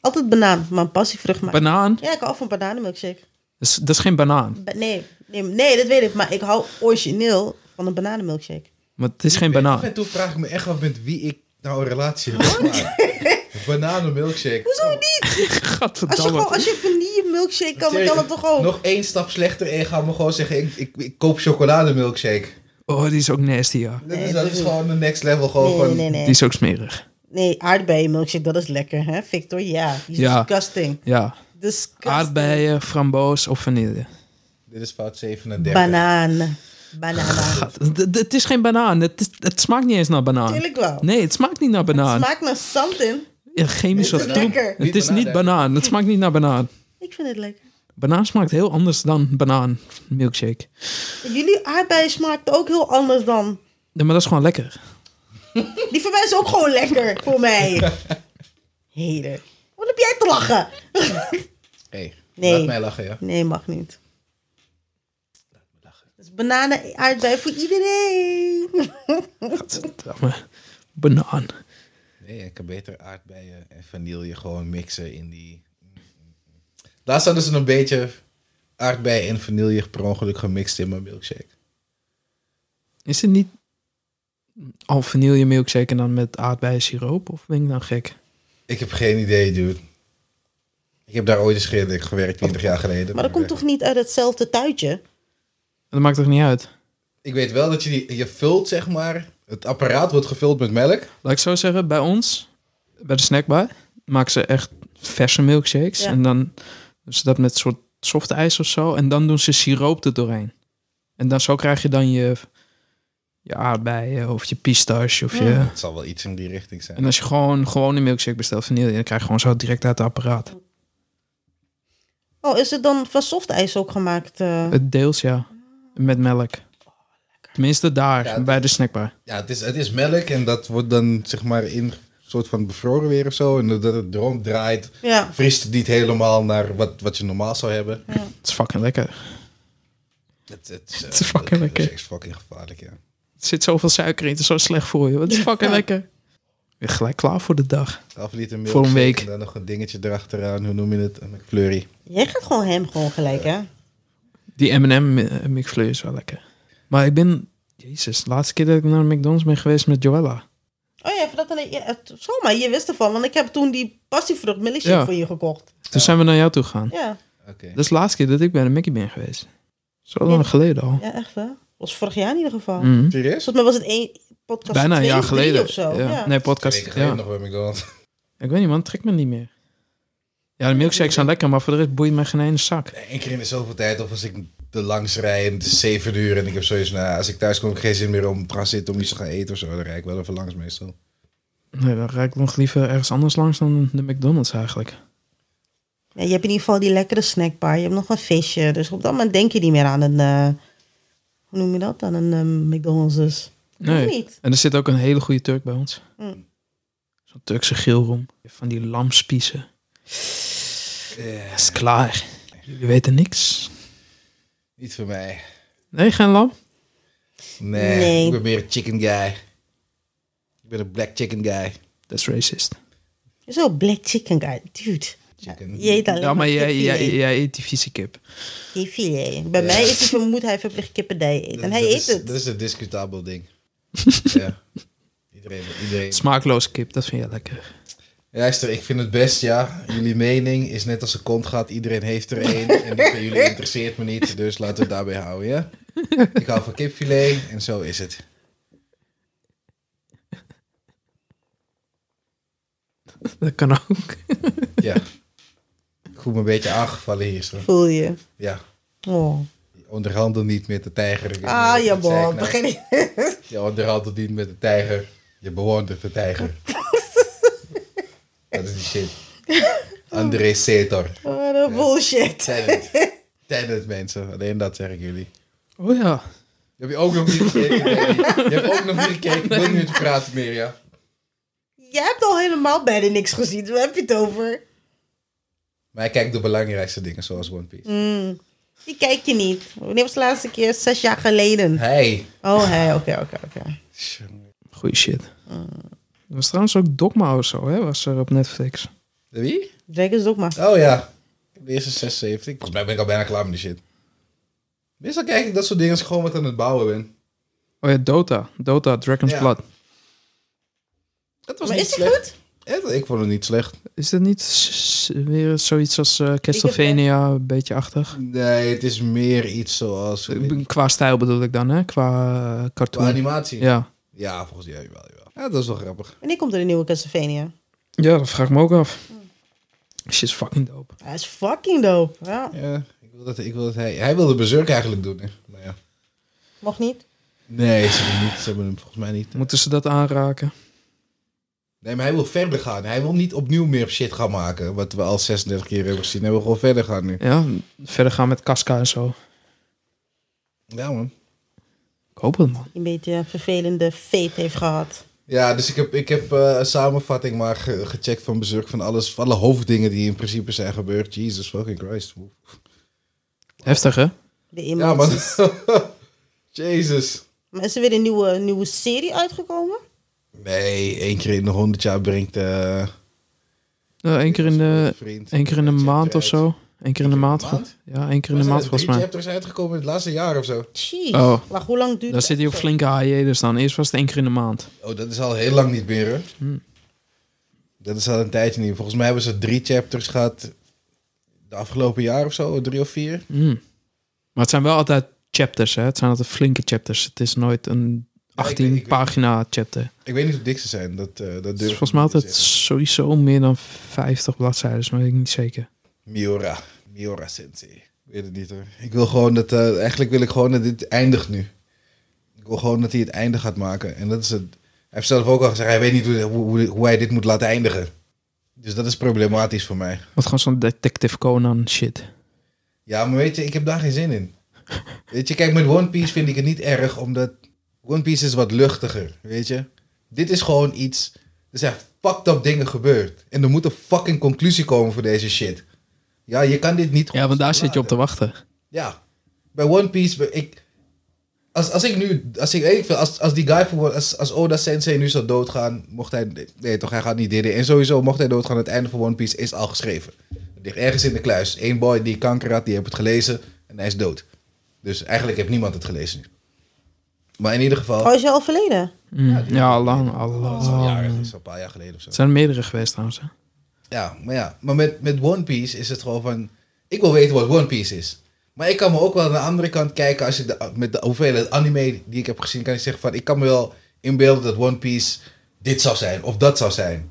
S1: Altijd banaan, maar passievrucht. Maar...
S3: Banaan?
S1: Ja, ik hou van bananenmilkshake.
S3: Dat is, dat is geen banaan.
S1: Ba- nee, nee, nee, dat weet ik. Maar ik hou origineel van een bananenmilkshake.
S3: Maar het is geen banaan.
S2: En toen vraag ik me echt af met wie ik nou een relatie heb.
S1: [LAUGHS]
S2: Maar- Bananenmilkshake.
S1: Hoezo niet? Als je, gewoon,
S3: [LAUGHS] Gadverdamme.
S1: als je vanille milkshake kan, dan kan het toch ook?
S2: Nog één stap slechter en je gaat me gewoon zeggen, ik, ik, ik koop chocolademilkshake.
S3: Oh, die is ook nasty, ja.
S2: Dat
S1: Nee,
S2: is, dat
S1: dat
S2: is
S1: is-
S2: gewoon de next level. Gewoon
S1: Nee,
S2: van,
S1: nee, nee.
S3: Die is ook smerig.
S1: Nee, aardbeienmilkshake, dat is lekker, hè, Victor? Ja, die is
S3: Ja.
S1: disgusting.
S3: Ja.
S1: Disgusting.
S3: Aardbeien, framboos of vanille.
S2: Dit is fout 37.
S1: Banaan. Banaan.
S3: Gat- d- d- Het is geen banaan. Het, is- het smaakt niet eens naar banaan.
S1: Tuurlijk wel.
S3: Nee, het smaakt niet naar
S1: Het
S3: banaan.
S1: smaakt naar something.
S3: Ja, chemische
S1: Het is
S3: troep.
S1: lekker.
S3: Het is niet banaan. Het smaakt niet naar banaan.
S1: Ik vind het lekker.
S3: Banaan smaakt heel anders dan banaan milkshake.
S1: Jullie aardbeien smaakt ook heel anders dan.
S3: Ja, maar dat is gewoon lekker.
S1: Die voor mij is ook gewoon lekker, voor mij.
S3: [LAUGHS]
S1: Heder. Wat heb jij te lachen?
S2: Hey,
S1: Nee.
S2: Laat mij lachen, ja.
S1: Nee, mag niet. Dus bananen, aardbeien voor iedereen.
S3: Gadverdamme. Banaan.
S2: Nee, ik kan beter aardbeien en vanille gewoon mixen in die... Laatst hadden ze een beetje aardbeien en vanille per ongeluk gemixt in mijn milkshake.
S3: Is het niet al vanille milkshake en dan met aardbeien siroop? Of ben ik dan gek?
S2: Ik heb geen idee, dude. Ik heb daar ooit eens ge- gewerkt, 20 jaar geleden.
S1: Maar dat komt toch niet uit hetzelfde tuitje?
S3: Dat maakt toch niet uit?
S2: Ik weet wel dat je die... Je vult, zeg maar... Het apparaat wordt gevuld met melk.
S3: Laat ik zo zeggen, bij ons, bij de snackbar, maken ze echt verse milkshakes.
S1: Ja.
S3: En dan doen ze dat met een soort soft ijs of zo. En dan doen ze siroop er doorheen. En dan zo krijg je dan je, je aardbeien of je pistache. Of je...
S2: Het zal wel iets in die richting zijn.
S3: En als je gewoon, gewoon een milkshake bestelt, vanille, dan krijg je gewoon zo direct uit het apparaat.
S1: Oh, is het dan van soft ijs ook gemaakt? eh?
S3: Het deels, ja. Met melk. Tenminste daar,
S2: Ja, het-
S3: bij de snackbar.
S2: Ja, het is, het is melk en dat wordt dan zeg maar in soort van bevroren weer of zo. En doordat het erom draait,
S1: Ja.
S2: vriest het niet helemaal naar wat, wat je normaal zou hebben.
S3: Het is fucking lekker.
S2: Het, het, is, eh,
S3: [LAUGHS] Het is fucking
S2: dat
S3: lekker.
S2: is echt fucking gevaarlijk, ja.
S3: Er zit zoveel suiker in, het is zo slecht voor je. Het is fucking lekker. Ik ben gelijk klaar voor de dag.
S2: 12 liter milk.
S3: Voor een week.
S2: En dan nog een dingetje erachteraan, hoe noem je het? Een McFlurry.
S1: Jij gaat gewoon hem gewoon gelijk, hè?
S3: Die M&M eh, McFlurry is wel lekker. Maar ik ben... Jezus, de laatste keer dat ik naar de McDonald's ben geweest met Joella.
S1: Oh ja, voor dat alleen. Ja, het- zomaar, je wist ervan, want ik heb toen die passievrucht milkshake
S3: Ja.
S1: voor je gekocht.
S3: Toen zijn we naar jou toe gegaan.
S1: Ja,
S2: Oké.
S3: Dat is de laatste keer dat ik bij de Mickey ben geweest. Zo lang geleden al.
S1: ja echt hè? Was vorig jaar in ieder geval.
S3: Mhm.
S2: Serieus?
S1: Volgens mij was het één podcast.
S3: Bijna een
S1: twee
S3: jaar
S1: of drie
S3: geleden.
S1: Of zo.
S3: Ja.
S1: Ja.
S3: Nee,
S2: Twee
S3: podcast.
S2: weken geleden
S3: Ja.
S2: nog bij McDonald's. [LAUGHS]
S3: Ik weet niet, man. Trekt me niet meer. Ja, de milkshakes zijn lekker, maar voor de rest boeit mij geen ene zak.
S2: Eén keer in de zoveel tijd, of als ik te langs rij en het is 7 uur en ik heb sowieso, nou, als ik thuis kom, heb ik geen zin meer om te gaan zitten om iets te gaan eten of zo. Dan rijd ik wel even langs meestal.
S3: Nee, dan rijd ik nog liever ergens anders langs dan de McDonald's eigenlijk.
S1: Ja, je hebt in ieder geval die lekkere snackbar. Je hebt nog een visje. Dus op dat moment denk je niet meer aan een. eh, hoe noem je dat? Aan een eh, McDonald's. Dus. Of
S3: Nee.
S1: niet?
S3: En er zit ook een hele goede Turk bij ons.
S1: Mm.
S3: Zo'n Turkse geelroom. Van die lamspiezen. Dat is klaar. Jullie weten niks.
S2: Niet voor mij.
S3: Nee, geen lam.
S2: Nee,
S1: Nee.
S2: ik ben meer een chicken guy. Ik ben een black chicken guy.
S3: Dat is racist.
S1: Zo, black chicken guy. Dude.
S2: Chicken.
S1: Je eet alleen
S3: Ja, maar jij,
S1: kipfilet.
S3: jij, jij eet die vieze kip.
S1: Kipfilet. Bij mij is het vermoed hij verplicht kippendij eet. En hij
S2: dat
S1: eet
S3: Dus-
S2: is,
S1: het.
S2: Dat is een discutabel
S1: [LAUGHS]
S2: ding. ja. Iedereen, iedereen.
S3: Smaakloze kip, dat vind jij lekker.
S2: Luister, ik vind het best, ja. Jullie mening is net als een kont gaat. Iedereen heeft er één. En die van
S1: [LAUGHS]
S2: jullie interesseert me niet. Dus laten we het daarbij houden, ja? Ik hou van kipfilet en zo is het.
S3: [LAUGHS] Dat kan ook.
S2: Ja. Ik voel me een beetje aangevallen hier zo.
S1: Voel je.
S2: Ja.
S1: Oh.
S2: Onderhandel niet met de tijger.
S3: Dus
S1: Ah, ja,
S2: Wat zei ik
S1: bon.
S2: nou?
S1: Begin ik.
S2: Je onderhandelt niet met de tijger. Je bewondert de tijger. dat is die shit. André Setor.
S1: Oh, Wat een bullshit.
S2: Zijn het. Zijn het mensen. Alleen dat zeg ik jullie.
S3: Oh ja.
S2: Heb je ook nog niet
S1: [LAUGHS]
S2: gekeken? Danny? Je hebt ook nog niet gekeken. Ik wil niet met je praten meer, ja.
S1: Jij hebt al helemaal bijna niks gezien. Waar heb je het over?
S2: Maar hij kijkt de belangrijkste dingen, zoals One Piece.
S1: Mm. Die kijk je niet. Wanneer was de laatste keer? Zes jaar geleden.
S2: Hey.
S1: Oh, hey, oké, oké, oké.
S3: Goeie shit. Er was trouwens ook Dogma of zo, hè? Was er op Netflix.
S2: Wie?
S1: Drake is dogma.
S2: Oh ja. De eerste 76. Volgens mij ben ik al bijna klaar met die shit. Meestal kijk ik dat soort dingen als ik gewoon wat aan het bouwen ben.
S3: Oh ja, Dota. Dota, Dragon's
S2: Ja.
S3: Blood.
S2: Dat was
S1: Maar
S2: niet
S1: is die
S2: slecht.
S1: goed?
S2: Ja, ik vond het niet slecht.
S3: Is dat niet s- s- weer zoiets als eh, Castlevania, een beetje achtig?
S2: Nee, het is meer iets zoals...
S3: Qua stijl bedoel ik dan, hè? Qua eh,
S2: Qua
S3: cartoon.
S2: animatie. Ja,
S3: ja.
S2: volgens mij wel, jawel. Ja, dat is wel grappig.
S1: Wanneer komt er een nieuwe Castlevania?
S3: ja, dat vraag ik me ook af. Mm. Shit is fucking dope.
S1: Hij is fucking dope. Ja,
S2: Ja, ik wil dat, ik wil dat hij... Hij wilde Berserk eigenlijk doen, hè. Maar ja.
S1: mocht niet.
S2: Nee, ze hebben, hem niet, ze hebben hem volgens mij niet.
S3: Moeten ze dat aanraken?
S2: Nee, maar hij wil verder gaan. Hij wil niet opnieuw meer shit gaan maken. Wat we al 36 keer hebben gezien. Hij wil gewoon verder gaan nu.
S3: Ja, verder gaan met Casca en zo.
S2: Ja, man.
S3: Ik hoop het, man.
S1: Die een beetje een vervelende fate heeft gehad.
S2: Ja, dus ik heb, ik heb eh, een samenvatting maar ge- gecheckt van bezorg van alles. Van alle hoofddingen die in principe zijn gebeurd. Jesus fucking Christ.
S3: Heftig, hè?
S1: De
S2: Ja,
S1: emoties.
S2: man. [LAUGHS] Jesus.
S1: Maar is er weer een nieuwe, nieuwe serie uitgekomen?
S2: Nee, één keer in de 100 jaar brengt. eh
S3: Nou, één keer in de,
S2: vriend.
S3: één keer in de
S2: Chapter
S3: maand of
S2: uit.
S3: zo. Eén keer in de maand.
S2: maand?
S3: goed. Ja, één
S2: Maar
S3: keer in de
S2: zijn
S3: maand
S2: er
S3: volgens
S2: drie
S3: mij.
S2: chapters uitgekomen in het laatste jaar of zo.
S1: Jeez.
S3: Oh.
S1: Maar hoe lang duurt
S3: Dan zit hij op flinke hiatus dan. Eerst was het één keer in de maand.
S2: Oh, dat is al heel lang niet meer, hè?
S3: Hmm.
S2: Dat is al een tijdje niet. Volgens mij hebben ze drie chapters gehad de afgelopen jaar of zo, drie of vier.
S3: Mm. Maar het zijn wel altijd chapters, hè? Het zijn altijd flinke chapters. Het is nooit een
S2: ik weet- ik weet-
S3: 18-pagina chapter.
S2: Ik weet niet hoe dik ze zijn. Dat, eh dat durf
S3: Het is
S2: ik
S3: volgens mij
S2: niet te
S3: altijd
S2: zeggen.
S3: sowieso meer dan 50 bladzijden, maar weet ik niet zeker.
S2: Miura. Miura Sensei. Ik weet het niet hoor. Ik wil gewoon dat. eh, eigenlijk wil ik gewoon dat dit eindigt nu. Ik wil gewoon dat hij het einde gaat maken. En dat is het. Hij heeft zelf ook al gezegd, hij weet niet hoe, hoe, hoe hij dit moet laten eindigen. Dus dat is problematisch voor mij.
S3: Wat gewoon zo'n Detective Conan shit.
S2: Ja, maar weet je, ik heb daar geen zin in. Weet je, kijk, met One Piece vind ik het niet erg, omdat One Piece is wat luchtiger, weet je. Dit is gewoon iets, er zijn fucked up dingen gebeurd. En er moet een fucking conclusie komen voor deze shit. Ja, je kan dit niet...
S3: Ja, want daar zit je op te
S2: laten.
S3: wachten.
S2: Ja, bij One Piece, bij- ik... Als, als ik nu, als ik, ik vind, als, als die guy, voor, als, als Oda Sensei nu zou doodgaan, mocht hij, nee toch, hij gaat niet dit En sowieso, mocht hij doodgaan, het einde van One Piece is al geschreven. Het ligt ergens in de kluis. Eén boy die kanker had, die heeft het gelezen en hij is dood. Dus eigenlijk heeft niemand het gelezen nu. Maar in ieder geval,
S1: Oh, is je al verleden?
S3: Mm. Ja, al lang, al
S2: dat is al
S3: lang.
S2: jaren, dat is al een paar jaar geleden of zo.
S3: Het zijn er meerdere geweest trouwens. Hè?
S2: Ja, maar ja, maar met, met One Piece is het gewoon van, ik wil weten wat One Piece is. Maar ik kan me ook wel aan de andere kant kijken, als ik de, met de hoeveelheid anime die ik heb gezien, kan ik zeggen van, ik kan me wel inbeelden dat One Piece dit zou zijn, of dat zou zijn.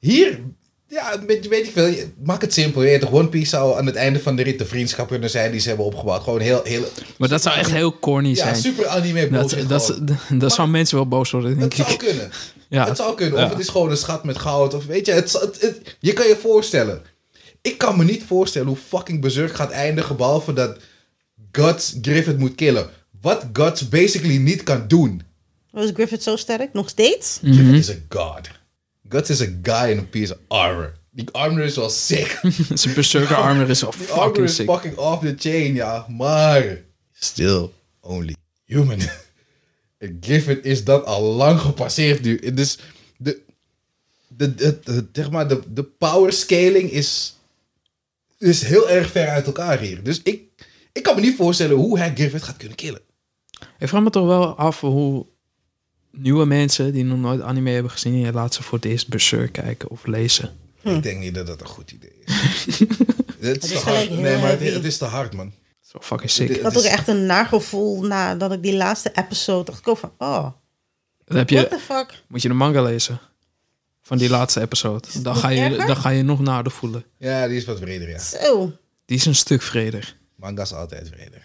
S2: Hier, ja, weet, weet ik veel, je- maak het simpel, je weet toch, One Piece zou aan het einde van de rit de vriendschap kunnen zijn die ze hebben opgebouwd. Gewoon heel, heel,
S3: Maar dat zou echt heel corny
S2: ja,
S3: zijn.
S2: super anime
S3: Dat,
S2: bullshit
S3: dat,
S2: gewoon.
S3: [LAUGHS] dat, zou mensen wel boos worden, denk
S2: Het zou
S3: ik.
S2: kunnen.
S3: [LAUGHS] Ja,
S2: Het zou kunnen. Of
S3: Ja.
S2: het is gewoon een schat met goud. Of weet je, het, het, het- je kan je voorstellen. Ik kan me niet voorstellen hoe fucking Berserk gaat eindigen. Behalve dat Guts Griffith moet killen. Wat Guts basically niet kan doen.
S1: Was Griffith zo sterk? Nog steeds?
S3: Mhm.
S2: Griffith is a god. Guts is a guy in a piece of armor. Die armor is wel sick.
S3: [LAUGHS] zijn berserker armor is wel
S2: Die armor
S3: fucking
S2: is
S3: sick.
S2: fucking off the chain, ja. Maar still only human. [LAUGHS] En Griffith is dat al lang gepasseerd nu. Het is de, de, de, de- zeg maar, de, de power scaling is, is heel erg ver uit elkaar hier. Dus ik, ik kan me niet voorstellen hoe hij Griffith gaat kunnen killen.
S3: Ik vraag me toch wel af hoe nieuwe mensen die nog nooit anime hebben gezien, ja, laat ze voor het eerst Berserk kijken of lezen.
S2: Ik denk niet dat dat een goed
S1: [LAUGHS]
S2: idee is. het is,
S1: Hm. is
S2: te
S1: gelijk
S2: hard.
S1: heel
S2: Nee, maar het,
S1: heavy.
S2: het is te hard, man.
S3: Dat is wel fucking sick.
S1: Ik
S2: Het
S1: had ook
S2: is-
S1: echt een naar gevoel nadat ik die laatste episode dacht ik ook van, oh,
S3: Dan heb
S1: what the
S3: je,
S1: fuck?
S3: moet je de manga lezen van die laatste episode. Dan
S1: nog
S3: ga je,
S1: erger?
S3: dan ga je nog nader voelen.
S2: Ja, die is wat breder, ja.
S1: Zo.
S3: Die is een stuk vreder.
S2: Manga is altijd breder.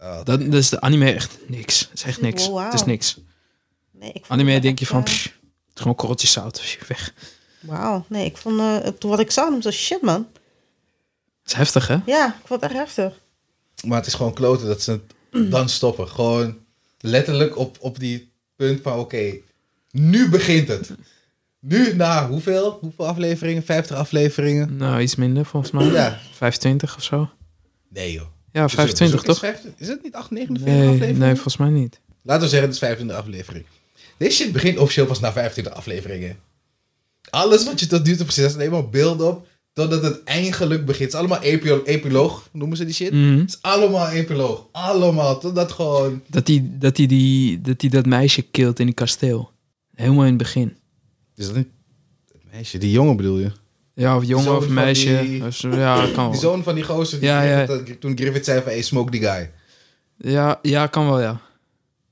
S2: Altijd.
S3: Dat, dat is de anime echt niks. Het is echt niks.
S1: Wow.
S3: Het is niks.
S1: Nee, ik vond
S3: Anime
S1: het
S3: denk je
S1: echt,
S3: van,
S1: eh,
S3: pff, het is gewoon korreltjes zout. pff, Weg.
S1: Wauw. Nee, ik vond eh, toen wat ik zag, hem zo shit man.
S3: Het is heftig, hè?
S1: Ja, ik vond het echt heftig.
S2: Maar het is gewoon kloten dat ze het [CLEARS THROAT] dan stoppen. Gewoon letterlijk op, op die punt van oké, nu begint het. Nu na hoeveel? Hoeveel afleveringen? 50 afleveringen?
S3: Nou, iets minder volgens mij.
S2: Ja.
S3: 25 of zo.
S2: Nee joh. dus
S3: Ja, 25 toch?
S2: Is het niet 8, 49
S3: Nee,
S2: aflevering?
S3: nee, volgens mij niet.
S2: Laten we zeggen, het is 25 aflevering. Deze shit begint officieel pas na 25 afleveringen. Alles wat je tot nu toe precies hebt, alleen maar beelden op. Totdat het eindelijk begint. Het is allemaal epilo- epiloog, noemen ze die shit.
S3: Mhm.
S2: Het is allemaal epiloog. Allemaal. Totdat gewoon...
S3: Dat hij dat, die, die, dat, die dat meisje kilt in die kasteel. Helemaal in het begin.
S2: Is dat niet... Het meisje, die jongen bedoel je? Oh.
S3: Ja, of jongen
S2: zoon
S3: of
S2: van
S3: meisje.
S2: die-
S3: Of zo, Ja, kan
S2: Die
S3: wel.
S2: zoon van die gozer. Die
S3: Ja, ja.
S2: dat- Toen Griffith zei van, hey, smoke die guy.
S3: Ja, ja, kan wel, ja.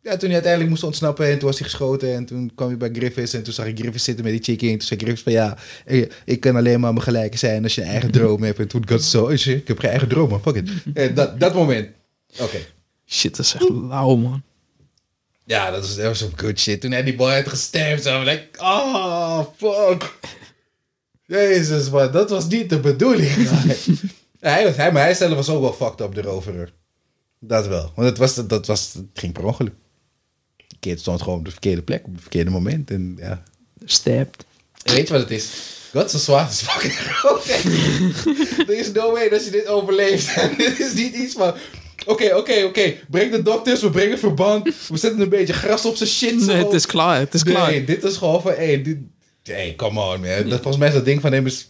S2: Ja, toen hij uiteindelijk moest ontsnappen en toen was hij geschoten. En toen kwam hij bij Griffiths en toen zag ik Griffiths zitten met die chickie. En toen zei Griffiths van, ja, ik, ik kan alleen maar mijn gelijke zijn als je een eigen droom hebt. En toen got zo, is je, ik heb geen eigen droom, man, fuck it. En dat, dat moment. Oké.
S3: Shit, dat is echt lauw, man.
S2: Ja, dat was, dat was good shit. Toen hij die boy had gestemd, zo, like, oh, fuck. Jezus, man, dat was niet de bedoeling. hij, was- hij, maar hij zelf was ook wel fucked up erover. Dat wel. Want het, was, dat was, het ging per ongeluk. De kid stond gewoon op de verkeerde plek, op het verkeerde moment. En ja.
S3: Stabbed.
S2: En Weet je wat het is? God, zo zwaar is fucking groot.
S3: [LAUGHS]
S2: Er is no way dat je dit overleeft. [LAUGHS] En dit is niet iets van... Oké, oké, oké. Breng de dokters, we brengen verband. We zetten een beetje gras op zijn shit.
S3: Nee,
S2: zo.
S3: het is klaar, het is klaar.
S2: Nee, dit is gewoon van... Hey, dit, hey, come on, man. Dat, volgens mij is dat ding van hem is,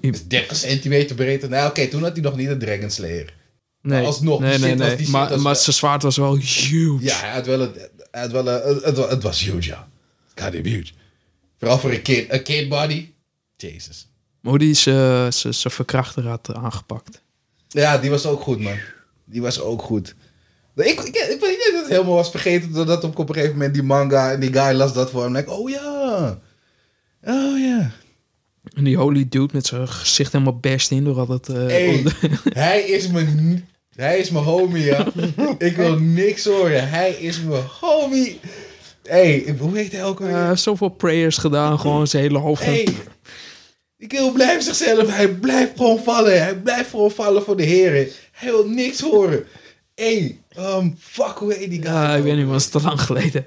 S2: is 30 centimeter breed. Nou, oké, toen had hij nog niet een Dragon Slayer.
S3: Nee,
S2: alsnog,
S3: nee,
S2: shit,
S3: nee,
S2: als
S3: nee.
S2: die shit
S3: maar,
S2: als-
S3: maar zijn zwaard was wel huge.
S2: Ja, hij had wel een, hij had wel een, het, wa- het was huge, ja. Goddamn huge. Vooral voor een kid, een kid body. Jezus.
S3: Maar hoe die zijn zijn- zijn verkrachter had eh, aangepakt.
S2: Ja, die was ook goed, man. Die was ook goed. Ik, ik, ik, weet niet dat het helemaal was vergeten doordat op een gegeven moment die manga en die guy las dat voor hem. Like, oh ja. Oh ja.
S3: En die holy dude met zijn gezicht helemaal best in door al dat... eh,
S2: Hey,
S3: onder- [LAUGHS]
S2: hij is mijn... n- Hij is mijn homie, ja. Ik wil niks horen. Hij is mijn homie. Hey, ik- hoe heet hij ook alweer?
S3: Eh, zoveel prayers gedaan, gewoon zijn hele hoofd.
S2: Hey, die kerel blijft zichzelf. Hij blijft gewoon vallen. Hij blijft gewoon vallen voor de heren. Hij wil niks horen. Hey, um, fuck, hoe heet die guy?
S3: Ja, ik
S2: ook
S3: weet niet, maar het is te lang geleden.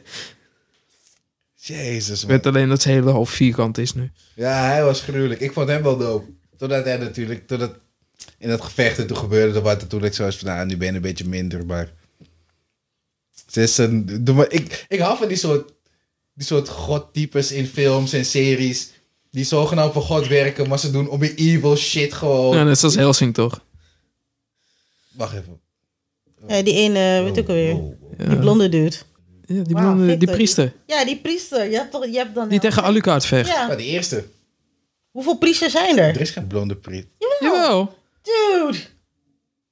S2: Jezus,
S3: Ik
S2: man.
S3: weet alleen dat zijn hele hoofd vierkant is nu.
S2: Ja, hij was gruwelijk. Ik vond hem wel dope. Totdat hij natuurlijk, totdat in dat gevecht en toen gebeurde er wat. En toen ik zo was van, nou, nu ben je een beetje minder, maar... Het is een... doe maar- Ik, ik hou van die soort, die soort godtypes in films en series. Die zogenaamd voor god werken, maar ze doen om je evil shit gewoon.
S3: Ja, net zoals Helsing toch?
S2: Wacht even.
S1: Ja, die ene, eh,
S2: Oh,
S1: weet ik alweer.
S2: Wow, wow.
S3: Ja,
S1: Die blonde dude.
S3: Ja, die,
S1: Wauw,
S3: blonde-
S1: ik
S3: die
S1: weet-
S3: priester.
S1: Ja, die priester. Je hebt, toch, je hebt dan...
S3: Die tegen Alucard vecht.
S2: Ja,
S1: Ja.
S2: Ah, die eerste.
S1: Hoeveel priesters zijn er?
S2: Er is geen blonde priester.
S3: Jawel.
S1: Dude.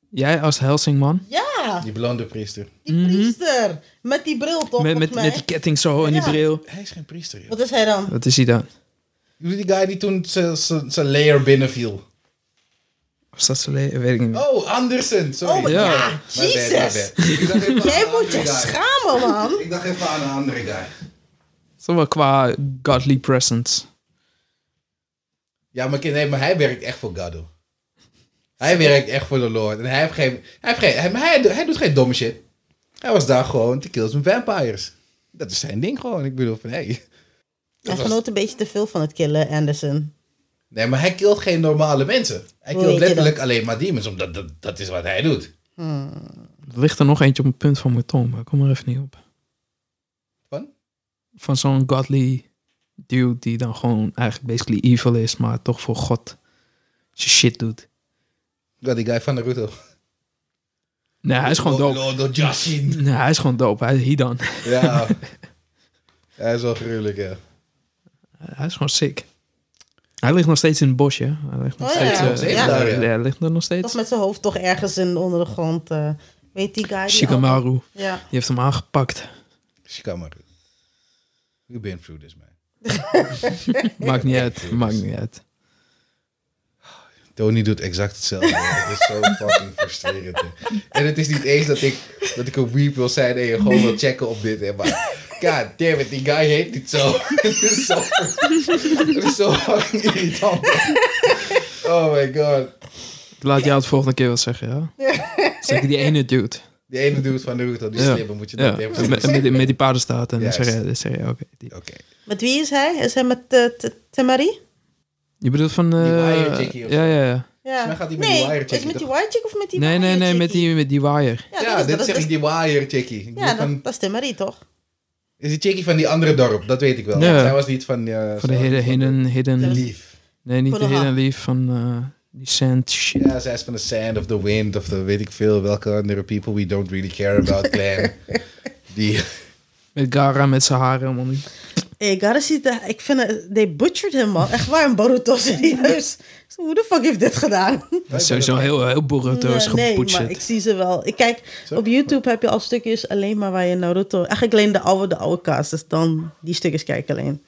S3: Jij als Helsing man.
S1: Ja.
S2: Die blonde priester.
S1: Die priester. Met die bril toch,
S3: Mhm. Met, met,
S1: volgens mij.
S3: met die ketting zo en die
S1: Ja.
S3: bril.
S2: Hij is geen priester, joh.
S1: Wat is hij dan?
S3: Wat is hij dan?
S2: Die guy die toen zijn- zijn zijn layer binnenviel.
S3: Was dat zo le- Weet ik niet meer.
S2: Oh, Andersen. Sorry.
S1: Oh, maar
S3: Ja.
S1: ja.
S3: My
S1: Jesus. [LAUGHS] Jij moet je schamen,
S2: [LAUGHS]
S1: man.
S2: Ik dacht even aan een andere guy.
S3: Het is wel qua godly presence.
S2: Ja, maar, kind, nee, maar hij werkt echt voor Gaddo. Hij werkt echt voor de Lord. En hij heeft geen... Hij, heeft geen, hij, maar hij, hij doet geen domme shit. Hij was daar gewoon te kills met vampires. Dat is zijn ding gewoon. Ik bedoel van, hey.
S1: Hij
S2: Dat was-
S1: genoot een beetje te veel van het killen, Anderson.
S2: Nee, maar hij killt geen normale mensen. Hij
S1: Hoe
S2: killt
S1: weet je
S2: letterlijk alleen maar demons. Omdat dat, dat is wat hij doet.
S1: Hmm.
S3: Er ligt er nog eentje op een punt van mijn tong, maar ik kom er even niet op.
S2: Van?
S3: Van zo'n godly dude die dan gewoon eigenlijk basically evil is, maar toch voor God zijn shit doet.
S2: God, die guy van Naruto.
S3: Nee, hij is gewoon
S2: Lord-
S3: dope.
S2: Lord
S1: [LAUGHS]
S2: Ojashin.
S3: Nee, hij is gewoon dope. Hij is hier dan.
S2: Ja. hij is wel gruwelijk, ja.
S3: Hij is gewoon sick. Hij ligt nog steeds in het bosje. Hij ligt nog
S1: Oh ja.
S3: steeds, eh,
S2: Nog steeds
S3: ja.
S2: daar, ja.
S3: ja, hij ligt er nog
S1: Toch
S3: steeds.
S1: met zijn hoofd toch ergens in, onder de grond. eh, weet die guy? die
S3: Shikamaru, die
S1: al- Ja.
S3: heeft hem aangepakt.
S2: Dus Shikamaru. You been through this, man.
S3: Maakt niet uit, maakt niet uit.
S2: Tony doet exact hetzelfde. [LAUGHS] Het is zo fucking frustrerend. hè. En het is niet eens dat ik, dat ik een weep wil zijn en je gewoon wil checken op dit. hè, Maar god damn it, die guy heet niet zo. [LAUGHS] Het is zo, het is zo fucking irritant. Oh my god.
S3: Laat jou het volgende keer wel zeggen, ja? Zeg die ene dude.
S2: Die ene dude van de route, die
S3: Ja.
S2: slibber moet je
S3: Ja,
S2: dat
S3: en
S2: hebben.
S3: met, met, die- met die paardenstaat. En dan
S2: Juist.
S3: zeg je, dan zeg je, oké. die-
S2: Oké.
S1: Met wie is hij? Is hij met eh, T- Tamari?
S3: Je bedoelt van... eh,
S2: wire chickie of
S3: ja, ja, ja.
S2: Volgens mij gaat hij met
S1: nee,
S2: die wire
S1: is het
S2: checkie,
S1: met die
S2: toch?
S1: wire check of met die
S3: Nee,
S1: wire
S3: nee, nee, met
S1: checkie?
S3: die, met die wire.
S2: Ja,
S1: dat is-
S2: dit
S1: dat
S2: zeg
S1: is-
S2: ik, die wire chickie. Ik
S1: Ja,
S2: bedoel
S1: dat,
S2: van-
S1: dat is Timmerie, toch?
S2: Is die chickie van die andere dorp, dat weet ik wel.
S3: Ja.
S2: Zij was niet van... eh,
S3: Van de
S2: zij was
S3: hidden,
S2: niet van
S3: hidden,
S2: de-
S3: hidden
S2: Lief.
S3: Nee, niet de
S1: Konoha.
S3: hidden leaf van eh, die sand shit.
S2: Ja, zij is van de Sand of the Wind of de weet ik veel welke andere people we don't really care about clan. die...
S3: Met Gara met zijn haren helemaal niet.
S1: Hey, gotta see that. Ik vind het... They butchered hem, man. Echt waar, een Boruto, serieus. So, Who the fuck heeft dit gedaan?
S3: Dat is sowieso heel, heel Boruto's
S1: Nee, nee, maar
S3: geboetst.
S1: ik zie ze wel. Ik kijk, op YouTube heb je al stukjes alleen maar waar je Naruto... Eigenlijk alleen de oude, de oude cast. Dus dan die stukjes kijk ik alleen.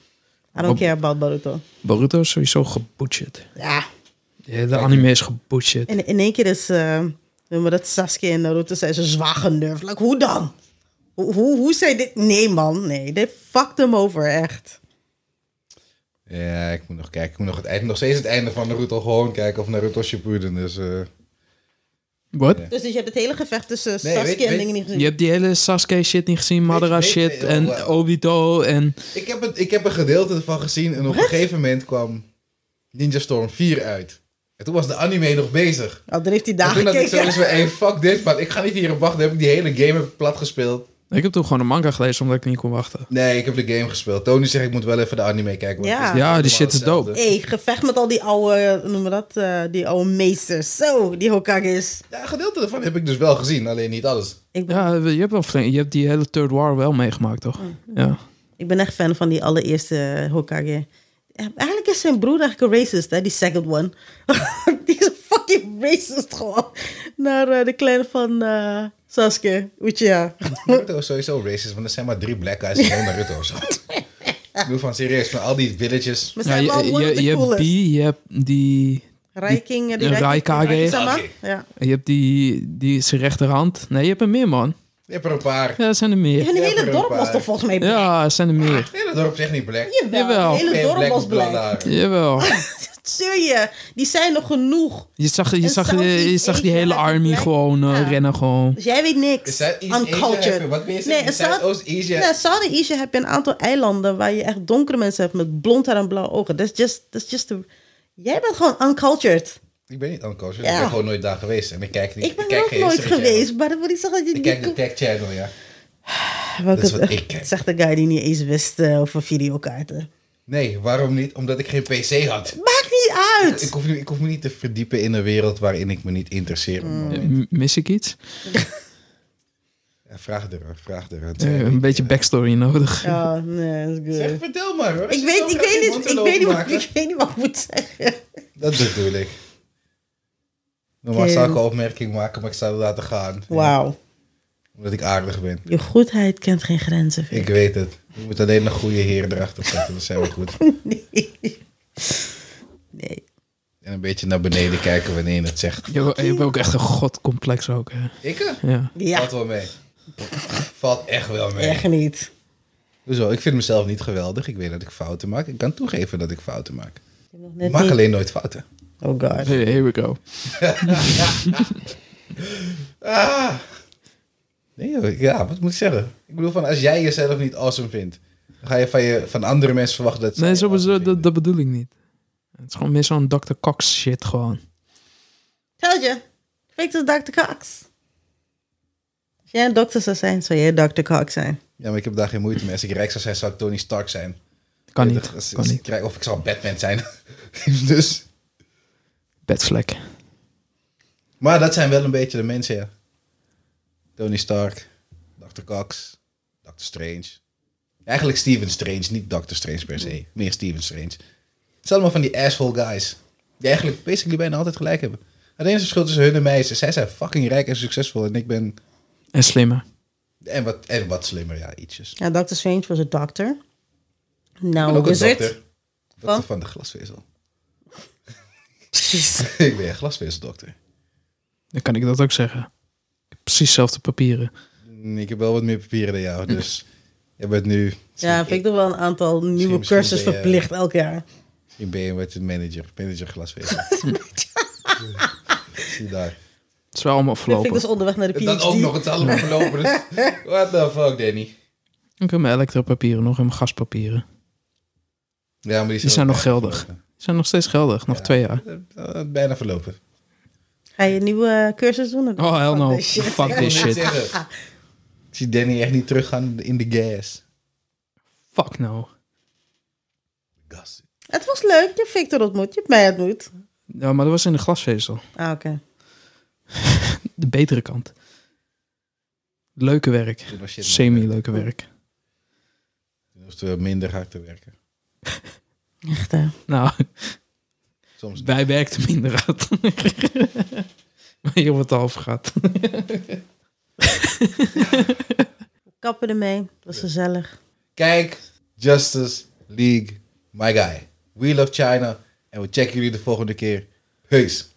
S1: I don't
S3: Op-
S1: care about Boruto.
S3: Boruto is sowieso geboetst.
S1: Ja,
S3: Ja, de anime is geboetst.
S1: in, in één keer is... eh noem maar dat Sasuke en Naruto zijn ze zwaar genervd. Like, hoe dan? Hoe, hoe, hoe zei dit? Nee, man. Nee, they fucked hem over, echt.
S2: Ja, ik moet nog kijken. Ik moet nog, het einde, nog steeds het einde van Naruto gewoon kijken of Naruto Shippuden. Dus, eh,
S3: Wat?
S1: Dus, dus je hebt het hele gevecht tussen
S2: Nee,
S1: Sasuke
S2: weet-
S1: en
S2: weet-
S1: dingen niet gezien.
S3: Je hebt die hele Sasuke shit niet gezien, Madara
S2: weet-
S3: shit
S2: weet-
S3: en
S2: oh, wow.
S3: Obito en...
S2: ik, heb het, ik heb een gedeelte ervan gezien en op een gegeven moment kwam Ninja Storm 4 uit. En toen was de anime nog bezig.
S1: Oh, dan heeft hij daar
S2: En toen had ik zo
S1: gekeken.
S2: eens van, hey, fuck dit, man. Ik ga niet hierop wachten. Heb ik die hele game heb ik plat gespeeld?
S3: Ik heb toen gewoon een manga gelezen omdat ik niet kon wachten.
S2: Nee, ik heb de game gespeeld. Tony zegt, ik moet wel even de anime kijken. want
S1: Ja.
S2: het is
S3: Ja, die
S2: allemaal
S3: shit is
S2: hetzelfde.
S3: dope.
S1: Hé, gevecht met al die oude, hoe noemen we dat, eh, die oude meesters. Zo, die Hokages.
S2: Ja, een gedeelte daarvan heb ik dus wel gezien, alleen niet alles.
S1: Ik ben,
S3: Ja, je hebt, wel flink- je hebt die hele Third War wel meegemaakt, toch?
S1: Mm.
S3: Ja.
S1: ik ben echt fan van die allereerste Hokage. Eh, Eigenlijk is zijn broer eigenlijk een racist, hè, die second one. [LAUGHS] die is een fucking racist gewoon. Naar eh, de clan van eh, Sasuke, Uchiha.
S2: Naruto is sowieso racist, want er zijn maar drie black guys in heel Naruto.
S1: [LAUGHS]
S2: of zo. Ik bedoel van serieus, van al die villages.
S1: Maar
S3: ja
S1: zijn
S3: je,
S1: wel one of
S3: je,
S1: the
S3: je hebt
S1: coolest.
S3: die, je hebt die...
S1: Raiking, eh, die
S3: een Raikage.
S1: Raikage-sama.
S2: Oké.
S1: Ja.
S3: Je hebt die, die zijn rechterhand. Nee, je hebt er meer, man.
S2: Je hebt er een paar.
S3: Ja, er zijn er
S1: [LAUGHS]
S3: meer.
S1: Hun
S2: Ja,
S1: hele
S2: er
S1: dorp
S2: een
S1: was
S2: paar.
S1: toch volgens mij black?
S3: Ja, er zijn er meer.
S2: Nee, dat dorp zegt niet black.
S1: Jawel,
S3: Jawel.
S1: het hele
S2: Geen
S1: dorp was
S2: met blonde
S1: black.
S2: haren.
S3: Jawel.
S1: Zie je, die zijn nog genoeg.
S3: Je zag, je
S1: En
S3: zag, je,
S1: Southeast
S3: je zag die
S1: Asia
S3: hele
S1: had het
S3: army
S1: blijk-
S3: gewoon eh,
S1: Ja.
S3: rennen gewoon.
S1: Dus jij weet niks.
S2: Is Zuid-East Asia heb je- wat ben
S1: nee,
S2: je zeggen?
S1: in Zuid-
S2: Zuidoost-Asia.
S1: Nee, Zuid-Asia heb je een aantal eilanden waar je echt donkere mensen hebt met blond haar en blauwe ogen. That's just, that's just the- Jij bent gewoon uncultured.
S2: Ik ben niet uncultured,
S1: Ja.
S2: ik ben gewoon nooit daar geweest. En ik kijk niet.
S1: Ik ben
S2: kijk
S1: er ook
S2: geen
S1: nooit
S2: history channel.
S1: geweest, maar dat wil niet zeggen dat je
S2: Ik kijk de
S1: niet...
S2: Tech Channel, ja.
S1: Welke-
S2: dat is
S1: [LAUGHS]
S2: wat ik kijk.
S1: Zegt de guy die niet eens wist eh, over videokaarten.
S2: Nee, waarom niet? Omdat ik geen PC had.
S1: Maakt niet
S2: [LAUGHS] Ik
S1: uit!
S2: hoef, nu- ik hoef me niet te verdiepen in een wereld waarin ik me niet interesseer. op het
S1: Mm.
S2: moment.
S3: M- Mis ik iets?
S2: Ja, vraag eraan, vraag eraan.
S3: Eh, een beetje backstory nodig.
S1: Ja, nee, dat is
S2: Zeg,
S1: good.
S2: vertel maar hoor.
S1: Ik weet, ik, weet niet, ik, weet niet, wat-
S2: maken.
S1: ik weet niet wat ik moet zeggen.
S2: Dat bedoel ik. Normaal zou ik een opmerking maken, maar ik zou het laten gaan.
S1: Wauw.
S2: Omdat ik aardig ben.
S1: Je goedheid kent geen grenzen. Vic.
S2: Ik weet het. Je moet alleen een goede heer erachter zetten, dan zijn we goed.
S1: Nee.
S2: En een beetje naar beneden kijken wanneer je het zegt.
S3: Je, hebt- je hebt ook echt een godcomplex ook. Hè.
S2: Ik?
S3: Ja.
S1: [LAUGHS] Ja,
S2: Valt wel mee. Valt echt wel mee.
S1: echt niet.
S2: Hoezo? Ik vind mezelf niet geweldig. Ik weet dat ik fouten maak. Ik kan toegeven dat ik fouten maak.
S1: Ik heb nog
S2: Ik
S1: net
S2: maak
S1: niet-
S2: alleen nooit fouten.
S1: Oh god.
S3: Hey, here we go.
S2: Ah. Nee, joh. ja, wat moet ik zeggen? Ik bedoel, van als jij jezelf niet awesome vindt, dan ga je van, je, van andere mensen verwachten dat ze.
S3: Nee,
S2: je
S3: zo,
S2: awesome
S3: zo,
S2: vinden.
S3: dat, dat bedoel ik niet. Het is gewoon meer zo'n Dr. Cox shit gewoon.
S1: Tell je. Fake is Dr. Cox. Als jij een dokter zou zijn, zou jij Dr. Cox zijn.
S2: Ja, maar ik heb daar geen moeite mee. Als ik rijk zou zijn, zou ik Tony Stark zijn.
S3: Kan
S2: Ja, dat- als-
S3: niet. Kan
S2: als ik
S3: niet.
S2: rijk- of ik zou Batman zijn. [LAUGHS] dus.
S3: Bedvlek.
S2: Maar dat zijn wel een beetje de mensen, ja. Tony Stark, Dr. Cox, Dr. Strange. Eigenlijk Steven Strange, niet Dr. Strange per se. Meer Steven Strange. Het zijn allemaal van die asshole guys. Die eigenlijk basically bijna altijd gelijk hebben. Het enige verschil tussen hun en mij is, zij zijn fucking rijk en succesvol. En ik ben...
S3: En slimmer.
S2: En wat, en wat slimmer, ja, ietsjes. Ik
S1: Ja, Dr. Strange was een dokter.
S2: ben
S1: Nou,
S3: Oh,
S2: ook een
S1: wizard.
S2: dokter. Dokter van de glasvezel. [LAUGHS]
S1: Precies.
S2: ik ben een glasvezeldokter.
S3: Dan kan ik dat ook zeggen. Ik heb precies dezelfde papieren.
S2: Mm, Ik heb wel wat meer papieren dan
S1: [LAUGHS]
S2: jou, dus... Je bent nu...
S1: Ja, vind ik toch wel een aantal nieuwe
S2: misschien
S1: cursussen
S2: ben je- eh,
S1: verplicht elk jaar.
S2: Ik ben je met een manager, manager
S1: [LAUGHS]
S2: glasvezel. [LAUGHS] Zie daar.
S3: Het is wel allemaal
S1: Dat vind
S3: verlopen.
S1: ik dus onderweg naar de PhD.
S2: Dan ook nog het allemaal
S1: [LAUGHS]
S2: verlopen. Dus. What the fuck, Danny?
S3: Ik heb mijn elektropapieren nog en mijn gaspapieren.
S2: Ja, maar die zijn,
S3: Die zijn
S2: ook
S3: nog
S2: echt
S3: geldig.
S2: verlopen.
S3: Die zijn nog steeds geldig, nog twee jaar.
S2: Eh, bijna verlopen.
S1: Ga je een nieuwe eh, cursus doen? of-
S3: Oh, hell no.
S1: Fuck this shit.
S3: Fuck this
S2: Ik wil
S3: shit.
S2: net
S1: Ah.
S2: zeggen, Ik zie Danny echt niet teruggaan in de gas.
S3: Fuck no.
S2: Gas.
S1: [LAUGHS] Het was leuk. Je hebt Victor ontmoet. Je hebt mij ontmoet.
S3: Ja, maar dat was in de glasvezel.
S1: Ah, oké.
S3: De betere kant. Leuke werk.
S2: Toen was shit nog beter.
S3: Semi-leuke werk.
S2: Toen hoefden we minder hard te werken.
S1: Echt, hè?
S3: Nou, [LAUGHS]
S2: Soms niet.
S3: wij werkten minder hard. [LAUGHS] maar hier wordt het over gehad.
S1: Kappen ermee. Het was gezellig.
S2: Kijk, Justice League, my guy. We love China. En we checken jullie de volgende keer. Peace.